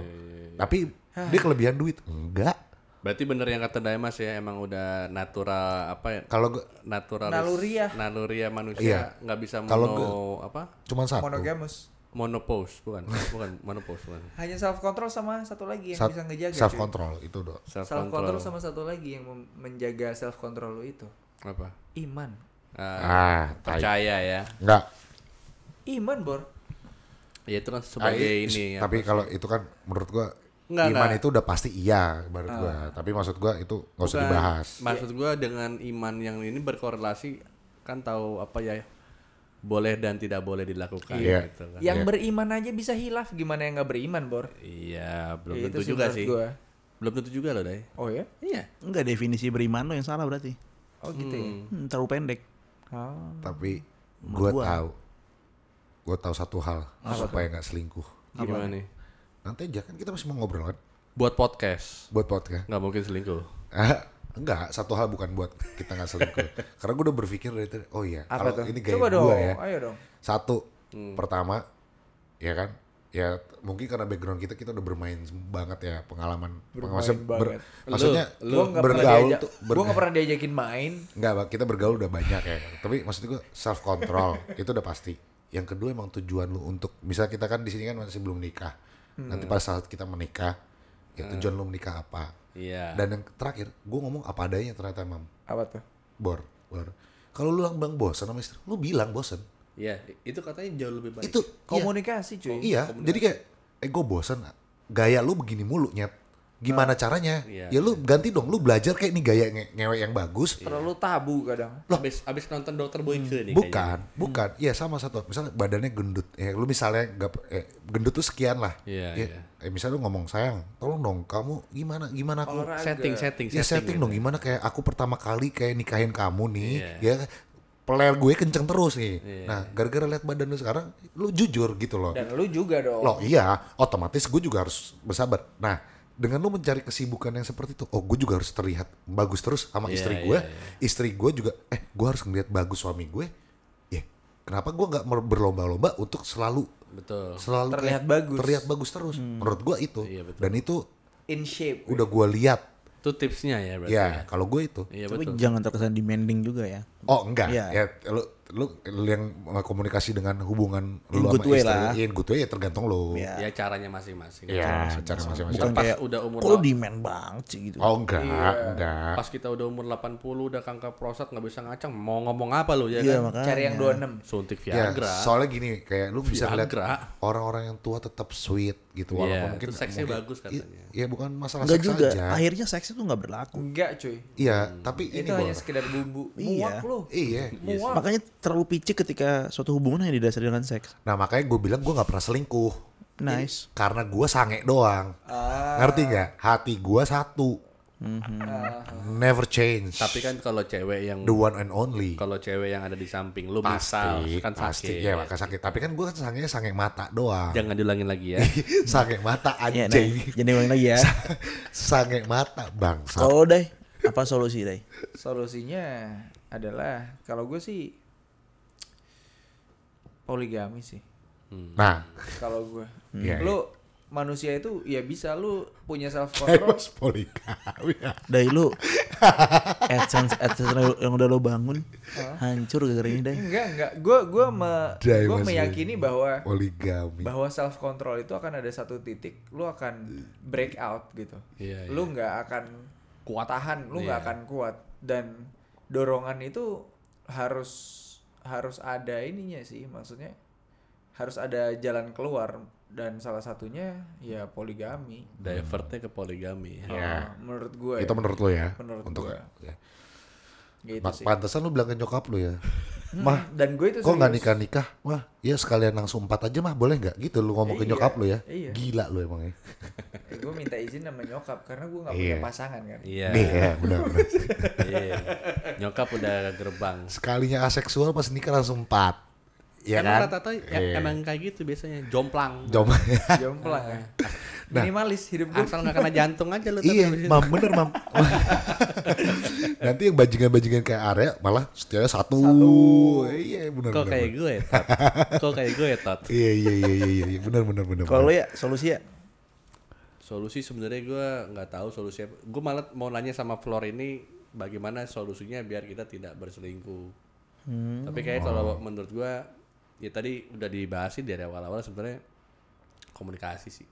Speaker 4: Tapi dia kelebihan duit? Enggak.
Speaker 6: Berarti bener yang kata Daimas ya emang udah natural apa ya?
Speaker 4: Kalau gua
Speaker 6: Naturalis,
Speaker 3: Naluriah.
Speaker 6: naluriah manusia
Speaker 4: Iya.
Speaker 6: nggak bisa mono
Speaker 4: Kalau
Speaker 6: apa?
Speaker 4: cuman satu.
Speaker 3: monogamus
Speaker 6: Monopause bukan, bukan monopause bukan.
Speaker 3: hanya self control sama satu lagi yang
Speaker 4: Sa-
Speaker 3: bisa ngejaga
Speaker 4: self control itu doh.
Speaker 6: Self
Speaker 3: self
Speaker 6: control.
Speaker 3: control sama satu lagi yang mem- menjaga self control lu itu
Speaker 6: Apa?
Speaker 3: iman
Speaker 6: eh,
Speaker 4: ah tai.
Speaker 6: percaya ya.
Speaker 4: nggak
Speaker 3: Iman bor.
Speaker 6: Ya itu kan
Speaker 4: Ah,
Speaker 6: sebagai
Speaker 4: i-
Speaker 6: ini ya.
Speaker 4: tapi kalau itu kan menurut gua
Speaker 6: Nggak,
Speaker 4: iman
Speaker 6: nggak.
Speaker 4: itu udah pasti iya menurut gua tapi maksud gua itu nggak usah
Speaker 6: Bukan.
Speaker 4: dibahas
Speaker 6: Maksud gua dengan iman yang ini berkorelasi kan tahu apa ya boleh dan tidak boleh dilakukan
Speaker 4: Iya.
Speaker 6: gitu kan.
Speaker 3: Yang
Speaker 4: Iya.
Speaker 3: beriman aja bisa hilaf gimana yang nggak beriman bor?
Speaker 6: Iya, belum
Speaker 3: Ya,
Speaker 6: tentu
Speaker 3: itu sih
Speaker 6: juga
Speaker 3: menurut
Speaker 6: sih.
Speaker 3: gua.
Speaker 6: Belum tentu juga loh, Day.
Speaker 3: Oh ya?
Speaker 6: Iya.
Speaker 5: Enggak definisi beriman lo yang salah berarti.
Speaker 3: Oh gitu ya.
Speaker 5: Hmm, terlalu pendek.
Speaker 3: Oh.
Speaker 4: tapi gua tahu gua tahu satu hal supaya nggak selingkuh
Speaker 6: Gimana nih?
Speaker 4: nanti aja kan kita masih mau ngobrol kan
Speaker 6: Buat podcast
Speaker 4: buat podcast
Speaker 6: nggak mungkin selingkuh.
Speaker 4: Ah, enggak satu hal bukan buat kita nggak selingkuh karena gua udah berpikir dari tadi oh iya
Speaker 3: Apa
Speaker 4: kalau
Speaker 3: tuh?
Speaker 4: ini gaya
Speaker 3: Coba dong.
Speaker 4: gua ya
Speaker 3: Ayo dong.
Speaker 4: Satu,
Speaker 3: Hmm.
Speaker 4: pertama, ya kan? Ya t- mungkin karena background kita kita udah bermain banget ya pengalaman pengalaman
Speaker 3: banget.
Speaker 4: maksudnya
Speaker 6: Lu-
Speaker 3: Gua nggak pernah
Speaker 4: bergaul
Speaker 3: diajak-
Speaker 4: tuh ber,
Speaker 3: gua nggak pernah diajakin main.
Speaker 4: nggak, Bang, kita bergaul udah banyak ya tapi maksud gue self
Speaker 3: <laughs>
Speaker 4: control itu udah pasti yang kedua emang tujuan lu untuk misal kita kan di sini kan masih belum nikah nanti
Speaker 3: Hmm.
Speaker 4: pada saat kita menikah ya tujuan lu menikah apa
Speaker 3: Ya.
Speaker 6: Iya.
Speaker 4: dan yang terakhir gue ngomong apa adanya ternyata mam
Speaker 3: Apa tuh?
Speaker 4: bor bor kalau lu bang bosan sama istri lu bilang bosan
Speaker 6: Iya, itu katanya jauh lebih baik.
Speaker 4: itu iya.
Speaker 3: Komunikasi cuy.
Speaker 4: Iya, jadi kayak eh gue bosen gaya lu begini mulu nyet. Gimana caranya?
Speaker 6: Iya.
Speaker 4: ya lu ganti dong, lu belajar kayak nih gaya nge- ngewek yang bagus.
Speaker 3: Terlalu tabu kadang.
Speaker 6: Abis abis nonton Dokter Boyke nih
Speaker 4: Bukan,
Speaker 6: Hmm.
Speaker 4: bukan. Iya sama satu. Misalnya badannya gendut, ya lu misalnya nggak eh, gendut tuh sekian lah.
Speaker 6: Iya,
Speaker 4: Ya,
Speaker 6: iya.
Speaker 4: Eh misalnya lu ngomong sayang, tolong dong kamu gimana gimana aku
Speaker 6: kayaknya. Setting, setting, gitu.
Speaker 4: ya setting dong gimana kayak aku pertama kali kayak nikahin kamu nih
Speaker 6: Iya.
Speaker 4: ya peler gue kenceng terus nih.
Speaker 6: Iya.
Speaker 4: Nah, gara-gara lihat badan lu sekarang lu jujur gitu loh.
Speaker 3: Dan lu juga
Speaker 6: Oh,
Speaker 3: dong.
Speaker 4: Loh iya, otomatis gue juga harus bersabar. Nah, dengan lu mencari kesibukan yang seperti itu, oh gue juga harus terlihat bagus terus sama
Speaker 6: Iya,
Speaker 4: istri
Speaker 6: iya,
Speaker 4: gue.
Speaker 6: iya.
Speaker 4: Istri gue juga, eh gue harus ngeliat bagus suami gue. Ya, kenapa gue nggak mer- berlomba-lomba untuk selalu
Speaker 6: Betul.
Speaker 4: selalu
Speaker 3: Terlihat
Speaker 4: kayak-
Speaker 3: bagus.
Speaker 4: terlihat bagus terus. Menurut gue itu,
Speaker 6: Iya, betul.
Speaker 4: dan itu
Speaker 3: In shape.
Speaker 4: udah gue lihat.
Speaker 6: Itu tipsnya ya berarti.
Speaker 4: Ya, kalau gue itu,
Speaker 6: Iya,
Speaker 5: Tapi
Speaker 6: betul.
Speaker 5: jangan terkesan demanding juga ya.
Speaker 4: oh enggak,
Speaker 5: Iya.
Speaker 4: ya lu lu lu yang komunikasi dengan hubungan
Speaker 5: In
Speaker 4: lu
Speaker 5: good
Speaker 4: sama
Speaker 5: way
Speaker 4: istri,
Speaker 5: lah.
Speaker 4: ya, in good way ya tergantung lo.
Speaker 5: Iya.
Speaker 6: Ya caranya masing-masing.
Speaker 4: Iya, cara masing-masing.
Speaker 5: Bukan
Speaker 6: Pas
Speaker 5: kayak
Speaker 6: udah umur
Speaker 5: kok lu
Speaker 6: delapan-
Speaker 5: demand banget sih gitu.
Speaker 4: Oh enggak,
Speaker 6: Iya.
Speaker 4: enggak.
Speaker 6: Pas kita udah umur 80 udah kanker prostat nggak bisa ngacang, mau ngomong apa lu ya
Speaker 5: Iya,
Speaker 6: kan?
Speaker 5: makanya.
Speaker 3: Cari yang 26.
Speaker 6: Suntik
Speaker 4: Ya,
Speaker 6: Viagra.
Speaker 4: soalnya gini kayak lu bisa ngeliat
Speaker 6: Viagra.
Speaker 4: orang-orang yang tua tetap sweet gitu walaupun
Speaker 6: Iya,
Speaker 4: mungkin
Speaker 6: terus seksnya
Speaker 4: mungkin-
Speaker 6: bagus katanya.
Speaker 4: i- Iya, bukan masalah
Speaker 5: Enggak
Speaker 4: seks
Speaker 5: juga.
Speaker 4: aja.
Speaker 5: Akhirnya seks itu nggak berlaku.
Speaker 3: Enggak cuy.
Speaker 4: Iya,
Speaker 6: Hmm,
Speaker 4: tapi ini
Speaker 3: Itu hanya
Speaker 4: Bor.
Speaker 3: sekedar bumbu.
Speaker 5: Iya.
Speaker 3: Muak lu.
Speaker 4: <laughs> Iya.
Speaker 3: Muak.
Speaker 5: Makanya terlalu picik ketika suatu hubungan yang didasari dengan seks.
Speaker 4: Nah, makanya gue bilang gue nggak pernah selingkuh
Speaker 5: Nice.
Speaker 4: karena gue sange doang.
Speaker 6: Ah.
Speaker 4: Ngerti nggak? Hati gue satu. Never change.
Speaker 6: Ah. Tapi kan kalau cewek yang
Speaker 4: the one and only.
Speaker 6: kalau cewek yang ada di samping lu misal
Speaker 4: Pasti,
Speaker 6: kan
Speaker 4: pasti.
Speaker 6: sakit.
Speaker 4: Ya, maka sakit. Tapi kan gue kan sange sange mata doang.
Speaker 6: Jangan diulangin lagi
Speaker 4: <laughs>
Speaker 6: ya.
Speaker 4: sange mata
Speaker 5: Iya,
Speaker 4: anjing. <laughs>
Speaker 5: nah, jadi ulang lagi ya.
Speaker 4: sange mata bangsa.
Speaker 5: Kalau deh, apa solusi deh?
Speaker 3: Solusinya adalah kalau gue sih poligami sih.
Speaker 4: Nah,
Speaker 3: Kalau gue.
Speaker 4: Iya,
Speaker 3: Lu manusia itu ya bisa lu
Speaker 4: <laughs>
Speaker 3: punya self control.
Speaker 4: Heros Eh, poligami.
Speaker 5: Dai lu AdSense AdSense yang- yang udah lo bangun hancur gara-gara ini deh.
Speaker 3: enggak, enggak. Gue gua me,
Speaker 4: Dai,
Speaker 3: gua
Speaker 4: Mas
Speaker 3: meyakini bahwa
Speaker 4: Poligami.
Speaker 3: bahwa self control itu akan ada satu titik lu akan break out gitu
Speaker 6: Iya,
Speaker 3: lu nggak akan kuat tahan lu
Speaker 4: Iya.
Speaker 3: nggak akan kuat dan dorongan itu harus harus ada ininya sih maksudnya harus ada jalan keluar dan salah satunya ya poligami
Speaker 6: Divertnya ke poligami. ya.
Speaker 4: Ya.
Speaker 3: Oh, menurut gue
Speaker 4: Itu menurut lo ya?
Speaker 3: Menurut
Speaker 4: Untuk
Speaker 3: gua.
Speaker 4: ya.
Speaker 3: gitu
Speaker 4: Mak-
Speaker 3: sih
Speaker 4: pantesan lu bilang ke nyokap lu ya. Mah,
Speaker 3: dan gue itu
Speaker 4: kok nggak
Speaker 3: serius.
Speaker 4: nikah nikah? Wah, ya sekalian langsung empat aja mah boleh nggak? Gitu lu ngomong ke
Speaker 3: Iya,
Speaker 4: nyokap lu ya?
Speaker 3: iya.
Speaker 4: Gila lu emang ya.
Speaker 3: Eh, gue minta izin sama nyokap karena gue nggak
Speaker 4: Iya.
Speaker 3: punya pasangan kan
Speaker 6: Iya.
Speaker 4: Nih, ya, benar benar.
Speaker 6: Iya. Nyokap udah gerbang.
Speaker 4: Sekalinya aseksual pas nikah langsung empat. Ya
Speaker 6: Emang
Speaker 4: kan?
Speaker 6: rata-rata ya,
Speaker 4: Iya.
Speaker 6: emang kayak gitu biasanya jomplang.
Speaker 4: Jom.
Speaker 3: jomplang ya
Speaker 4: Nah.
Speaker 3: minimalis hidup gue
Speaker 6: Asal nggak kena jantung aja lu tapi
Speaker 4: <laughs> iya,
Speaker 6: abis itu.
Speaker 4: mam bener mam. Nanti yang bajingan-bajingan kayak Arya malah setianya satu. Iya, benar
Speaker 6: Kok
Speaker 4: benar.
Speaker 6: kayak gue ya,
Speaker 4: <laughs>
Speaker 6: Tot? Kok kayak gue ya, Tot?
Speaker 4: Iya iya iya iya iya benar benar benar.
Speaker 5: Kalau lo ya solusi ya
Speaker 6: Solusi sebenarnya gue nggak tahu solusinya. Gue malah mau nanya sama Flor ini bagaimana solusinya biar kita tidak berselingkuh.
Speaker 3: Hmm.
Speaker 6: Tapi kayak
Speaker 3: Oh.
Speaker 6: kalau menurut gue ya tadi udah dibahasin dari awal-awal sebenarnya komunikasi sih.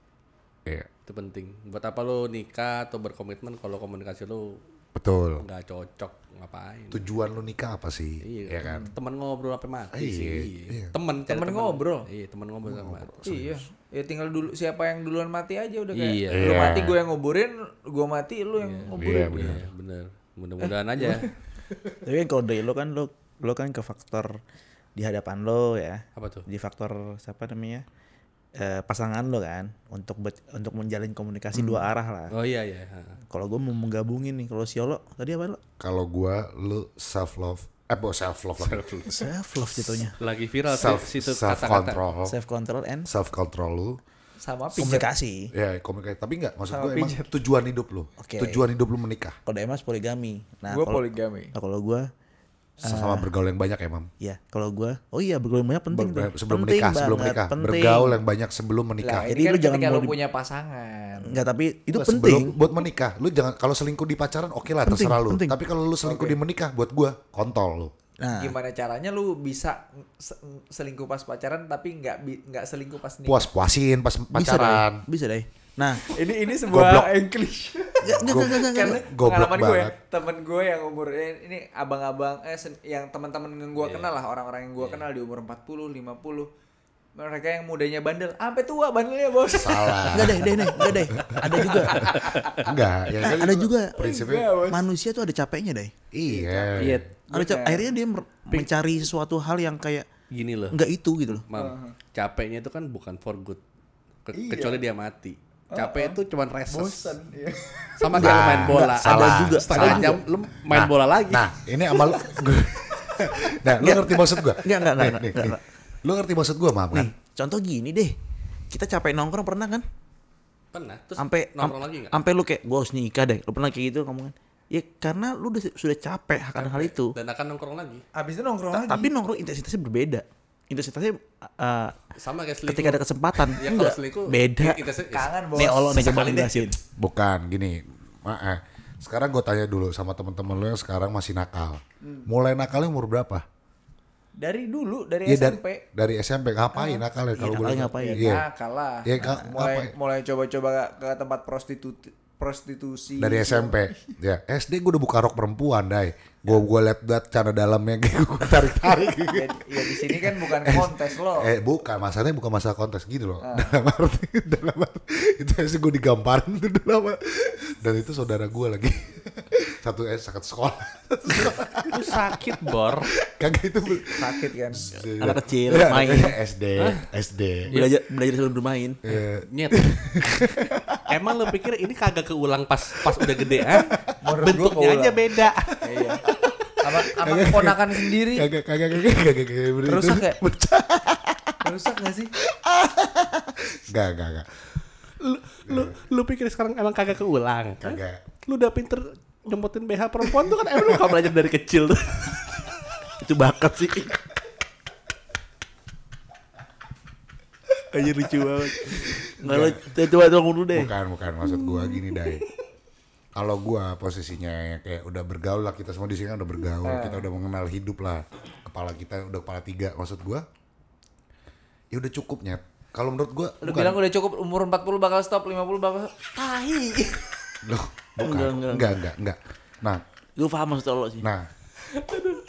Speaker 4: Iya.
Speaker 6: Itu penting. Buat apa lo nikah atau berkomitmen kalau komunikasi lo
Speaker 4: Betul.
Speaker 6: nggak cocok ngapain?
Speaker 4: Tujuan lu nikah apa sih?
Speaker 6: Iya
Speaker 4: Ya kan?
Speaker 6: Temen ngobrol apa mati
Speaker 4: Iya,
Speaker 6: sih.
Speaker 4: iya.
Speaker 6: Temen cari
Speaker 3: Temen ngobrol.
Speaker 6: Iya, temen ngobrol sama.
Speaker 3: Iya. Ya tinggal dulu siapa yang duluan mati aja udah kayak
Speaker 6: Iya.
Speaker 3: lu
Speaker 4: Iya.
Speaker 3: mati gue yang nguburin, gue mati lu yang nguburin.
Speaker 4: Iya benar.
Speaker 6: Iya, bener. Mudah-mudahan
Speaker 3: <laughs>
Speaker 6: aja.
Speaker 5: Tapi kan kalau dari lo kan lo lo kan ke faktor di hadapan lo ya.
Speaker 6: Apa tuh?
Speaker 5: Di faktor siapa namanya? Eh, pasangan lo kan untuk ber- untuk menjalin komunikasi dua arah lah.
Speaker 4: Kan?
Speaker 6: Oh iya iya. Ha.
Speaker 5: Kalau gue mau menggabungin nih kalau Siolo tadi apa lo?
Speaker 4: Kalau gua lu self love, eh bu self love lagi.
Speaker 5: Self love jatuhnya.
Speaker 6: Lagi viral sih
Speaker 4: Self
Speaker 6: situ
Speaker 4: self
Speaker 6: kata-kata.
Speaker 4: control,
Speaker 5: Self control and
Speaker 4: self control lu.
Speaker 3: Sama pijat.
Speaker 5: komunikasi.
Speaker 4: Ya komunikasi. Tapi nggak maksud
Speaker 3: Sama
Speaker 4: gua emang
Speaker 3: pijat.
Speaker 4: tujuan hidup lu.
Speaker 5: Oke.
Speaker 4: Tujuan hidup lu menikah.
Speaker 5: Kalau Demas poligami. Nah,
Speaker 3: Gue
Speaker 5: kalau-
Speaker 3: poligami.
Speaker 5: Nah, kalau gue
Speaker 4: Sama bergaul yang banyak ya mam.
Speaker 5: ya kalau gue oh iya bergaul banyak Ah. penting
Speaker 4: Ber-
Speaker 5: tuh.
Speaker 4: sebelum
Speaker 5: penting
Speaker 4: menikah, sebelum
Speaker 5: banget,
Speaker 4: menikah,
Speaker 5: penting.
Speaker 4: bergaul yang banyak sebelum menikah.
Speaker 3: Lah,
Speaker 5: Jadi
Speaker 3: ini kan
Speaker 5: lu jangan
Speaker 3: ketika
Speaker 5: mau
Speaker 3: lu
Speaker 5: di-
Speaker 3: punya pasangan.
Speaker 5: Enggak tapi itu
Speaker 4: Nah,
Speaker 5: penting.
Speaker 4: sebelum- buat menikah. Lu jangan kalau selingkuh di pacaran oke lah
Speaker 5: Penting,
Speaker 4: terserah lu.
Speaker 5: penting.
Speaker 4: Tapi kalau lu selingkuh di menikah buat gua kontol lu.
Speaker 5: Nah,
Speaker 3: Gimana caranya lu bisa se- selingkuh pas pacaran tapi nggak bi- nggak selingkuh pas nikah?
Speaker 4: Puas-puasin pas
Speaker 5: bisa
Speaker 4: pacaran.
Speaker 5: deh. Bisa deh. Nah,
Speaker 3: Ini ini
Speaker 4: Goblok.
Speaker 3: sebuah
Speaker 5: <laughs>
Speaker 3: English. <laughs>
Speaker 4: Gob-
Speaker 3: Karena
Speaker 4: Goblok
Speaker 3: pengalaman
Speaker 5: ya.
Speaker 3: gue,
Speaker 4: banget.
Speaker 3: temen gue yang umur eh, ini abang-abang eh sen- yang teman-teman yang gue kenal lah orang-orang yang gue kenal di umur 40, 50 mereka yang mudanya bandel, sampai tua bandelnya bos.
Speaker 5: <laughs>
Speaker 4: Salah.
Speaker 5: enggak deh, deh, deh, enggak deh. Ada juga
Speaker 4: <laughs> Enggak, ya kan
Speaker 5: Ah, Ada
Speaker 4: itu
Speaker 5: juga.
Speaker 4: prinsipnya.
Speaker 3: Enggak, bos.
Speaker 5: manusia tuh ada capeknya deh.
Speaker 4: Iya.
Speaker 6: Iya,
Speaker 5: Ada cap- akhirnya dia mer- mencari sesuatu hal yang kayak
Speaker 6: gini loh.
Speaker 5: enggak itu gitu loh.
Speaker 6: Mam, capeknya itu kan bukan for good. Ke-
Speaker 5: Iya.
Speaker 6: Kecuali dia mati. Capek itu cuman reses.
Speaker 3: iya.
Speaker 6: Sama kayak lu main bola.
Speaker 4: Enggak, Nah, salah,
Speaker 5: juga,
Speaker 6: Setengah
Speaker 5: salah.
Speaker 6: jam lu main bola lagi.
Speaker 4: Nah, ini amal
Speaker 5: <laughs>
Speaker 4: Nah, lu ngerti maksud gua?
Speaker 5: Enggak, enggak, enggak,
Speaker 4: Nih,
Speaker 5: enggak,
Speaker 4: nih,
Speaker 5: enggak,
Speaker 4: nih.
Speaker 5: enggak.
Speaker 4: Lu ngerti maksud gua, Mam kan?
Speaker 5: Nih, contoh gini deh. Kita capek nongkrong pernah kan?
Speaker 6: Pernah. Terus
Speaker 5: Sampai
Speaker 6: nongkrong
Speaker 5: am-
Speaker 6: lagi nggak?
Speaker 5: Sampai lu kayak gua harus nikah deh. Lu pernah kayak gitu kamu kan? Ya karena lu udah sudah capek akan hal itu.
Speaker 6: Dan akan nongkrong lagi.
Speaker 3: Abis itu nongkrong lagi.
Speaker 5: Tapi nongkrong intensitasnya berbeda. Intensitasnya uh,
Speaker 6: Sama kayak selingkuh.
Speaker 5: ketika ada kesempatan
Speaker 6: Ya, kalau
Speaker 5: enggak
Speaker 6: selingkuh,
Speaker 5: beda.
Speaker 6: i- intensi-
Speaker 3: kangen bos.
Speaker 5: Nih Allah nih coba
Speaker 3: Sekali
Speaker 5: lu
Speaker 3: deh.
Speaker 5: jelasin.
Speaker 4: Bukan gini. Ma eh, Sekarang gue tanya dulu sama temen-temen lu yang sekarang masih nakal.
Speaker 5: Hmm.
Speaker 4: Mulai nakalnya umur berapa?
Speaker 3: Dari dulu dari
Speaker 4: Iya dari,
Speaker 3: SMP.
Speaker 4: dari SMP ngapain nakalnya kalau
Speaker 5: Ah, nakalnya
Speaker 4: boleh tahu?
Speaker 5: ngapain? Ah,
Speaker 4: Iya.
Speaker 3: Nah, kalah.
Speaker 4: Iya, Kak,
Speaker 3: mulai
Speaker 4: ngapain?
Speaker 3: mulai coba-coba ke tempat prostitusi prostitusi.
Speaker 4: Dari
Speaker 5: iya.
Speaker 4: SMP. Ya, SD gue udah buka rok perempuan, Dai. Gue gue liat liat cara dalamnya <laughs> gue tarik tarik.
Speaker 5: Iya,
Speaker 3: Ya, ya di sini kan bukan kontes lo.
Speaker 4: Eh bukan, masalahnya bukan masalah kontes gitu loh. Dalam arti, dalam arti itu sih gue digamparin tuh dalam arti- dan itu saudara gue lagi satu eh sakit sekolah.
Speaker 6: Lu sakit bor.
Speaker 4: Kagak itu ber-
Speaker 3: Sakit kan.
Speaker 5: Anak kecil
Speaker 4: Ya,
Speaker 5: main.
Speaker 4: SD, SD.
Speaker 5: Iya. Belajar belajar sebelum bermain.
Speaker 6: Nyet. <laughs> Emang lu pikir ini kagak keulang pas pas udah gede ah?
Speaker 3: Menurut gua
Speaker 6: Bentuknya
Speaker 3: keulang.
Speaker 6: aja beda.
Speaker 3: Iya. Sama sama keponakan sendiri.
Speaker 4: Kagak kagak kagak kagak kagak bener
Speaker 3: Rusak
Speaker 4: itu.
Speaker 3: ya? Rusak gak sih?
Speaker 4: Enggak enggak enggak.
Speaker 6: Lu, lu, lu pikir sekarang emang kagak keulang?
Speaker 4: Kagak.
Speaker 6: Lu udah pinter nyempotin BH perempuan tuh kan emang lu gak belajar <laughs> dari kecil tuh.
Speaker 5: Itu bakat sih. Aja lucu banget. Enggak lu coba tolong dulu deh.
Speaker 4: Bukan, bukan maksud gua gini, Dai. Kalau gua posisinya ya kayak udah bergaul lah kita semua di sini kan udah bergaul, kita udah mengenal hidup lah. Kepala kita udah kepala tiga maksud gua. Ya udah cukup nyet. Kalau menurut gua
Speaker 3: Lu
Speaker 4: bukan.
Speaker 3: bilang udah cukup umur 40 bakal stop, 50 bakal tai.
Speaker 4: Loh, bukan. Enggak,
Speaker 5: Enggak,
Speaker 4: enggak,
Speaker 5: enggak.
Speaker 4: enggak, Nah,
Speaker 5: Gue paham maksud lo sih.
Speaker 4: nah,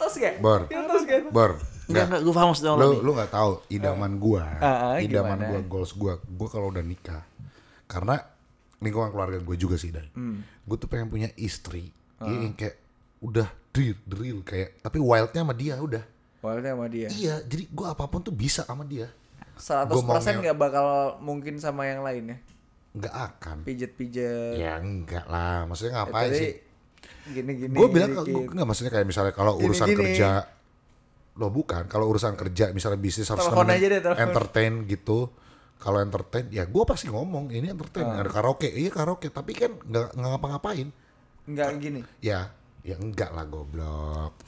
Speaker 3: Tos gak?
Speaker 4: Bor.
Speaker 3: Tos gak?
Speaker 4: Bor.
Speaker 5: Enggak
Speaker 4: Enggak.
Speaker 5: enggak gue paham maksud lo.
Speaker 4: Lu lu enggak tahu idaman gua.
Speaker 3: Ah, ah,
Speaker 4: idaman
Speaker 3: gimana?
Speaker 4: gua, goals gua. Gua kalau udah nikah. Karena lingkungan keluarga gue juga sih, Dai.
Speaker 3: Hmm.
Speaker 4: Gue tuh pengen punya istri
Speaker 3: Ah.
Speaker 4: iya, yang kayak udah drill, drill kayak tapi wildnya sama dia udah.
Speaker 3: Walnya sama dia.
Speaker 4: Iya, jadi gua apapun tuh bisa sama dia.
Speaker 3: 100%
Speaker 4: Gua mau ngewe.
Speaker 3: gak bakal mungkin sama yang lain ya.
Speaker 4: Enggak akan.
Speaker 3: Iya. Pijet-pijet.
Speaker 4: Ya enggak lah, maksudnya ngapain
Speaker 3: Tadi
Speaker 4: sih?
Speaker 3: Gini-gini.
Speaker 4: Gue bilang kalau
Speaker 3: dikit.
Speaker 4: enggak maksudnya kayak misalnya kalau
Speaker 3: Gini,
Speaker 4: urusan
Speaker 3: gini.
Speaker 4: kerja loh bukan kalau urusan kerja misalnya bisnis harus
Speaker 3: Telepon
Speaker 4: nemenin
Speaker 3: aja deh, telepon.
Speaker 4: entertain gitu kalau entertain ya gue pasti ngomong ini entertain
Speaker 3: Ah.
Speaker 4: ada karaoke iya karaoke tapi kan nggak nggak ngapa-ngapain
Speaker 3: Enggak gini.
Speaker 4: ya ya enggak lah goblok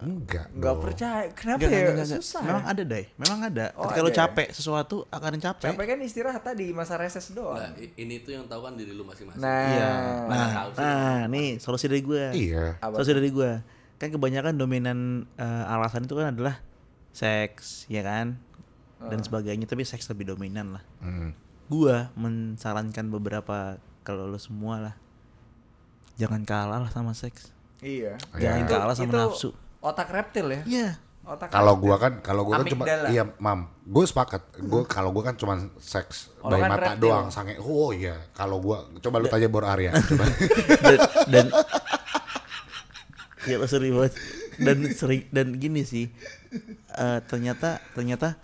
Speaker 4: enggak
Speaker 3: Enggak
Speaker 4: dong.
Speaker 3: percaya. Kenapa
Speaker 5: Enggak,
Speaker 3: ya?
Speaker 5: enggak, enggak, enggak.
Speaker 3: Susah.
Speaker 5: Memang ada deh, memang ada.
Speaker 3: Oh,
Speaker 5: Ketika lo
Speaker 3: ada ya?
Speaker 5: capek sesuatu akan capek.
Speaker 3: Capek kan istirahat tadi masa reses doang.
Speaker 6: ini tuh yang tahu kan diri lu masing-masing.
Speaker 3: Nah,
Speaker 5: Iya. Nah, nah, nih solusi dari gue.
Speaker 4: iya
Speaker 5: Solusi dari gue. Kan kebanyakan dominan eh, alasan itu kan
Speaker 3: Ah.
Speaker 5: adalah seks, ya kan? Dan sebagainya. Tapi seks lebih dominan lah.
Speaker 4: Mm.
Speaker 5: gua mensarankan beberapa kalau lo semua lah jangan kalah lah sama seks
Speaker 3: Iya.
Speaker 5: Jangan
Speaker 3: Itu-
Speaker 5: kalah sama
Speaker 3: itu
Speaker 5: nafsu.
Speaker 3: Otak reptil ya.
Speaker 5: iya
Speaker 3: Otak
Speaker 4: Kalau gua kan, kalau gua kan cuma,
Speaker 3: Amigdala. Hmm.
Speaker 4: iya mam, gue sepakat. Gue kalau gua kan cuma seks
Speaker 3: Kalau
Speaker 4: dari
Speaker 3: kan
Speaker 4: mata
Speaker 3: reptil.
Speaker 4: doang, sange. Oh iya, kalau gua coba lu tanya Bor
Speaker 3: <laughs>
Speaker 4: Arya. Coba.
Speaker 5: dan, dan ya sering banget dan sering dan gini sih eh, ternyata ternyata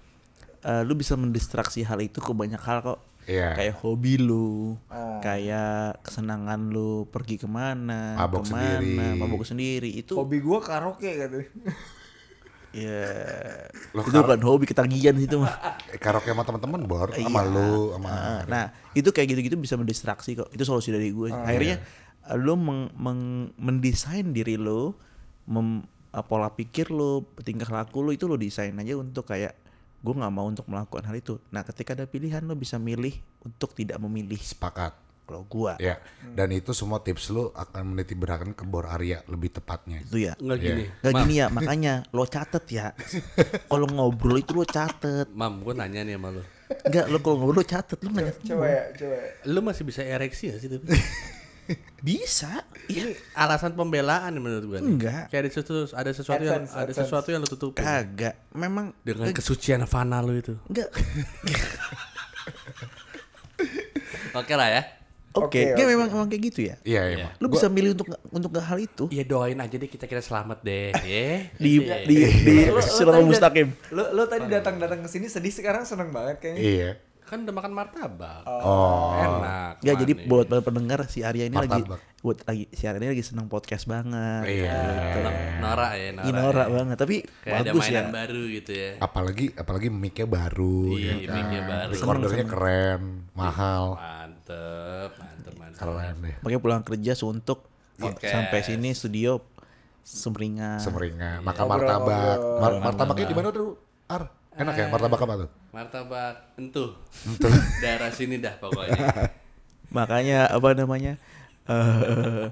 Speaker 5: eh, lu bisa mendistraksi hal itu ke banyak hal kok
Speaker 4: Iya.
Speaker 5: kayak hobi lu kayak kesenangan lu pergi kemana
Speaker 4: Mabok
Speaker 5: kemana
Speaker 4: sendiri.
Speaker 5: mabok sendiri itu
Speaker 3: hobi gua karaoke katanya.
Speaker 5: Hmm. ya
Speaker 4: Lo
Speaker 5: itu
Speaker 4: kalau-
Speaker 5: bukan hobi ketagihan itu mah
Speaker 4: Eh, Karaoke sama teman-teman Bor, sama
Speaker 5: Iya.
Speaker 4: lu, sama
Speaker 5: Ah, nah itu kayak gitu-gitu bisa mendistraksi kok itu solusi dari
Speaker 4: Oh,
Speaker 5: gue akhirnya
Speaker 4: iya.
Speaker 5: eh, lo meng- meng- mendesain diri lo mem- eh, pola pikir lo tingkah laku lo itu lo desain aja untuk kayak gue nggak mau untuk melakukan hal itu nah ketika ada pilihan lo bisa milih untuk tidak memilih
Speaker 4: sepakat.
Speaker 5: kalau gue
Speaker 4: Ya, dan itu semua tips lu akan meniti berakan ke Bor Arya lebih tepatnya.
Speaker 5: itu ya
Speaker 6: Enggak
Speaker 4: Iya.
Speaker 6: gini.
Speaker 5: Gak
Speaker 6: Mam,
Speaker 5: gini ya makanya lo catet ya kalau ngobrol itu lo catet
Speaker 6: mam gue nanya nih sama lu.
Speaker 5: Enggak lo kalau ngobrol lo catet lo nggak
Speaker 3: Coba ya, coba ya.
Speaker 6: Lu masih bisa ereksi gak sih
Speaker 5: <laughs>
Speaker 6: tapi?
Speaker 5: bisa Iya,
Speaker 6: Ini alasan pembelaan menurut gue. nih.
Speaker 5: Enggak.
Speaker 6: Kayak
Speaker 5: Kan.
Speaker 6: ada sesuatu ada sesuatu yang
Speaker 3: Advance,
Speaker 6: ada
Speaker 3: advance.
Speaker 6: sesuatu yang lu tutupin
Speaker 5: kagak memang
Speaker 6: dengan kesucian fana lu itu.
Speaker 5: enggak
Speaker 6: Oke lah ya.
Speaker 5: oke
Speaker 3: Oke,
Speaker 5: Enggak,
Speaker 3: oke.
Speaker 5: memang memang kayak gitu ya
Speaker 4: Iya, iya.
Speaker 5: lu bisa milih untuk untuk nggak hal itu
Speaker 6: Ya doain aja deh kita kira selamat <laughs> deh. ya.
Speaker 5: di di di
Speaker 3: Lu- lu
Speaker 5: Suratul
Speaker 3: tadi dat-
Speaker 5: mustaqim
Speaker 3: Lu lu tadi datang-datang ke sini sedih sekarang seneng
Speaker 4: Ma.
Speaker 3: banget kayaknya.
Speaker 4: Iya.
Speaker 6: Kan udah makan martabak.
Speaker 4: Oh,
Speaker 6: Enak.
Speaker 5: Nggak, jadi
Speaker 6: manis.
Speaker 5: buat para pendengar si Arya ini lagi
Speaker 4: Martabak.
Speaker 5: buat lagi si Arya ini lagi senang podcast banget
Speaker 4: iya.
Speaker 6: Nora ya, Nora.
Speaker 5: Inora
Speaker 6: ya.
Speaker 5: banget tapi
Speaker 6: Kayak ada
Speaker 5: bagus ya
Speaker 6: mainan baru gitu ya.
Speaker 4: Apalagi apalagi mic-nya baru,
Speaker 6: Iya,
Speaker 4: ya kan?
Speaker 6: mic-nya baru. Iya.
Speaker 4: Recordernya keren, mahal,
Speaker 6: Mantep, mantep, mantep.
Speaker 4: keren deh.
Speaker 5: pakai pulang kerja suntuk
Speaker 6: Podcast.
Speaker 5: sampai sini studio semringan
Speaker 4: Semeringan, makan
Speaker 3: Ngobrol,
Speaker 4: martabak.
Speaker 3: ngobrol.
Speaker 4: Mar- martabaknya di mana tuh? Ar, enak ya martabak apa tuh?
Speaker 6: Martabak entuh. <laughs> Daerah sini dah pokoknya.
Speaker 5: makanya apa namanya eh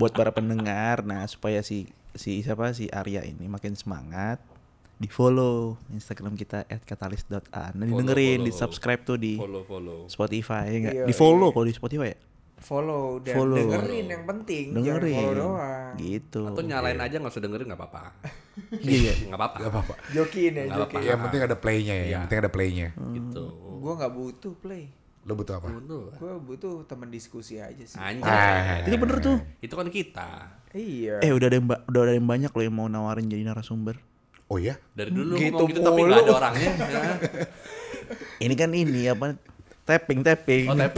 Speaker 5: buat para pendengar nah supaya si si siapa si Arya ini makin semangat di follow Instagram kita @katalis.a nah, didengerin
Speaker 6: follow.
Speaker 5: di subscribe tuh di
Speaker 6: Follow, follow.
Speaker 5: Spotify ya nggak?
Speaker 3: Iya,
Speaker 5: di follow kalau di Spotify ya
Speaker 3: Follow dan
Speaker 5: Follow.
Speaker 3: dengerin yang penting. Jangan
Speaker 5: dengerin
Speaker 3: follow doang.
Speaker 5: gitu
Speaker 6: Atau nyalain aja nggak usah dengerin nggak apa-apa.
Speaker 5: iya
Speaker 6: Nggak apa-apa.
Speaker 4: Gak apa-apa.
Speaker 3: Jokiin ya,
Speaker 6: Nggak
Speaker 3: jokiin.
Speaker 6: apa-apa.
Speaker 4: Iya, Yang penting ada playnya ya, yang penting ada playnya.
Speaker 6: Gitu.
Speaker 3: Gua nggak butuh play.
Speaker 4: Lo butuh apa?
Speaker 6: Betul.
Speaker 3: Gua butuh teman diskusi aja sih.
Speaker 5: Ah.
Speaker 6: Anjay.
Speaker 4: Eh.
Speaker 5: itu bener tuh
Speaker 6: Itu kan kita.
Speaker 3: Iya.
Speaker 5: eh udah ada yang ba- udah ada yang banyak loh yang mau nawarin jadi narasumber
Speaker 4: Oh ya?
Speaker 6: Dari dulu
Speaker 3: Gitu
Speaker 6: ngomong gitu tapi nggak ada
Speaker 3: mulu.
Speaker 6: orangnya. ya.
Speaker 5: ini kan ini apa tapping tapping
Speaker 6: Oh, tep.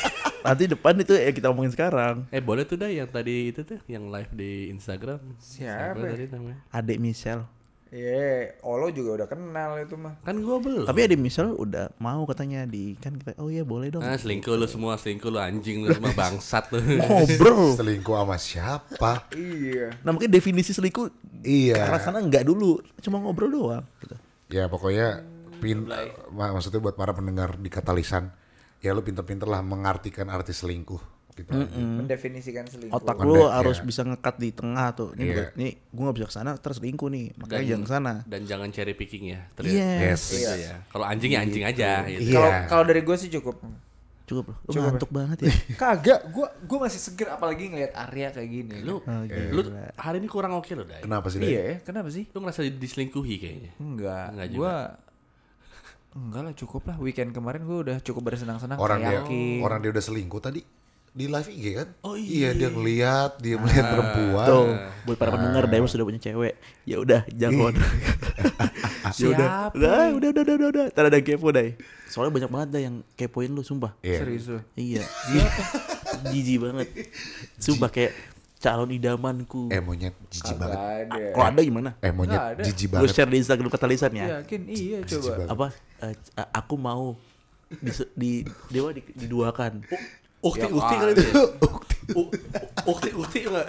Speaker 5: <laughs> nanti depan itu ya kita omongin sekarang
Speaker 6: Eh boleh tuh dah yang tadi itu tuh yang live di Instagram.
Speaker 3: Siapa ya?
Speaker 6: tadi namanya?
Speaker 5: adik Michelle
Speaker 3: Iya, Olo juga udah kenal itu mah.
Speaker 6: Kan gua belum.
Speaker 5: Tapi ada misal udah mau katanya di kan kita oh iya boleh dong.
Speaker 6: Ah, selingkuh lu semua, selingkuh lu anjing lu semua bangsat lu.
Speaker 5: <laughs> Ngobrol.
Speaker 4: <laughs> Selingkuh sama siapa?
Speaker 3: Iya.
Speaker 5: Nah makanya definisi selingkuh ke arah
Speaker 4: Iya.
Speaker 5: sana enggak dulu, cuma ngobrol doang. Gitu.
Speaker 4: Ya pokoknya pin ma- maksudnya buat para pendengar di katalisan ya lu pinter-pinter lah mengartikan arti selingkuh gitu.
Speaker 3: Mendefinisikan selingkuh.
Speaker 5: Hmm. Otak
Speaker 4: Pendek,
Speaker 5: lu
Speaker 4: ya.
Speaker 5: harus bisa ngekat di tengah tuh. Ini,
Speaker 4: Iya.
Speaker 5: bukan- ini gue gak bisa kesana terus selingkuh nih, makanya
Speaker 6: Dan-
Speaker 5: jangan Iya. kesana.
Speaker 6: Dan jangan cherry picking ya. Terus
Speaker 5: Yes.
Speaker 4: Yes.
Speaker 6: gitu ya. Kalau anjing ya anjing aja gitu.
Speaker 3: Kalau
Speaker 4: Iya.
Speaker 3: kalau dari gue sih cukup.
Speaker 5: Cukup loh. Lu ngantuk banget ya.
Speaker 3: Kagak, gue gue masih seger apalagi ngelihat Arya kayak gini.
Speaker 6: Lu
Speaker 5: Oke.
Speaker 6: lu hari ini kurang oke lo, Dai.
Speaker 4: Kenapa sih? Dai?
Speaker 3: Iya ya, kenapa sih?
Speaker 6: Lu ngerasa diselingkuhi kayaknya.
Speaker 3: Hmm. Enggak,
Speaker 6: Enggak
Speaker 3: Enggak
Speaker 6: juga.
Speaker 3: gue Enggak lah cukup lah weekend kemarin gue udah cukup bersenang-senang
Speaker 4: Orang dia
Speaker 3: kayaking.
Speaker 4: orang dia udah selingkuh tadi di live IG kan? Oh iya, dia ngeliat, dia melihat perempuan.
Speaker 5: Tuh, buat para pendengar Daimon sudah punya cewek. Ya udah, jagoan. <laughs> ya udah.
Speaker 3: Siapa?
Speaker 5: Udah, udah, udah, udah, udah. Ntar ada yang kepo, Dai. Soalnya banyak banget Dai yang kepoin lu, sumpah.
Speaker 4: Iya.
Speaker 3: Serius lu.
Speaker 5: Iya. <laughs> Jijik banget. Sumpah kayak calon idamanku.
Speaker 4: Eh monyet jijik banget.
Speaker 3: Ada.
Speaker 5: Kalau ada gimana?
Speaker 4: Eh monyet
Speaker 3: Nggak ada.
Speaker 4: jijik
Speaker 5: Lu
Speaker 4: banget.
Speaker 5: share di Instagram Katalisan ya.
Speaker 3: Yakin? Iya
Speaker 4: Jijik
Speaker 3: coba.
Speaker 4: banget.
Speaker 5: Apa? eh, c- eh, aku mau di, di dewa di, diduakan.
Speaker 6: Oh, Ukti Ya <laughs> ukti kali itu. Ukti ukti enggak.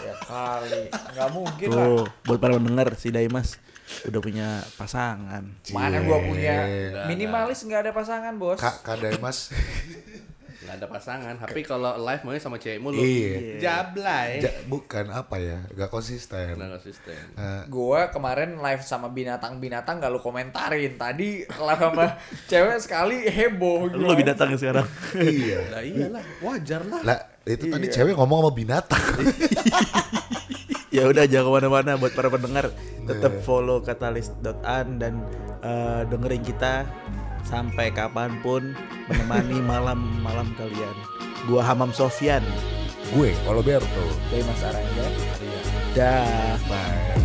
Speaker 3: Ya kali. Enggak mungkin lah.
Speaker 5: Tuh, buat para pendengar si Daimas udah punya pasangan.
Speaker 3: Mana gue punya minimalis nggak ada pasangan bos.
Speaker 4: Kak, Kak Daimas.
Speaker 6: Gak ada pasangan. Tapi kalau live maunya sama cewek mulu.
Speaker 4: Iya.
Speaker 6: Jablay.
Speaker 4: Ja- bukan apa ya, gak
Speaker 6: Eh.
Speaker 4: konsisten.
Speaker 6: Nggak konsisten.
Speaker 4: Eh,
Speaker 3: Gua kemarin live sama binatang-binatang gak lu komentarin. Tadi live sama <laughs> cewek sekali heboh.
Speaker 5: Lu lebih datang sekarang.
Speaker 4: iya.
Speaker 6: Lah iyalah, wajar lah.
Speaker 4: Lah, itu tadi cewek ngomong sama binatang.
Speaker 5: ya udah jangan kemana-mana buat para pendengar tetap follow katalis.an dan eh, dengerin kita sampai kapanpun menemani malam-malam kalian gua Hamam Sofyan
Speaker 4: Gue, Oloberto.
Speaker 3: Iya. Dari Mas Arangga.
Speaker 5: dah
Speaker 4: Bye.